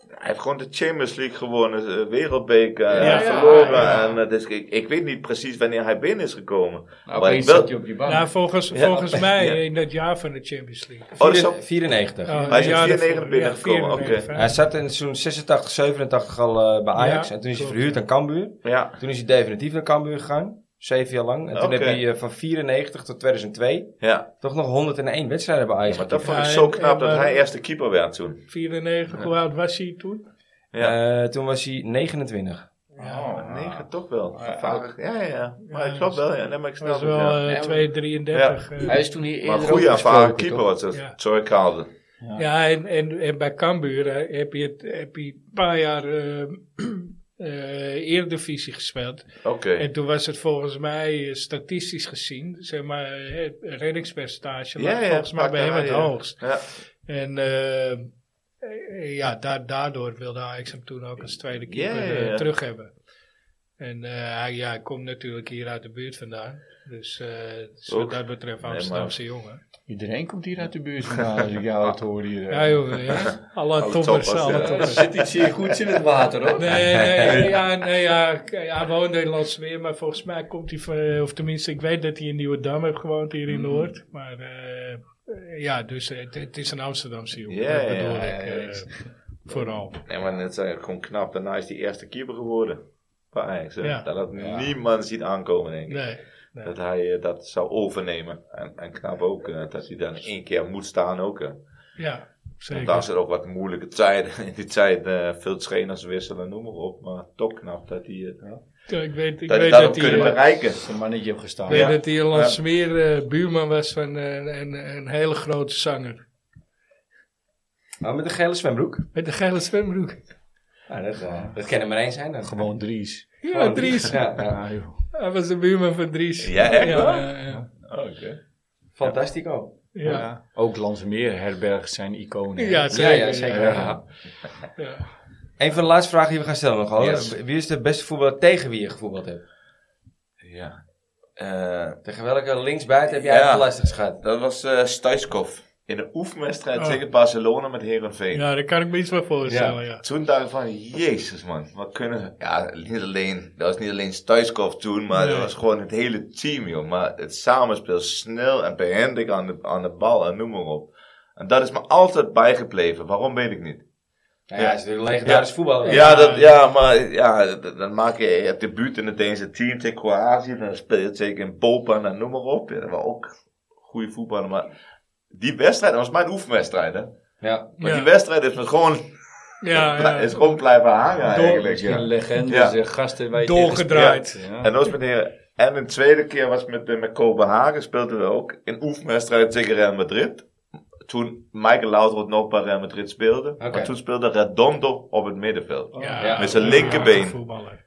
D: hij heeft gewoon de Champions League gewonnen, eh, wereldbeker, eh,
B: Ja, ja,
D: verloren.
B: ja.
D: En, eh, dus ik, ik weet niet precies wanneer hij binnen is gekomen.
C: Nou,
D: maar ik
C: opeens
D: wel-
C: zat hij op die bank.
B: Nou, volgens,
D: Ja.
B: volgens mij
D: Ja.
B: in dat jaar van de Champions League.
D: Oh, dat
A: Vier-
D: zou-
A: 94.
B: Oh,
D: Hij is in
B: ja,
D: 94
B: daarvoor.
D: binnengekomen, oké.
B: 94, hè.
A: Hij zat in seizoen 86, 87 al eh, bij Ajax.
B: Ja,
A: en toen is hij
B: klopt,
A: verhuurd
B: ja.
A: aan Cambuur.
D: ja,
A: Toen is hij definitief naar Cambuur gegaan. Zeven jaar lang. En toen
D: Oké.
A: heb hij eh, van 94 tot 2002
D: ja.
A: toch nog 101 wedstrijden bij Ajax.
D: Maar dat vond ik
B: Ja,
D: zo
B: en-
D: knap
B: en,
D: dat
B: eh,
D: hij eerste keeper werd toen.
B: 94, hoe oud was hij toen?
D: Ja.
A: Eh, toen was hij 29.
D: Oh, negen toch wel.
C: Ja.
D: Vaak- Ja, ja, ja. Maar
B: Ja, dus
D: ik klopt
B: dat is-
D: wel, ja. Nee, maar ik
B: Hij
D: snap
B: was
D: het,
B: wel
D: ja.
B: eh,
E: Ja.
B: 233. eh.
E: Hij is toen hier eerder
D: Maar een
E: ook
D: goede
E: besproken,
D: ervaren keeper
E: toch?
D: was het.
B: Ja.
D: Sorry, Kaalde.
B: Ja, en, en, en bij Cambuur hè, heb je, het, heb je een paar jaar eh eh Eredivisie gespeeld.
D: Oké.
B: En toen was het volgens mij eh, statistisch gezien, zeg maar, eh, het reddingspercentage lag volgens mij
D: pak
B: bij hem
D: daar,
B: het
D: ja.
B: hoogst.
D: Ja.
B: En eh, eh, ja, da daardoor wilde Ajax hem toen ook als tweede keeper
D: Ja, ja,
B: eh,
D: ja.
B: terug hebben. En eh, hij, ja, hij komt natuurlijk hier uit de buurt vandaan. Dus eh, is wat
D: Ook.
B: dat betreft
D: Nee, maar-
B: Amsterdamse jongen.
E: Iedereen komt hier uit de buurt vandaan, als ik jou het hoor hier. eh.
B: Ja, jongen, ja. Alle
D: Alle
B: toppers,
D: toppers,
B: alle
D: ja.
C: Er
B: toppers.
C: zit iets hier goeds in het water, hoor.
B: Nee, nee, ja, nee, ja, k- ja, hij woont in Landsweer, maar volgens mij komt hij, van- eh, of tenminste, ik weet dat hij in Nieuwedam heeft gewoond hier
D: Hmm.
B: in Noord. Maar eh, eh, ja, dus het, het is een Amsterdamse jongen,
D: Ja,
B: dat
D: ja,
B: bedoel
D: ja,
B: ik
D: ja,
B: eh, vooral.
D: Nee, maar het is eigenlijk gewoon knap. Daarna is hij eerste keeper geworden. Bij Ajax. hè.
B: Ja.
D: Dat had niemand zien aankomen, denk ik.
B: Nee, nee.
D: Dat hij eh, dat zou overnemen. En, en knap ook eh, dat hij dan één keer moet staan ook. eh.
B: ja,
D: Want
B: zeker.
D: daar er ook wat moeilijke tijden. In die tijd eh, veel trainers wisselen, noem maar op. Maar toch knap dat hij het
B: Ja, Ik weet, ik
D: dat,
B: weet
D: hij dat
B: dat
D: ook
B: hij...
D: kunnen
B: eh,
D: bereiken.
E: Een mannetje op gestaan.
B: Ik weet
D: Ja.
B: dat hij in Landsmeer eh, buurman was van eh, een, een hele grote zanger.
A: Maar met een gele zwembroek.
B: Met een gele zwembroek.
A: Ja, dat, eh, dat kan er maar één zijn. Dan.
E: Gewoon Dries.
D: Oh,
B: Ja, Dries.
A: Ja, ja.
E: Ja, joh.
B: Hij was de buurman van Dries.
D: Ja, echt waar?
B: ja, ja.
D: Oké.
A: Fantastico.
B: ja.
E: Ja. Ook Landsmeer herbergt zijn iconen.
B: Ja,
A: Ja, ja,
B: zeker.
A: zeker.
B: Ja,
E: Ja.
B: ja.
A: Een van de laatste vragen die we gaan stellen nog. hoor.
D: Yes.
A: Wie is de beste voetballer tegen wie je gevoetbald hebt?
D: Ja. Eh,
A: Tegen welke linksbuiten heb jij
D: Ja.
A: het lastigst gehad?
D: dat was eh Stuyskov. In een oefenwedstrijd
B: Oh.
D: tegen Barcelona met Herenveen.
B: Ja, daar kan ik me iets van voorstellen, ja.
D: Toen dacht ik van, jezus man, wat kunnen ze... Ja, niet alleen, dat was niet alleen Stuyskov toen, maar
B: Nee.
D: dat was gewoon het hele team, joh. Maar het samenspel, snel en behendig aan de, aan de bal en noem maar op. En dat is me altijd bijgebleven, waarom weet ik niet.
A: Nou ja, hij is natuurlijk een legendarisch voetballer.
D: Ja, dat, ja maar ja, dat- dan maak je, je hebt debuut in het Deense team tegen Kroatië, dan speel je tegen in Popan en noem maar op. Ja, dat was ook goede voetballer, maar die wedstrijd, dat was mijn oefenwedstrijd, hè.
A: Ja.
D: Maar
B: Ja.
D: die wedstrijd is me gewoon,
B: Ja, ja.
D: is gewoon blijven hangen eigenlijk, ja.
C: Misschien legendes,
D: Ja.
C: eh, gasten waar je
B: Doorgedraaid.
C: tegen speelt.
D: En dat was met Heren- En een tweede keer was met, met Kopenhagen speelden we ook in oefenwedstrijd tegen Real Madrid. Toen Michael Laudrup nog bij Real Madrid speelde.
A: Oké.
D: Maar toen speelde Redondo op het middenveld.
A: Ja.
D: Met zijn
B: ja,
D: linkerbeen.
B: ja, voetballer.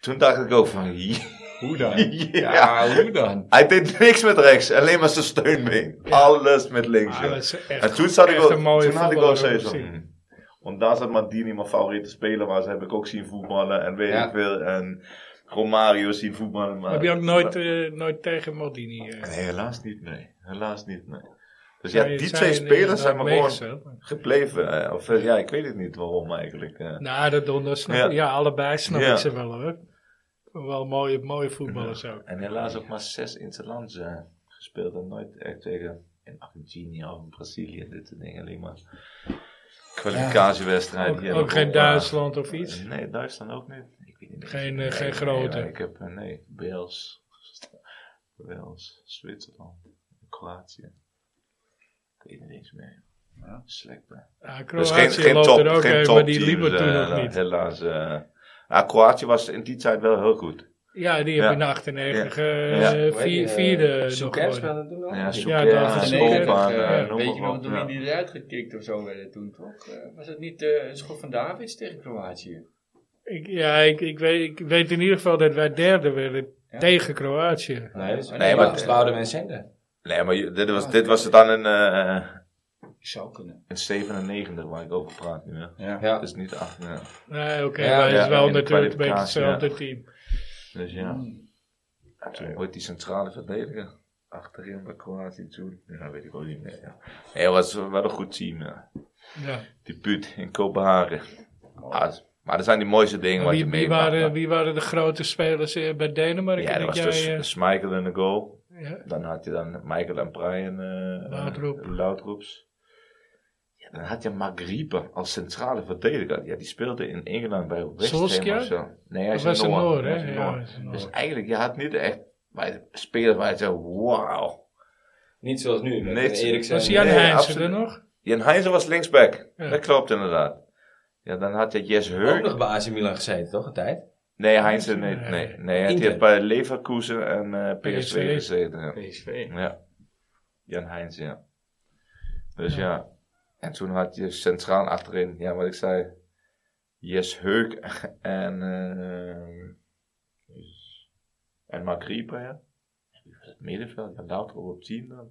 D: Toen dacht ik ook van... Ja.
E: Hoe dan? Ja, hoe dan?
D: Hij deed niks met rechts. Alleen maar zijn steunbeen. Alles met links.
B: Ah,
D: joh.
B: dat is echt,
D: en toen zat ik
B: echt
D: ook...
B: een mooie
D: Toen had ik ook
B: voetballer
D: zoiets
B: om
D: van...
B: te zien.
D: hmm. Want daar zat Mandini mijn favoriete speler was. Heb ik ook zien voetballen. En weet
A: Ja.
D: ik veel. En Romario zien voetballen. hmm, Maar
B: Heb je ook nooit, eh, nooit tegen Maldini... eh,
D: Nee, helaas niet, nee. Helaas niet, nee. Dus ja,
B: zou je-
D: die
B: zou
D: twee
B: je
D: spelers
B: inderdaad
D: zijn me gewoon
B: meegesteld?
D: gebleven. eh, Of eh, ja, ik weet het niet waarom eigenlijk. eh.
B: Nou, dat donder snap
D: Ja.
B: ja. ja, allebei snap
D: Ja.
B: ik ze wel hoor. Wel mooie, mooie voetballers ook.
D: En helaas ook maar zes interlands eh, gespeeld en nooit echt tegen in Argentinië of in Brazilië en dit soort dingen. Alleen maar kwalificatiewedstrijden.
B: Ook,
D: hier
B: ook
D: en
B: geen
D: op,
B: Duitsland of
D: eh,
B: iets.
D: Nee, Duitsland ook niet. Ik weet niet
B: Geen, eh,
D: Nee,
B: geen
D: nee,
B: grote.
D: maar ik heb, eh, nee, Wales, Wales, Zwitserland, Kroatië. Ik weet niet eens meer. Ja, slecht. hè.
B: Ja,
D: Dus
B: Kroatië loopt er ook heen, maar die liepen
D: topteams,
B: toen
D: eh,
B: nog niet.
D: Helaas. eh. Nou, Kroatië was in die tijd wel heel goed.
B: Ja, die heb
D: Ja.
B: in 98
D: Ja.
B: eh,
A: Hoe heet die,
B: vier,
A: eh,
B: vierde nog
A: Soukers
B: gewonnen.
A: speelde toen nog?
D: Ja,
B: Ja,
D: Soukers,
B: dat
D: ja,
B: was
D: Schopan,
B: een
C: Opa,
D: eh, noem
C: weet
D: maar
C: je nog
D: op,
C: toen we
D: ja.
C: die eruit gekikt of zo werden toen toch? Eh, was het niet eh, een schot van Davids tegen Kroatië?
B: Ik, ja, ik, ik, weet, ik weet in ieder geval dat wij derde werden
C: Ja.
B: tegen Kroatië.
A: Nee, dat is
C: Nee,
A: nee,
D: maar-
A: maar Slauder en Zender.
D: Nee, maar je- dit was, dit was het dan in, eh
C: Zou kunnen.
D: in 97 waar ik over praat nu. Hè.
C: Ja.
A: Ja.
D: Dat is niet acht. Ja.
B: Nee, oké,
A: Ja,
B: maar het
D: ja,
B: is wel
D: in de
B: natuurlijk een beetje
D: kwalificatie,
B: hetzelfde team.
D: Dus ja.
B: Hmm.
D: Toen ooit die centrale verdediger. Achterin bij Kroatië toen. Ja, weet ik ook niet meer. Ja. Nee, het was wel een goed team. Ja.
B: Ja.
D: Debuut in Kopenhagen. Ah, dat is- maar dat zijn die mooiste dingen wat
B: Oh. Wie,
D: je
B: wie
D: meemaakt.
B: waren, wie waren de grote spelers eh, bij Denemarken?
D: ja, dat was
B: denk
D: dus
B: jij,
D: dus Michael in de goal.
B: eh, ja.
D: Dan had je dan Michael en Brian eh
B: Laudrup.
D: eh, Laudrups. Ja, dan had je Mark Rieper als centrale verdediger. Ja, die speelde in Engeland bij West Ham
B: Solskjaer?
D: of zo. Nee, hij
B: Dat
D: is
B: was een Noor,
D: Hij is
B: hè?
D: een
B: Ja,
D: Noor.
B: dat is een Noor.
D: Dus eigenlijk, je had niet echt bij spelers waar je zei, wauw.
A: Niet zoals nu. eh, met
D: Niet-
A: Eriksen.
B: Was Jan
D: Nee,
B: Heijnsen er
D: absoluut.
B: nog?
D: Jan Heijzen was linksback.
B: Ja.
D: Dat klopt inderdaad. Ja, dan had je Jes
A: Ook
D: Heuk.
A: nog bij AC Milan gezeten, toch? Een tijd.
D: Nee, Heijzen niet.
B: Nee.
D: Nee, nee hij
A: Inter.
D: heeft bij Leverkusen en eh, PSV,
B: PSV.
D: gezeten. ja.
C: PSV.
D: Ja. Jan Heijnsen, ja. Dus ja. En toen had je centraal achterin, ja, wat ik zei. Jes Heuk en. eh en Mark Rieper, ja. En wie was het middenveld? Ja, Louter op 10 dan.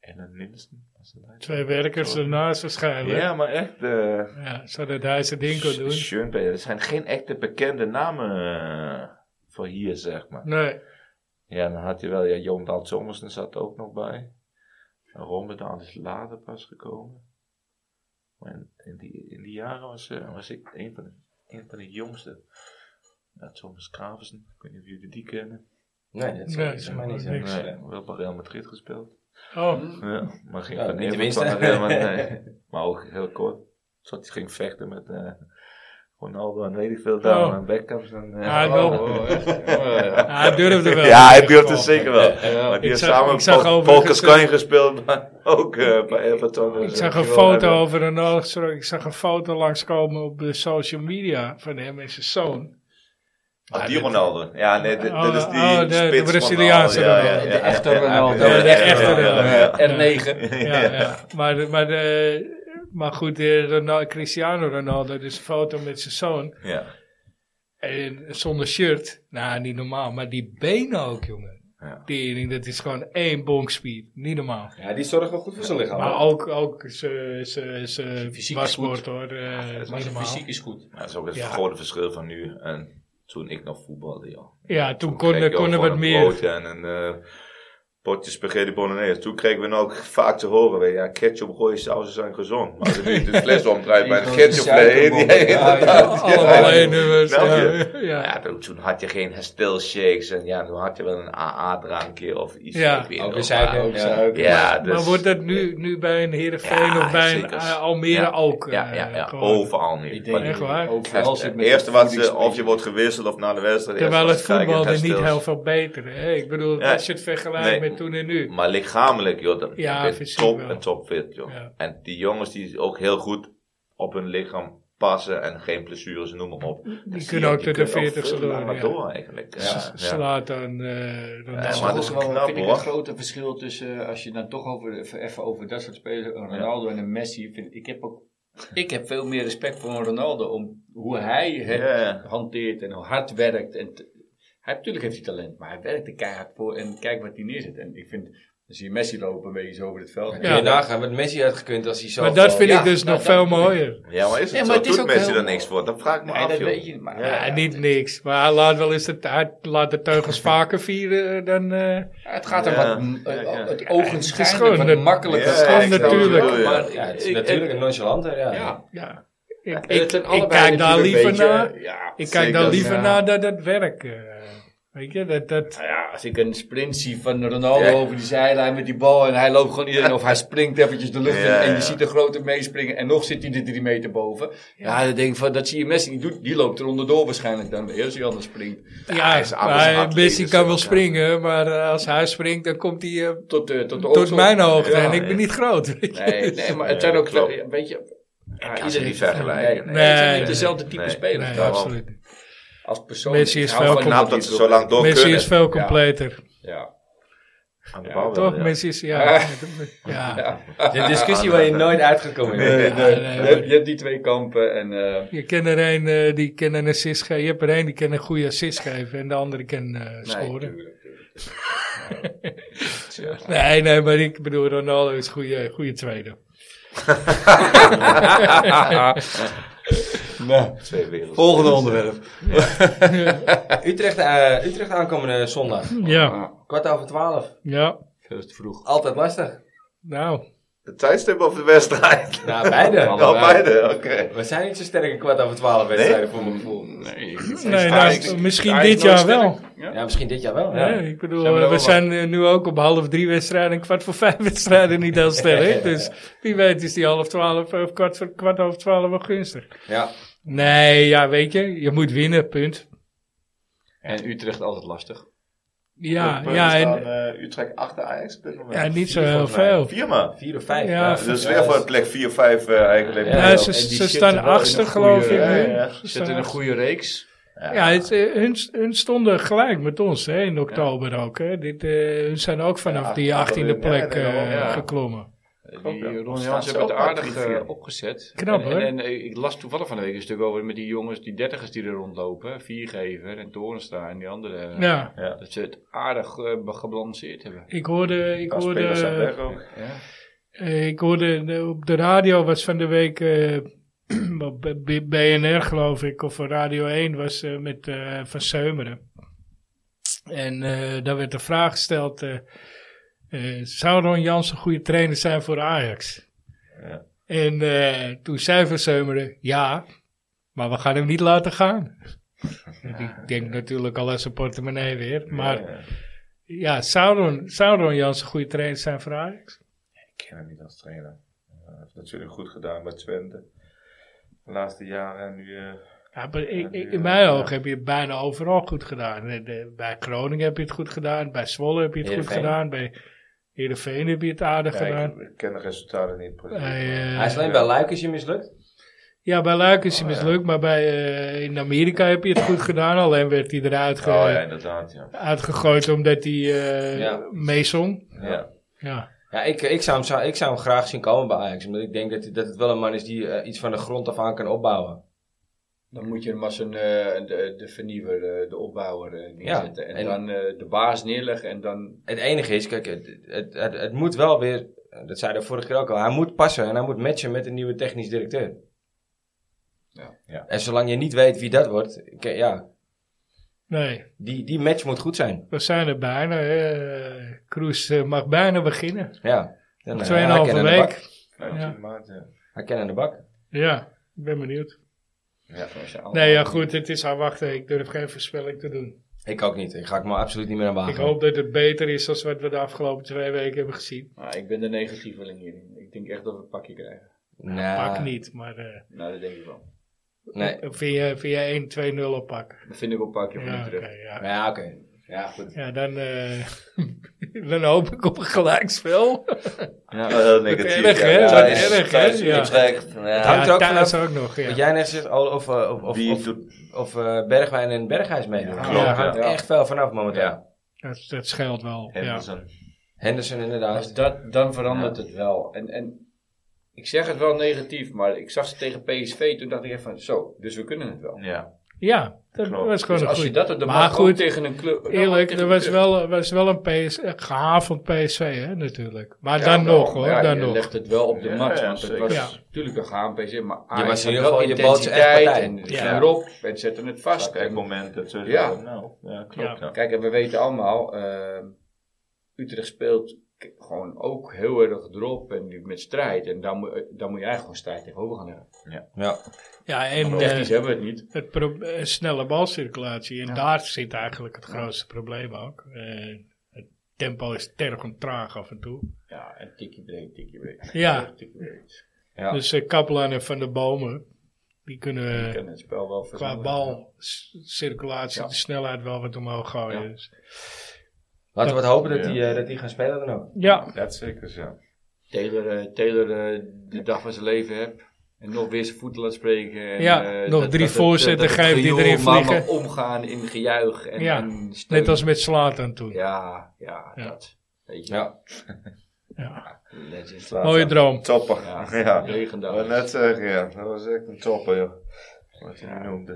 D: En dan Nielsen. was dat hij?
B: Twee werkers
D: Sorry.
B: ernaast waarschijnlijk.
D: Ja, maar echt. eh
B: Ja, zodat hij zijn ding kon doen.
D: Schönberg. Er zijn geen echte bekende namen eh, voor hier, zeg maar.
B: Nee,
D: Ja, dan had je wel, ja, Johan Daal Zomersen zat er ook nog bij. En Rommedaal is later pas gekomen. Maar in, in die, in die jaren was, eh, was ik een van de, een van de jongste. Ja, Thomas Kravensen, ik weet niet of jullie die kennen.
A: Nee, dat is
B: Nee,
A: dat is mij niet zo.
B: niks.
D: Nee, wel bij Real Madrid gespeeld.
B: oh,
D: Ja, maar ging
A: Ja,
D: van
A: niet de
D: Everton
A: minste.
D: naar Real Madrid. Nee. Maar ook heel kort. Zat hij ging vechten met eh Ronaldo en weet ik veel daar.
B: Oh.
D: En Beckham's en... eh,
B: Ah, wel.
C: Oh, echt? Oh, ja.
B: hij durfde wel.
D: Ja, hij
B: in ieder
D: beeld het
B: geval.
D: zeker wel.
C: Ja.
D: Maar die
B: Ik
D: heeft
B: zag-
D: samen
B: ik zag
D: Paul,
B: overigens
D: Paul Gascoigne gespeeld, maar ook eh, bij Everton. Dus,
B: Ik
D: eh,
B: zag een
D: dankjewel,
B: foto
D: Everton.
B: over een oogstrok. Ik zag een foto langskomen op de social media van hem en zijn zoon.
D: Ah, die Ronaldo. Ja, nee, dit, dit is die
B: Oh, de- de
D: spits van
B: Braziliaanse
D: Ronaldo.
B: Ronaldo.
E: De echte Ronaldo.
B: Ja, de echte Ronaldo.
E: R9.
D: ja.
B: Ja, ja. Maar, maar, eh, maar goed, eh, Ronaldo, Cristiano Ronaldo, dus een foto met zijn zoon.
D: Ja.
B: En zonder shirt. Nou, niet normaal. Maar die benen ook, jongen.
D: Ja.
B: Tering, dat is gewoon één bonkspier. Niet normaal.
A: Ja, die zorgt wel goed voor zijn lichaam.
B: Maar
A: hoor.
B: ook, ook ze- ze- ze
C: Fysiek is
B: waswoord
C: goed.
B: hoor. eh, niet
C: Maar zijn
B: normaal.
C: fysiek is goed.
D: Maar dat is ook het
B: Ja.
D: grote verschil van nu en toen ik nog voetbalde, joh.
B: Ja, toen
D: kreeg
B: konden
D: je ook
B: kon er
D: gewoon
B: wat
D: een
B: meer.
D: broodje en een eh, potje spaghetti bolognese. Toen kregen we ook vaak te horen, weet je, ja, ketchup, rode sausen zijn gezond. Maar als je nu de fles omdraait bij een
A: grote
D: ketchup, nee,
A: suikerbom.
D: die-
A: Ja, ja.
B: Allemaal één nummers.
D: Snap
B: Ja,
D: je?
B: ja.
D: Ja, toen, toen had je geen Hestel shakes en ja, toen had je wel een AA-drankje of iets.
B: Ja.
D: ik weet
A: Ook
D: nog,
A: weer suiker.
D: maar-
A: Ook
D: Ja, dus,
B: Maar wordt dat nu, nu bij een Heerenveen
D: Ja,
B: of bij een
D: zeker.
B: eh, Almere
D: Ja,
B: ook? eh,
D: ja, ja, ja,
B: gewoon?
D: overal nu.
C: Ik
D: Want
C: denk
B: Echt waar?
C: Overal
D: het
C: zit
D: het
C: met
D: eerste
C: een
D: wat ze,
C: voedingsmiddel.
D: of je wordt gewisseld of na de wedstrijd.
B: Terwijl
D: eerst
B: het
D: was kijken,
B: voetbal er niet
D: Hestels.
B: heel veel beter. Hè? Ik bedoel,
D: Ja.
B: als je het vergelijkt
D: Nee.
B: met toen en nu.
D: Maar lichamelijk, joh, dan
B: Ja,
D: ben je
B: fysiek
D: top
B: wel.
D: en topfit, joh.
B: Ja.
D: En die jongens die ook heel goed op hun lichaam passen en geen blessures, noem maar op. Dan zie je
B: kunnen ook
D: je
B: tot de
D: kunt ook
B: 40ste
D: veel
B: door,
D: langer
B: ja.
D: door eigenlijk. Ja,
B: S-
D: ja.
B: Slaat dan. eh, dan
D: Ja,
C: Dat is
D: maar
C: maar
D: dat is
C: wel,
D: knap,
C: vind ik
D: hoor.
C: het grote verschil tussen, eh, als je dan toch over, even- even over dat soort spelers, een
D: Ja.
C: Ronaldo en een Messi, vind, ik heb ook, ik heb veel meer respect voor een Ronaldo, om hoe hij het
D: Ja.
C: hanteert en hoe hard werkt. En t- hij, natuurlijk heeft hij talent, maar hij werkt er keihard voor en kijk wat hij neerzet. En ik vind, dan zie je Messi lopen een beetje zo over het veld.
A: Kun je nagaan wat Messi had gekund als hij zo...
B: maar dat
A: gewoon-
B: vind ik
C: ja,
B: dus
C: nou,
B: nog
C: dat
B: veel
C: bedoel ik.
B: mooier.
D: Ja, maar is het
C: Nee,
D: zo?
C: maar het is
D: Doet
C: ook
D: mensen
C: heel-
D: er niks voor? Dat vraag ik me
C: Nee,
D: af,
C: dat
D: joh.
C: weet je, maar
B: Ja, niet niks. Maar hij laat wel eens de, hij laat de teugels vaker vieren eh, dan. eh,
C: het gaat er
D: Ja.
C: wat, mm, eh,
D: Ja, ja.
C: het
B: Het is
C: ogenschijnlijk
B: gewoon
C: wat
B: een-
C: makkelijker.
D: Ja,
C: gaat.
D: ik snap wat je
B: natuurlijk.
D: bedoelt, ja.
E: Maar
A: Ja, het is
E: ik-
A: natuurlijk een
E: ik-
A: nonchalanter, ja.
E: Ja.
B: ja. Ik,
E: het
B: ik,
E: zijn
B: ik
E: allebei
B: kijk daar
E: natuurlijk
B: liever
E: een beetje-
B: naar.
C: Ja,
B: Ik kijk
D: zeker.
B: daar liever
E: Ja.
B: naar dat dat werk. eh, Weet je, dat, dat,
C: Nou ja, als ik een sprint zie van Ronaldo
D: Ja.
C: over die zijlijn met die bal en hij loopt gewoon iedereen of hij springt eventjes de lucht in
D: Ja,
C: en je
D: ja.
C: ziet de grote meespringen en nog zit hij de drie meter boven. Ja, dan denk ik van, dat zie je Messi niet doen. Die loopt er onderdoor waarschijnlijk dan weer als hij anders springt.
B: ja,
D: hij is een
B: maar
D: atleet,
B: Messi
D: dus
B: kan
D: dat
B: wel
D: kan.
B: springen, maar eh, als hij springt, dan komt hij eh,
C: Tot, eh, tot, de
B: tot
C: oksel.
B: mijn hoogte
C: Ja.
B: en ik ben niet groot. weet je.
C: Nee, nee, maar het
D: Nee,
C: zijn ook,
D: klopt.
C: ja, weet je... Ja,
D: kan ze
C: iedereen-
D: niet vergelijken.
C: Nee, het zijn
B: Nee.
C: niet dezelfde type
D: Nee.
C: spelers.
B: Nee,
C: trouwens.
B: absoluut niet.
C: Als persoon.
B: Messi
C: Ik
B: is
C: hou
B: wel
C: van
B: knap
D: Knap
C: die
D: dat ze zo lang door
B: Messi
D: kunnen.
B: is veel completer.
C: Ja.
D: Aan de
C: Ja,
D: bal wel,
B: Toch?
D: ja.
B: Messi is, ja. ja.
A: De discussie waar je nooit uit gaat komen.
D: Nee, nee.
B: nee,
C: Je,
B: maar-
C: hebt, je hebt die twee kampen en... eh,
B: Je kent er een eh, die kan een assist geven. Je hebt er een die kan een goede assist geven en de andere kan eh, scoren.
C: Nee, tuurlijk, tuurlijk.
B: Nee, nee, maar ik bedoel, Ronaldo is goede, goede tweede.
D: Twee werelden.
E: Volgende onderwerp.
A: Utrecht, eh, Utrecht aankomende zondag.
B: Ja,
C: ah,
A: Kwart over twaalf.
B: ja.
E: Veel te vroeg.
A: Altijd lastig.
B: Nou,
D: De tijdstip of de wedstrijd?
A: Nou, beide.
D: Nou, beide, oké.
A: We zijn niet zo sterk in kwart over twaalf wedstrijden voor mijn gevoel.
E: Nee,
B: nee,
D: Ajax-
B: nou, misschien
E: Ajax
B: dit
E: nooit
B: jaar wel.
A: Ja, misschien dit jaar wel. Ja.
B: Nee, ik bedoel,
E: Zijn we er
B: we,
E: wel
B: zijn eh, nu ook op half drie wedstrijden en kwart voor vijf wedstrijden niet heel sterk. Dus wie weet is die half twaalf eh, of kwart, voor, kwart over twaalf wel gunstig.
A: Ja.
B: Nee, ja, weet je, je moet winnen, punt.
E: En Utrecht altijd lastig.
B: Ja,
D: Punten
B: ja,
D: staan,
B: en,
D: eh, Utrecht achter Ajax op dit moment.
B: ja niet zo
A: vier
B: heel
A: volgens mij.
B: veel.
D: Vier maar.
A: Vier of vijf.
B: Ja,
D: Ja, dus weer voor plek 4-5 eh, eigenlijk.
A: Ja,
B: Ja,
A: en
B: ze,
A: die
B: ze
E: zitten
B: staan
E: wel in een
B: achtste,
E: goede-
B: geloof ik.
D: ja,
B: nu.
D: ja.
B: Ze
E: Zit
B: staan
E: in een goede reeks.
B: Ja, het, eh, hun, hun stonden gelijk met ons hè, in oktober ook. Hè. Dit, eh, hun zijn ook vanaf
D: Ja,
B: die
D: dat
B: 18e
D: we-
B: plek
D: ja,
B: eh,
E: ja.
B: geklommen.
D: Klopt, ja.
E: Die eh, Ron
D: Staan
E: Jans
D: ze
E: hebben het
D: ook al
E: aardig
D: drie, vier.
E: eh, opgezet.
B: Knap,
E: en,
B: hoor.
E: En, en, eh, ik las toevallig van de week een stuk over met die jongens, die dertigers die er rondlopen. Viergever en Torenstra en die andere. eh,
B: Ja,
E: Dat ze het aardig eh, be- gebalanceerd hebben.
B: ik hoorde, ik
D: Als spelers zijn
B: hoorde,
D: weg ook.
E: Ja.
B: eh, ik hoorde eh, op de radio was van de week eh, op B- B- BNR geloof ik, of Radio 1 was eh, met eh, Van Seumeren. En eh, daar werd de vraag gesteld, eh, eh, zou Ron Jans een goede trainer zijn voor Ajax?
D: Ja.
B: En eh, toen zei Van Seumeren, ja, maar we gaan hem niet laten gaan. Ik denk natuurlijk al aan zijn portemonnee weer. Maar
D: Ja, ja.
B: ja, zou Ron, zou Ron Jans een goede trainer zijn voor Ajax?
D: Ik ken hem niet als trainer. Eh, Hij heeft natuurlijk goed gedaan bij Twente. De laatste jaren en nu... eh,
B: Ja, maar ik, ik-
D: Ja.
B: in mijn ogen heb je het bijna overal goed gedaan. Eh, de- bij Groningen heb je het goed gedaan. Bij Zwolle heb je het goed
A: Heerenveen. eh,
B: gedaan. Bij Heerenveen heb je het aardig
D: ja,
B: gedaan.
D: ik, ik ken de resultaten niet precies.
B: Bij,
D: maar-
B: eh,
A: Hij is alleen bij Luik als je mislukt.
B: ja, bij Luik is hij
D: Oh, ja.
B: mislukt. Maar bij, eh, in Amerika heb je het goed gedaan. Alleen werd hij eruit ge-
D: Oh ja, inderdaad, ja.
B: uitgegooid omdat hij eh
A: Ja.
B: meezong.
D: ja.
B: Ja.
A: Ja, ik, ik, zou hem, zou- ik zou hem graag zien komen bij Ajax. Omdat ik denk dat, hij- dat het wel een man is die eh, iets van de grond af aan kan opbouwen.
C: Dan moet je hem als een, eh, de, de vernieuwer, eh, de opbouwer eh, neerzetten. en,
A: en-
C: dan eh, de baas neerleggen en dan...
A: Het enige is, kijk, het, het, het, het moet wel weer... Dat zei de vorige keer ook al. Hij moet passen en hij moet matchen met een nieuwe technisch directeur.
C: Ja.
D: Ja.
A: En zolang je niet weet wie dat wordt... ik- ja,
B: Nee,
A: die, die match moet goed zijn.
B: we zijn er bijna. hè. Eh, Kroes eh, mag bijna beginnen.
A: Ja. Dan, eh, hij kan
B: Tweeënhalve
A: aan de bak.
B: week.
D: 15
B: Ja.
D: maart, ja.
A: Hij kan aan de bak.
B: Ja, ik ben benieuwd.
C: Zoals je allemaal-
B: Nee, ja goed, het is aan wachten. Ik durf geen voorspelling te doen.
A: Ik ook niet. Ik ga ik me absoluut niet meer aan wagen.
B: Ik hoop dat het beter is dan wat we de afgelopen twee weken hebben gezien.
C: Maar ik ben de negatieveling hierin. Ik denk echt dat we een pakje krijgen.
A: Nee.
B: Pak niet, maar eh,
C: Nou, dat denk ik wel.
A: Nee.
B: vind je, vind je 1-2-0 op pak?
C: Dat vind ik ook een pakje van
B: Ja,
C: Utrecht.
B: oké, ja.
A: Ja, oké. Ja, goed.
B: ja dan, eh, dan hoop ik op een gelijkspel.
D: Ja, heel negatief.
B: erg,
D: ja.
B: hè?
D: Ja,
B: Dat
D: is-
B: erg, hè?
D: thuis
B: Ja.
D: Utrecht.
A: Ja.
D: Ja.
A: hangt er ook
B: thuis
A: vanaf.
B: ook nog,
A: Wat
B: ja.
A: jij net zegt, al of, eh, of, of,
D: Wie
A: of,
D: doet-
A: of, eh, Bergwijn en Berghuis mee. Ja,
D: Klopt,
A: Daar hangt
D: ja.
A: echt veel vanaf momenteel.
D: Ja.
B: Dat, dat scheelt wel. Ja.
D: Henderson.
A: Henderson
C: Als
A: inderdaad.
C: dat, dan verandert het wel. En, en ik zeg het wel negatief, maar ik zag ze tegen PSV. Toen dacht ik echt van, zo, dus we kunnen het wel.
D: Ja.
B: ja, dat
D: Klopt.
B: was gewoon
C: Dus
B: een
C: als je
B: goed.
C: dat op de
B: Maar
C: markt
B: goed,
C: ook tegen een club...
B: Eerlijk, er
C: tegen een
B: was
C: club-
B: wel, was wel een PS, een gehavend PSV, hè, natuurlijk. Maar
C: Ja,
B: dan
C: wel,
B: nog, hoor,
C: maar ja,
B: dan
C: je
B: nog.
C: legt het wel op de
D: Ja,
C: mat,
D: ja,
C: want het
D: zeker.
C: was
B: Ja.
C: natuurlijk een gaanpc, maar Ajax
A: was in
C: had
A: ieder geval-
C: wel
A: je bood ze echt
C: intensiteit
A: partij.
C: en het
B: Ja.
C: ging erop en zetten het vast.
D: Kijk,
C: En-
D: moment. dat zo-
C: Ja.
D: Nou, ja, klopt.
B: Ja.
D: ja.
C: Kijk, en we weten allemaal, eh, ehm, Utrecht speelt k- gewoon ook heel erg erop en die- met strijd. En daar moet, daar moet je eigenlijk gewoon strijd tegenover gaan hebben.
A: Ja.
B: Ja, en eh,
C: Technisch hebben we het niet.
B: het pro- eh, snelle balcirculatie. En daar zit eigenlijk het grootste probleem ook. Eh, het tempo is tergend traag af en toe.
C: Ja, en tikkie breed, tikkie breed.
B: Ja.
C: Tikkie breed.
A: Ja.
B: Dus eh, Kaplan en Van der Bomen, die kunnen eh,
C: Ik ken het spel wel
B: qua
C: versnellen.
B: balcirculatie
C: Ja.
B: de snelheid wel wat omhoog gooien.
C: Ja.
B: Dus-
A: Laten we het hopen dat
D: Ja.
A: die, eh, dat die gaan spelen dan ook.
B: ja.
D: Dat zeker zo.
C: Taylor, eh, Taylor eh, de dag van zijn leven hebt. En nog weer zijn voeten laat spreken. En,
B: Ja,
C: eh,
B: nog
C: dat-
B: drie
C: dat- dat-
B: voorzetten
C: dat- dat
B: geeft die
C: gejoel
B: erin
C: maar mag
B: vliegen.
C: omgaan in gejuich en,
B: Ja,
C: en steun.
B: Net als met Slatan toen. Ja.
C: Ja, ja,
B: Ja.
C: dat. Weet je,
A: Ja.
C: dat is
B: Mooie droom.
D: Topper.
C: Ja,
D: Ja. Ik
C: legendarisch.
D: wou net zeggen, ja. Dat was echt een topper, joh. Wat je
C: Ja.
D: noemde.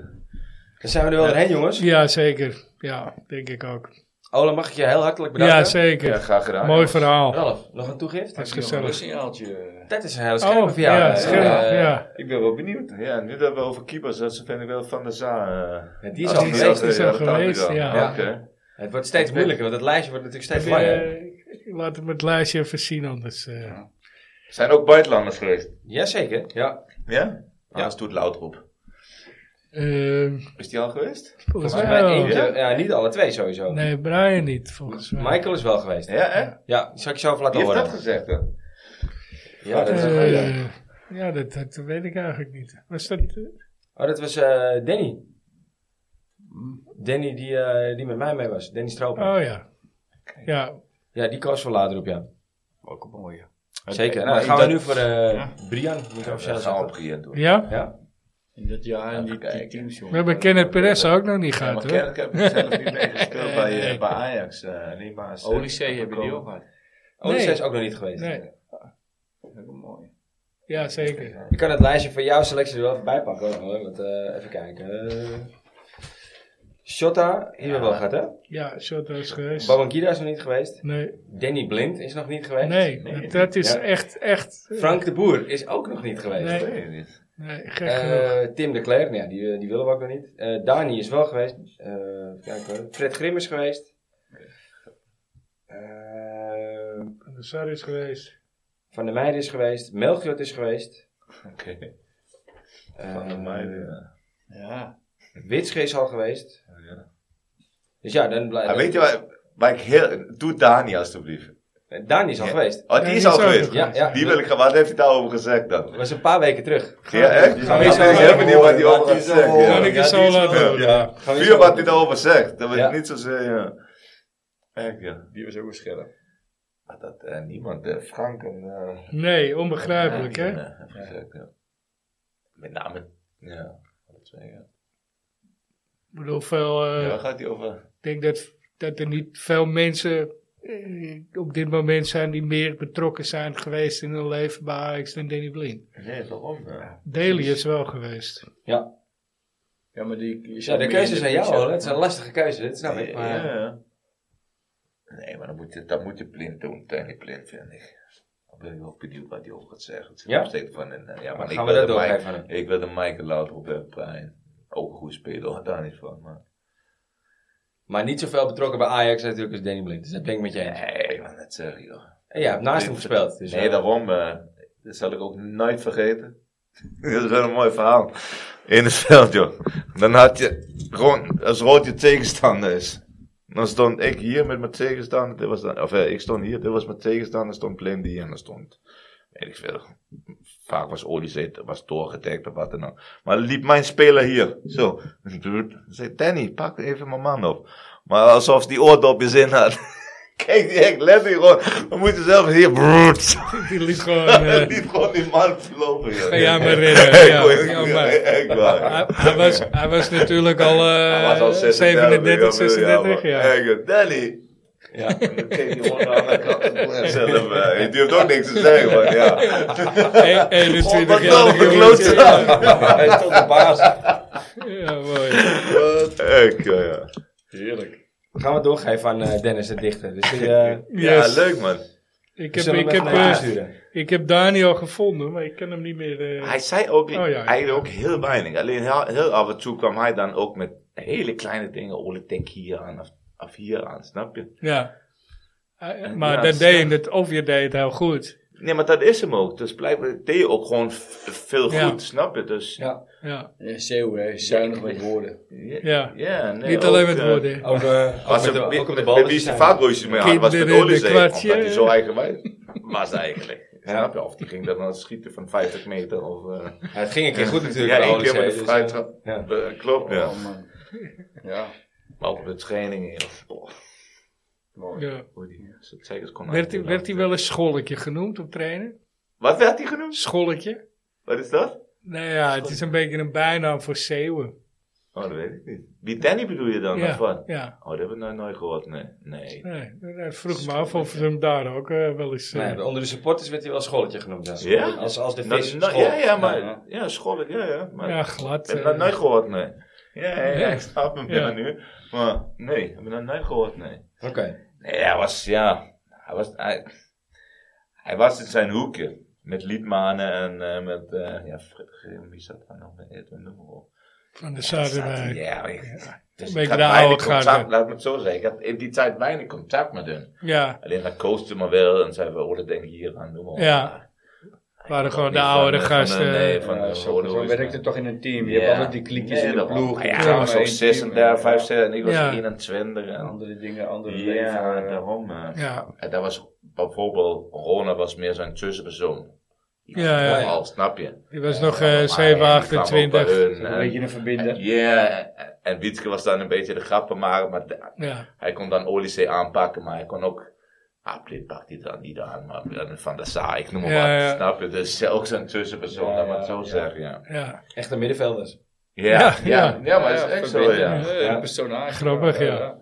A: Dan zijn we er wel doorheen, jongens.
B: Ja, zeker. Ja, denk ik ook.
A: Ole, mag ik je heel hartelijk bedanken.
B: Ja, zeker.
D: Ja, graag gedaan.
B: Mooi
D: jongens.
B: verhaal.
A: Ralf, nog een toegift?
B: Dat is
C: Nog een
B: gezellig.
C: signaaltje.
A: Dat is een hele scherpe
B: Oh,
A: voor jou.
B: ja,
A: eh,
B: scherp,
A: eh,
B: ja.
D: Ik ben wel benieuwd. Ja, nu dat we over keepers dat vind ik wel van de zaal. eh,
A: Ja, die is
D: als
A: al
D: die
A: geweest,
D: dat,
B: is
D: eh,
B: al
D: dat kan
B: geweest,
D: wel.
B: ja.
A: Ja.
D: Oké.
A: Het wordt steeds moeilijker, want het lijstje wordt natuurlijk steeds langer.
B: Eh, laat hem het lijstje even zien anders. eh.
D: Zijn ook buitenlanders geweest?
A: Jazeker, ja.
D: Ja? Ja, doet Loutroep.
B: Eh,
D: Is die al geweest?
B: volgens
A: Volgens
B: mij
A: mij
B: wel.
A: eentje. Ja, niet alle twee sowieso.
B: Nee, Brian niet, volgens mij.
A: Michael is wel geweest.
D: Ja, hè?
A: Ja, die zal ik je zo even laten
D: Wie heeft
A: horen.
D: dat gezegd? hè?
A: ja, dat, is-
B: Eh,
A: oh, ja.
B: ja, dat, dat weet ik eigenlijk niet. Was dat... eh,
A: Oh, dat was eh, Danny. Danny die, eh, die met mij mee was. Danny Stropen.
B: oh ja. Ja,
A: Ja, die koos voor later op, ja.
E: Ook een mooie.
A: Zeker.
D: maar
A: Nou, dan
D: ik
A: gaan we
D: dacht-
A: nu voor eh, Brian. Moet ik
D: Ja,
A: officieel
D: we gaan
A: zeggen.
D: opgeëerd door.
B: ja?
A: Ja.
C: In dat jaar en die,
D: Even
C: die
D: kijken.
C: teams, jongen.
B: we hebben Kenneth Perez ook nog niet
D: Ja,
B: gehad
D: maar
B: hoor.
D: Kerk heb ik zelf niet meegespeeld bij, eh,
B: Nee.
D: bij Ajax. eh, alleen maar als, eh,
C: Olysee hebben die ook gehad.
A: Oh, die
B: Nee.
A: is eh, ook nog niet geweest.
B: Nee.
C: Dat is ook mooi.
B: Ja, zeker.
A: Je kan het lijstje van jouw selectie er wel even bij pakken. hoor, Hoor. Want, eh, even kijken. Eh Shota, hier wel gaat hè?
B: Ja, Shoto is geweest.
A: Babangida is nog niet geweest.
B: Nee,
A: Danny Blind is nog niet geweest.
B: nee, dat- dat is
A: Ja.
B: echt, echt... eh,
A: Frank de Boer is ook nog niet geweest.
B: Nee.
D: Weet je niet.
B: Nee, gek
A: Eh,
B: genoeg.
A: Tim de Klerk, nou ja, die, die willen we ook nog niet. Eh, Dani is wel geweest. Eh, kijk hoor. Fred Grim is geweest. Eh,
B: Van de Sar is geweest.
A: Van der Meijden is geweest. Melchior is geweest.
D: Oké.
A: Eh,
D: Van de meiden, eh.
C: Ja.
A: Witske is al geweest.
D: Oh, Ja.
A: Dus ja, dan blijft.
D: Ah, weet je waar, waar ik heel... Doe Dani alstublieft.
A: Eh, Dani is al
D: Ja.
A: geweest.
D: Oh, die
B: Ja,
D: is al
B: ook
D: geweest.
B: nog
A: Ja, ja.
D: Die wil ik gaan. Wat heeft hij daarover gezegd dan?
A: Dat was een paar weken terug.
D: Ja, echt? Ik
A: Gaan we
D: ben
A: eens even
D: heel benieuwd wat hij
A: horen
D: over
A: wat
D: gaat
A: hij zo hoort.
B: Kan
D: zeggen.
B: ik
D: ja.
B: het zo laten horen?
D: Ja.
A: Gaan we eens
D: Puur wat hij
A: horen.
D: daarover zegt. Dat wil
A: Ja.
D: ik niet zozeer... Ja. Echt, ja.
C: Die was ook een scherp.
D: Maar dat eh, niemand... eh, Frank en... eh,
B: Nee, onbegrijpelijk
D: Ja,
B: hè?
D: ja, heb gezegd, ja. Met name. Ja, alle twee, ja.
B: Ik bedoel, veel... eh,
D: Ja, waar gaat hij over?
B: Ik denk dat, dat er niet veel mensen eh, op dit moment zijn die meer betrokken zijn geweest in hun leven bij Ajax dan Danny Blind.
D: Nee, waarom? Ja.
B: Daly is wel geweest.
A: Ja.
C: Ja, maar die...
A: ja, de keuzes zijn jou hoor. Het is een lastige keuze, dat snap ik. Maar,
D: Ja, ja. Nee, maar dan moet je, dat moet je blind doen, Tony Blind, vind ik. Ik ben heel benieuwd wat hij over gaat zeggen. Het is
A: Ja? Nou,
D: nog steeds van, een, eh, ja, maar ik
A: gaan
D: wil,
A: we dat
D: de
A: doorgeven aan
D: Mike, ik wil de Michael Laudrup en Brian. Ook een goede speler, hoor, daar niet van. Maar.
A: maar niet zoveel betrokken bij Ajax natuurlijk als Danny Blind. Dus dat ben ik met je eens.
D: Nee, maar net zeggen, joh.
A: En ja, naast hem gespeeld. Dus,
D: nee,
A: eh,
D: daarom, eh, dat zal ik ook nooit vergeten. dat is wel een mooi verhaal. In het veld, joh. Dan had je gewoon, als rood je tegenstander is. Dan stond ik hier met mijn tegenstander. Dit was dan, of eh, ik stond hier, dit was mijn tegenstander. Stond Blind hier en dan stond, weet ik veel. Vaak was Olysee, was doorgedekt of wat dan ook. Maar liep mijn speler hier, zo. Dan zei Danny, pak even mijn man op. Maar alsof die oordopjes in had. Kijk, die echt letterlijk gewoon. Dan moet je zelf hier, broert.
B: Die liet gewoon... eh,
D: Die gewoon die man verlopen. joh.
B: Ga jij maar rennen. Ja,
D: Echt,
B: ja,
D: joh,
B: maar-
D: echt waar.
B: hij, hij was, hij was natuurlijk al, eh,
D: Hij was al
B: 37,
D: 36,
B: 36
D: ja.
B: jaar.
D: Echt, joh, Danny.
A: ja.
D: Dan keek die hond aan de kant. Zelf, eh, die durft ook niks te zeggen, man. Ja.
B: E- 21
D: Godverdomme,
B: jaar.
D: klootzak.
A: Hij is tot de baas.
B: Ja, mooi.
D: Echt, joh, ja.
C: Heerlijk.
A: Gaan we doorgeven aan eh, Dennis de dichter. Dus die, eh,
D: Ja,
B: Yes.
D: leuk, man.
B: ik,
A: we
B: heb,
A: zullen
B: ik,
A: hem
B: heb,
A: even naar je
B: eh,
A: sturen.
B: ik heb Daniel gevonden, maar ik kan hem niet meer... eh,
D: Hij zei ook
B: Oh, ja.
D: hij deed ook heel weinig. Alleen heel, heel af en toe kwam hij dan ook met hele kleine dingen. Oh, ik denk hier aan of, of hier aan, snap je?
B: Ja. Eh, Maar
D: Ja,
B: dan
D: snap.
B: deed je het, of je deed het heel goed.
D: Nee, maar dat is hem ook. Dus blijkbaar deed je ook gewoon v- veel goed,
B: Ja.
D: snap je? Dus, ja,
B: Ja,
C: Ja, Zeeuw, hè, zuinig met woorden.
B: ja.
D: nee,
B: niet alleen
D: ook,
B: met
D: eh,
B: woorden.
A: Ook, eh, ook met
D: Als ze
A: de-
D: met,
A: ook met de eh.
D: met,
A: bal.
D: met wie is de vaatbootjes mee aan? Was met
B: Kinderen in de
D: Olysee,
B: kwartje.
D: omdat hij zo eigenwijs was eigenlijk.
A: Ja.
D: Snap je? Of die ging dan aan het schieten van 50 meter. Of, eh,
A: Ja, het ging een keer goed natuurlijk.
D: ja,
A: bij
D: één keer
A: Olysee,
D: met de
A: dus,
D: fruit.
A: eh, ja.
D: klopt, ja.
C: Oh, man. Ja,
D: Maar ook op de trainingen. joh. Boah,
C: mooi.
B: ja.
D: oh, hoe die zijn zeikers kon
B: Werd, hij-
D: aan-
B: werd hij wel eens scholletje genoemd op trainen?
D: Wat werd hij genoemd?
B: Scholletje?
D: Wat is dat?
B: Nou ja, het is een beetje een bijnaam voor zeeuwen.
D: Oh, dat weet ik niet. Wie Danny bedoel je dan? Of
B: Ja,
D: wat?
B: ja.
D: Oh, dat hebben we nog nooit gehoord, nee. Nee.
B: Nee, dat vroeg me af of ze hem daar ook eh, wel eens... eh,
A: Nee, onder nou de supporters werd hij wel scholletje genoemd. Ja?
D: Ja?
A: Als, als de
D: Nou,
A: vis.
D: nou,
A: school.
D: ja, ja, maar...
C: Ja, ja.
D: Ja, school, ja, ja. Maar
B: ja,
D: ik
B: glad.
D: heb
B: eh,
D: dat nooit gehoord, nee. Ja, ja, ja, ik snap hem
B: Ja.
D: binnen nu. Maar nee, ik heb dat nooit gehoord, nee.
A: Oké.
D: Nee, hij was, ja, hij was, hij, hij was in zijn hoekje. Met Liedmanen en eh, met, eh ja, Fred Grim, wie zat daar nog bij Edwin Noemel?
B: Van de
D: Zat-
B: Zuiderwijk.
D: Ja, maar ik, dus
B: Een beetje
D: ik had
B: de oude
D: weinig
B: garde.
D: contact, laat me het zo zeggen. Ik had in die tijd weinig contact met hun.
B: Ja,
D: Alleen dat coasten maar wel en zeiden we, oh, dat denk je hier aan, noem maar.
B: Ja.
D: Maar
B: waren gewoon de
D: niet van,
B: oude
D: eh, van, eh,
B: gasten.
D: nee,
C: Van,
D: van,
C: ja,
D: eh,
C: zo,
D: van,
C: zo
D: eh,
C: werkt het toch in een team. Je hebt altijd die klikjes
D: Nee,
C: in de
D: dat-
C: ploeg.
D: Ja,
C: Samen
D: ik was
C: één
D: ook
C: team,
D: 36,
C: ja.
D: 65 en ik was
B: Ja.
D: 21. En,
C: Andere dingen, andere
D: ja,
C: leven.
D: daarom. eh.
B: ja,
D: En dat was bijvoorbeeld, Rona was meer zijn tussenpersoon. Die was
B: Ja, ja.
D: toch al, snap je?
B: die was
D: Ja,
B: nog
D: maar
B: eh
D: hij
B: 7,
D: kwam ook bij
B: 28.
D: hun,
C: Een
D: eh,
C: beetje een verbinden.
D: Ja, en Wietke was dan een beetje de grappenmaker, maar da-
B: Ja,
D: hij kon dan Olysee aanpakken, maar hij kon ook... Ah, dit pakt hij dan niet aan, maar dan Van der Saar, ik noem maar
B: Ja,
D: wat,
B: ja.
D: snap je? Dus zelfs een tussenpersoon,
C: Ja,
D: laat maar het
C: ja,
D: zo
C: ja.
D: zeggen, ja.
B: ja.
A: Echte middenvelders.
D: Ja,
B: Ja,
D: ja,
B: ja.
D: ja, maar het is echt zo, ja.
C: verbinden.
A: Ja.
C: Een personage.
B: Grappig, ja.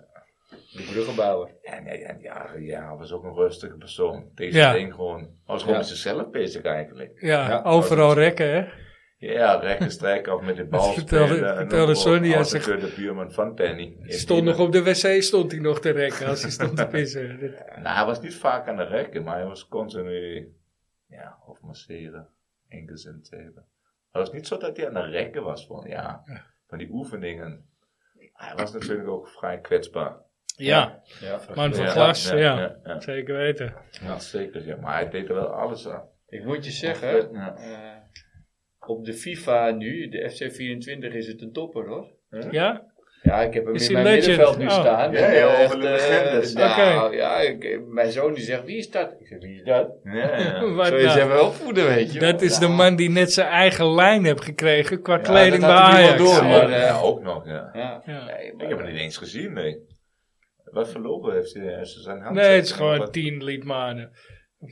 C: De bruggenbouwer.
D: En, en, en ja, ja, hij was ook een rustige persoon. Deze
B: Ja.
D: ding gewoon, hij was gewoon
A: Ja.
D: met zichzelf bezig eigenlijk.
B: Ja,
A: Ja,
B: overal rekken, hè?
D: Ja, rechtstreek of met de bal
B: Dat vertelde-
D: spelen. en
B: vertelde
D: ook
B: Sonny, hij
D: Als de
B: zegt-
D: kudde buurman van Penny.
B: Stond nog op de wc, stond hij nog te rekken als hij stond te pissen. Dat-
D: Nou, hij was niet vaak aan de rekken, maar hij was continu, ja, of masseren, enkels en zeven. Het was niet zo dat hij aan de rekken was van, ja, van die oefeningen. Hij was natuurlijk ook vrij kwetsbaar.
B: Ja,
C: Ja.
B: man van
D: Ja,
B: glas, ja.
D: ja, ja.
B: Zeker weten.
D: Ja, zeker, ja. Maar hij deed er wel alles aan.
C: Ik moet je zeggen,
D: Ja.
C: eh, op de FIFA nu, de FC24, is het een topper hoor.
B: Ja?
C: Ja, ik heb hem
B: Is
C: in
B: hij
C: mijn
B: legend?
C: middenveld nu
B: Oh.
C: staan.
D: Ja,
C: En,
D: ja,
C: eh,
D: over de legendes.
C: eh, nou,
B: Oké.
C: ja, ik- mijn zoon die zegt, wie is dat? Ik zeg, wie is dat?
D: Ja, ja.
B: Wat
C: Zo is
B: nou?
C: hij wel opvoeden, weet je.
B: Dat is de
C: Ja.
B: man die net zijn eigen lijn heeft gekregen qua
C: Ja,
B: kleding bij
C: dat had hij
B: Ajax.
C: wel door,
B: ja.
C: maar-
D: Ja, ja, ook nog, ja.
C: Ja.
B: Ja.
C: Nee, maar-
D: Ik heb hem niet eens gezien, nee. Wat verlopen heeft hij? Heeft hij zijn hand?
B: Nee, het is gewoon tien liedmanen.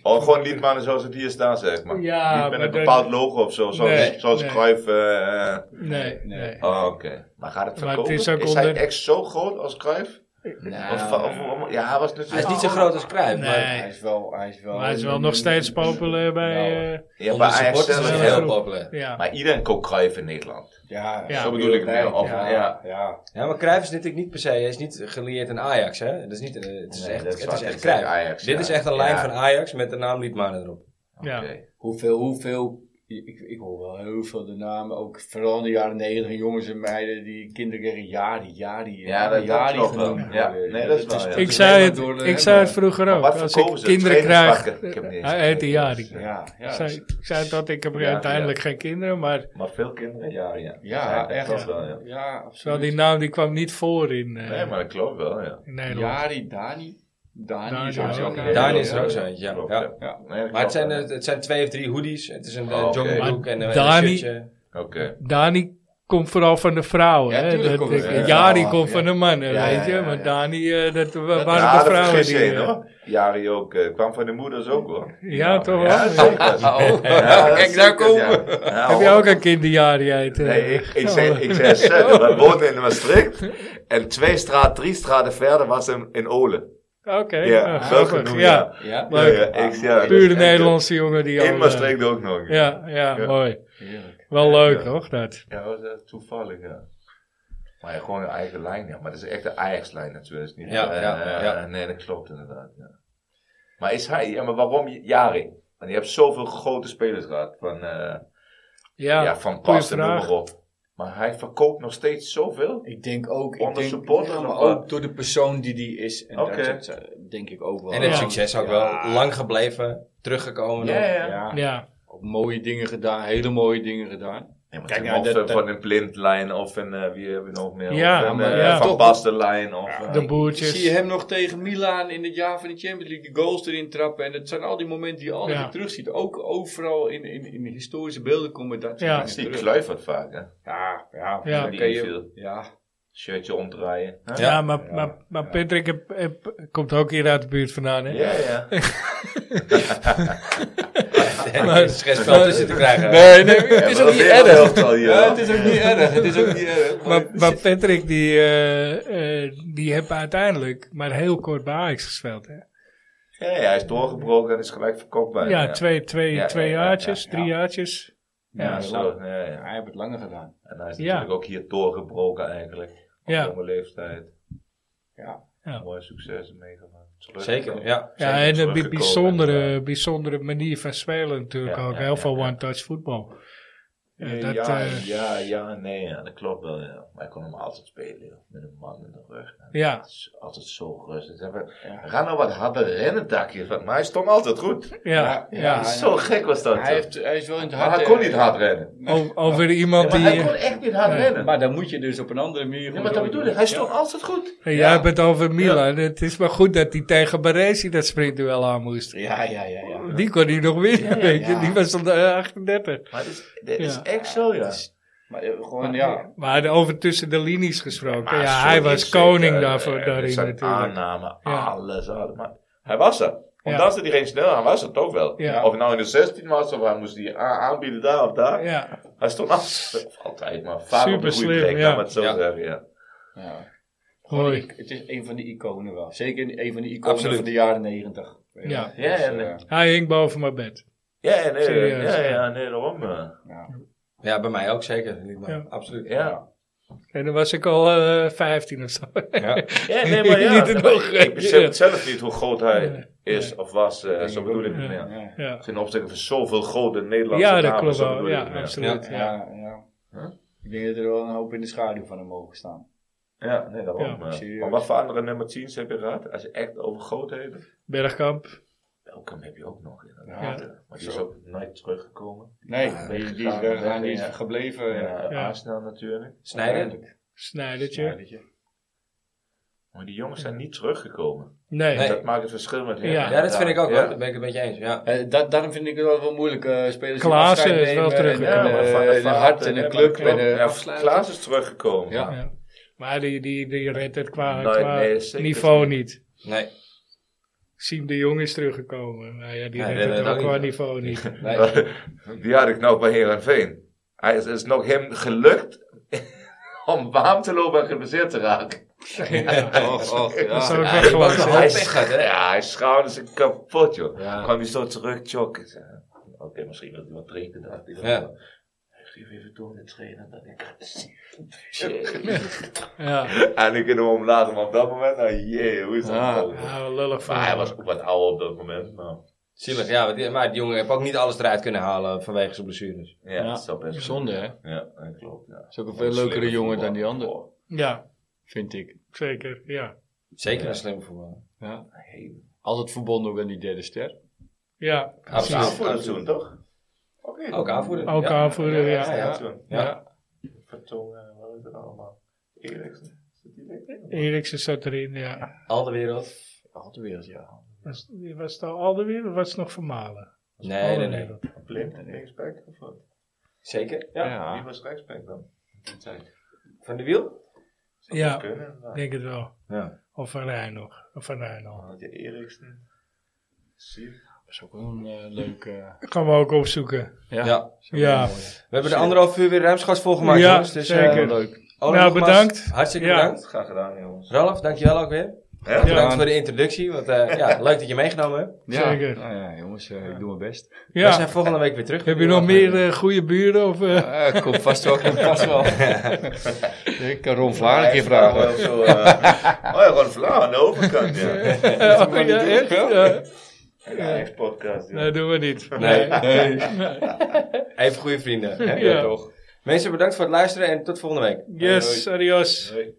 D: Oh, gewoon liedmanen zoals het hier staat, zeg maar.
B: Ja,
D: niet met
B: maar
D: een
B: dat-
D: bepaald logo of zo, zoals,
B: Nee,
D: zoals
B: nee.
D: Cruijff... eh, eh,
B: Nee, nee.
D: oh, oké. Maar gaat het
B: Maar het
D: verkopen?
B: is
D: is,
B: ook
D: hij
B: onder-
D: echt zo groot als Cruijff?
C: Nou,
D: Of, of- of- ja, hij was natuurlijk...
A: Hij is niet zo groot als Cruijff,
B: Nee.
A: maar
C: hij is wel, hij is wel...
B: Maar hij is wel nog steeds populair bij...
C: Nou,
B: eh,
D: Ja,
A: onder
D: bij
A: de
D: Ajax
A: supporters
D: zelf
A: is
B: wel
A: hij
D: heel
A: heel
B: goed.
A: populair.
B: ja.
D: Maar iedereen koopt Cruijff in Nederland.
C: Ja,
B: Ja.
D: Zo bedoel ik het meer. Of,
C: Ja,
D: ja.
C: ja. ja.
A: Ja, maar Cruijff is natuurlijk niet per se, hij is niet geleerd aan Ajax, hè? Dat is niet, eh, het is
D: Nee,
A: echt,
D: dat is
A: het
D: wat
A: is echt
D: ik zeg,
A: Cruijff.
D: Ajax,
A: Dit
D: ja.
A: is echt een lijn
D: Ja.
A: van Ajax met de naam Liedmanen erop.
B: Ja.
D: Oké.
C: Hoeveel, hoeveel... Ik, ik hoor wel heel veel de namen, ook vooral in de jaren negentig, jongens en meiden die kinderen kregen Jari, Jari, eh,
D: Ja, dat- dat
C: Jari
D: klopt wel.
C: genoemd
D: Ja.
C: worden.
D: Nee, dat is wel, ja.
B: Ik
D: is
B: zei het,
C: door de-
B: ik zei het
C: ja.
B: vroeger
D: Maar
B: ook.
D: wat
B: Als ik
D: verkopen ze?
B: kinderen krijg...
D: Trainingspakken? Ik heb niet eens
B: Hij heet
D: gekeken.
B: Jari.
C: Ja, ja,
B: Ik
C: dat
B: zei-
C: is-
B: Ik zei dat ik heb
D: Ja,
B: uiteindelijk geen kinderen, maar
D: Maar veel kinderen, ja. Ja,
C: ja,
D: dat
C: echt.
D: klopt wel, ja.
C: Ja,
B: zo
C: absoluut.
B: die naam die kwam niet voor in, eh,
D: Nee, maar dat klopt wel, ja.
B: in Nederland.
C: Jari, Dani. Dani is
B: Dani
C: ook
B: ook,
C: zo.
B: ja.
A: Dani is er ook zo eentje, ja.
D: Klopt,
A: Ja.
D: ja.
C: Ja.
D: Nee, dat
A: Maar het
D: klopt
A: zijn,
D: wel,
A: eh, het zijn twee of drie hoodies. Het is een
D: Oh,
A: uh,
D: oké.
A: joggingbroek en eh,
B: Dani-
A: een shirtje.
D: ja. Oké.
B: Dani komt vooral van de vrouwen.
C: Ja,
B: hè?
C: tuurlijk
B: Dat-
C: komt het van de
B: Jari
C: vrouwen,
B: komt
C: ja.
B: van de mannen,
C: Ja,
B: weet je.
C: ja, ja,
B: maar
C: ja.
B: Dani, eh, dat wa- waren
D: Ja,
B: de
D: dat
B: vrouwen
D: vergis je
B: die...
D: in,
B: eh,
D: hoor. Jari ook, eh, kwam van de moeders ook hoor.
B: Ja, toch
D: Ja,
B: wel?
D: zeker.
C: Oh,
D: Ja, dat
C: kijk,
D: is
C: daar
D: zeker,
C: komen
D: ja.
C: we.
D: Ja,
B: Heb jij
D: hoor.
B: ook een kind die Jari heet? eh?
D: Nou, Nee, ik, ik zei, ik zei Zelle, we woonden in Maastricht. En twee straat, drie straten verder was hem in Olen.
B: Oké,
D: Ja,
B: ah,
D: zo
B: grappig,
D: genoemd,
B: ja.
D: ja.
C: Ja,
D: Ja,
B: Leuk.
D: ja, ik- ja,
B: Puur de
D: ik-
B: Nederlandse jongen die al...
D: eh, In
B: eh,
D: Maastricht ook nog.
B: Ja, ja,
D: Ja.
B: mooi.
C: Heerlijk.
B: Wel leuk,
D: Ja.
B: toch? Dat.
D: Ja, dat was eh, toevallig, ja. Maar ja, gewoon een eigen lijn, ja. Maar dat is echt de Ajax-lijn natuurlijk. Niet,
A: Ja,
D: eh,
A: ja,
D: eh,
A: ja.
D: Nee, dat klopt inderdaad, ja. Maar is hij, ja, maar waarom J- Jari? Want je hebt zoveel grote spelers gehad. Van, eh
B: Ja,
D: ja, van Pas en noem
B: vraag.
D: maar op. Maar hij verkoopt nog steeds zoveel.
C: Ik denk ook... ik
D: Onder
C: denk-
D: supporters
C: ja, maar
D: of wat?
C: ook door de persoon die die is. En
D: Oké.
C: dat soort, eh, dat denk ik ook wel.
A: En het
B: Ja.
A: succes ook
C: Ja.
A: wel. Lang gebleven, teruggekomen.
C: Ja, ja.
B: Ja.
C: Ja.
B: ja.
E: Ook mooie dingen gedaan, hele mooie dingen gedaan.
D: Nee, maar
C: Kijk,
D: Kijk,
C: nou,
D: of
C: dat-
D: eh,
C: dat-
D: van een blindlijn of een, eh, wie hebben we nog meer?
B: Ja,
D: of een,
E: maar
D: eh,
B: ja.
D: Van
E: Toch-
D: Bastenlijn of... eh,
B: De
E: Zie je
B: boertjes.
E: hem nog tegen Milaan in het jaar van de Champions League de goals erin trappen. En dat zijn al die momenten die je altijd
B: Ja.
E: weer terugziet. Ook overal in, in, in historische beelden komen dat
B: Ja.
E: soort
D: dat
E: dingen
D: is die
E: terug.
D: kluivert vaak, hè?
C: Ja, ja.
B: Ja.
D: Die
E: Dan kan je-
D: inviel.
E: ja.
D: Shirtje omdraaien. hè?
B: Ja, maar, maar, maar Patrick heb- heb- komt ook hier uit de buurt vandaan, hè?
D: Ja, ja.
A: En het stressveld tussen te krijgen.
E: Nee, nee, het is
D: Ja,
E: ook niet
D: wel heel
E: erg.
D: elftal hier.
E: Ja, het is ook niet erg. Het is ook niet erg.
B: Maar, maar Patrick, die, eh, eh, die heeft uiteindelijk maar heel kort bij Ajax gespeeld, hè?
D: Ja, ja, hij is doorgebroken en is gelijk verkocht bijna.
B: Ja, twee, twee,
D: Ja,
B: twee
D: ja, ja,
B: jaartjes,
D: ja,
B: drie jaartjes.
D: Ja,
B: Ja,
D: zo. Ja, ja.
C: Hij heeft het langer gedaan.
D: En hij is
B: Ja.
D: natuurlijk ook hier doorgebroken eigenlijk. Op
B: Ja.
D: jonge leeftijd.
C: Ja.
B: Ja.
D: Mooi succes meegemaakt. Terug-
A: Zeker, ja.
B: Ja, en een bi-
D: teruggekomen.
B: bijzondere, bijzondere manier van spelen natuurlijk
D: eh, Ja,
B: ook.
D: ja,
B: heel
D: ja,
B: veel
D: ja.
B: one-touch voetbal. Ja,
D: Eh,
B: dat,
D: ja,
B: eh,
D: ja, ja, nee, ja, dat klopt wel. Ja. Maar ik kon hem altijd spelen, joh. met een man in de rug. En
B: Ja.
D: het is altijd zo rustig. Hij werd- Ga nou wat harder rennen, dakje. Maar hij stond altijd goed.
B: ja,
C: ja,
B: ja.
C: ja.
D: zo gek was dat.
E: hij,
D: joh.
E: heeft, hij is wel in het
D: maar
E: hart. eh,
D: hij kon niet hard rennen.
B: O- Over iemand
D: maar
B: die... eh,
D: hij kon echt niet hard
B: Nee.
D: rennen.
C: Maar dan moet je dus op een andere manier...
D: ja, maar dat bedoel ik. Hij stond altijd goed.
B: Hey, Jij hebt het over Milan. Het is maar goed dat hij tegen Baresi dat sprintduel aan moest.
C: Ja, ja, ja. ja.
B: Die kon hij nog winnen,
D: ja,
B: weet je.
D: ja.
B: Die was al eh, 38.
D: Maar dit is, dit is
B: Ja.
D: echt zo, ja.
C: Maar eh, gewoon, ja.
B: Maar over tussen de linies gesproken.
D: Maar
B: ja,
D: zo
B: hij was
D: inzicht,
B: koning
D: eh,
B: daarvoor,
D: eh,
B: daarin
D: zijn
B: natuurlijk.
D: aanname,
B: Ja.
D: alles, alles. Maar hij was er.
B: Ja.
D: Ondanks dat hij geen snel hij was het ook wel.
B: Ja.
D: Of het nou in de 16 was, of hij moest die a- aanbieden daar of daar.
B: Ja,
D: Hij stond altijd, of altijd maar vaak op de goede
B: Superslim,
D: plek,
B: ja.
D: laat maar het zo
A: Ja.
D: zeggen. Ja.
C: ja.
B: mooi.
C: Het is een van de iconen wel. Zeker een van de iconen
A: Absoluut.
C: van de jaren negentig.
B: Ja.
D: Ja,
C: Dus,
D: ja,
C: eh,
D: nee.
B: Hij hing boven mijn bed.
D: Ja, nee,
B: Serieus,
D: ja,
B: ja.
D: ja, nee, daarom. eh.
A: Ja, bij mij ook zeker. Niet maar-
B: Ja.
A: Absoluut.
D: Ja.
B: En dan was ik al eh 15 of zo.
A: Ja.
D: ja, nee, maar ja.
B: Niet
D: nee,
B: te
D: maar
B: nog,
D: ik- ik besef
B: ja.
D: het zelf niet hoe groot
B: Nee.
D: hij is of was, eh, zo bedoel ik het
B: Ja.
D: meer.
C: Ja,
B: ja.
D: Ten opzichte van zoveel grote Nederlandse
B: ja, dat
D: namen,
B: klopt
D: zo
B: wel.
D: bedoel ik
B: Ja,
D: het meer.
B: absoluut.
C: ja.
B: Ja,
C: ja.
D: Huh?
C: Ik denk dat er wel een hoop in de schaduw van hem mogen staan.
D: Ja, nee, daarom.
B: Ja,
D: eh.
C: serieus.
D: maar wat voor andere nummer 10's heb je gehad? Als je echt over grootheden.
B: Bergkamp.
D: Belkum heb je ook nog
B: Ja.
D: inderdaad. Ja. Maar die is ook nooit teruggekomen.
C: Nee,
D: Ja,
C: die, die is
D: weggegaan,
C: weggegaan, die is
D: weggegaan.
C: gebleven.
D: Ja,
C: Ja.
B: Ja.
D: Arsenal natuurlijk.
A: Snijden?
C: Uiteindelijk. Ja,
B: Snijdertje.
C: weet je.
D: Maar die jongens zijn niet teruggekomen.
B: Nee.
D: En
A: Nee.
D: Dat maakt het verschil met hen.
B: Ja.
A: Ja, dat vind ik ook wel.
D: Ja.
A: Dat ben ik het met je eens. Ja.
C: Eh, dat, daarom vind ik het wel wel moeilijk. eh spelers die
B: Klaassen
C: afscheid
B: is wel
C: nemen en,
B: teruggekomen.
C: eh,
D: Ja, maar Van der
C: en een
D: Vaart
C: hart en
D: en
C: een club.
D: Van
C: En,
D: der
C: eh,
D: Ja, Klaas is teruggekomen.
C: Ja.
B: Ja. Maar die, die, die redt het qua,
D: Nee,
B: qua
D: nee, zeker
B: niveau
D: niet.
B: niet.
A: Nee.
B: Siem de Jong is teruggekomen. Nou ja, die
A: Hij
B: redt
A: redde
B: het
A: het
B: ook
A: ook
B: qua
A: niet.
B: niveau niet.
A: nee.
D: Die had ik nog bij Herenveen. Hij is, is nog hem gelukt om warm te lopen en geblesseerd te raken.
B: ja.
E: Och, och,
B: Dat zou
E: ja.
B: ik
A: Ja,
B: wel
A: die was
B: gewoon zeggen.
A: nog-
D: hij,
A: pech gehad, hè?
D: ja, hij schouwde zich kapot, joh.
E: Ja.
D: Kwam hij zo terug, chokken. Ik zei, Oké, misschien wil hij wat drinken. dacht ik.
A: Ja.
D: Geef even door de trainer. Dat ik...
B: Ja.
D: En ik kunnen hem omlaag, maar op dat moment, nou jee, hoe is dat?
E: Ah.
D: mogelijk?
B: Ja, wel lullig van
D: Maar hij
B: hem.
D: was ook wat ouder op dat moment. Maar,
A: Zielig, ja. want die- Maar die jongen heeft ook niet alles eruit kunnen halen vanwege zijn blessures.
D: ja,
E: Ja.
D: dat zou best
E: Zonde, hè?
D: Ja, dat klopt. Ja.
E: Is ook een veel leukere jongen dan die ander,
B: Ja,
E: vind ik.
B: zeker. Ja.
A: Zeker een slimme voetballer.
E: Ja. Altijd verbonden ook aan die derde ster.
B: Ja,
D: Als
A: Absoluut.
D: aanvoerder toen, toch? Oké.
A: Ook aanvoerder.
B: ook
D: Ja.
B: aanvoerder. Ja, ja,
D: toen.
A: Ja.
D: Vertongen, wat is het allemaal? Eriksen. Zit die lekker?
B: Eriksen zat erin, ja.
A: Al de wereld.
E: Altijd weer, ja.
B: Was, was het al Alderweer of was het nog Vermalen?
A: Nee, nee, nee.
D: Blind en rechtsback of wat?
A: Zeker.
D: Ja.
E: Ja.
D: Wie was rechtsback dan? Die tijd.
A: Van de wiel?
D: Zou
B: Ja.
D: best kunnen, inderdaad.
B: Ik denk het wel.
A: Ja.
B: Of Van Rijn nog. Of Van Rijn
D: Dan
B: al.
D: had je Eriksen. Zie.
E: Dat is ook wel een eh, leuk... eh,
B: Gaan we ook opzoeken.
E: ja.
A: Ja.
E: Is ook
B: Ja.
E: wel mooi.
A: We hebben de anderhalf uur weer ruimschats volgemaakt,
B: Ja,
A: jongens. Dus, eh,
B: zeker.
E: Leuk.
A: Olaf,
B: Nou,
A: nogmaals,
B: bedankt.
A: Hartstikke
B: Ja.
D: Dat
A: bedankt.
D: is graag gedaan, jongens.
A: Ralf, dankjewel ook weer.
D: Ja.
A: Bedankt voor de introductie. Want, eh, ja, leuk dat je meegenomen hebt.
E: Ja.
B: Zeker.
E: Nou ja, jongens, eh, ik doe mijn best.
A: We
B: Ja.
A: zijn volgende week weer terug.
B: Heb je nog meer eh, goede buren? Of, eh?
E: Eh, kom vast wel, kom vast wel. ik kan Ron Vlaar een keer vragen.
D: Zo, eh, oh ja, Ron Vlaar aan de overkant, ja.
B: oh, ja, echt? Ja.
D: En de eigen podcast, ja.
B: Nee, doen we niet.
A: Nee.
E: Hey.
A: Even goede vrienden. hè?
B: Ja.
E: toch.
A: Mensen, bedankt voor het luisteren en tot volgende week.
B: Yes, adios.
D: Hoi.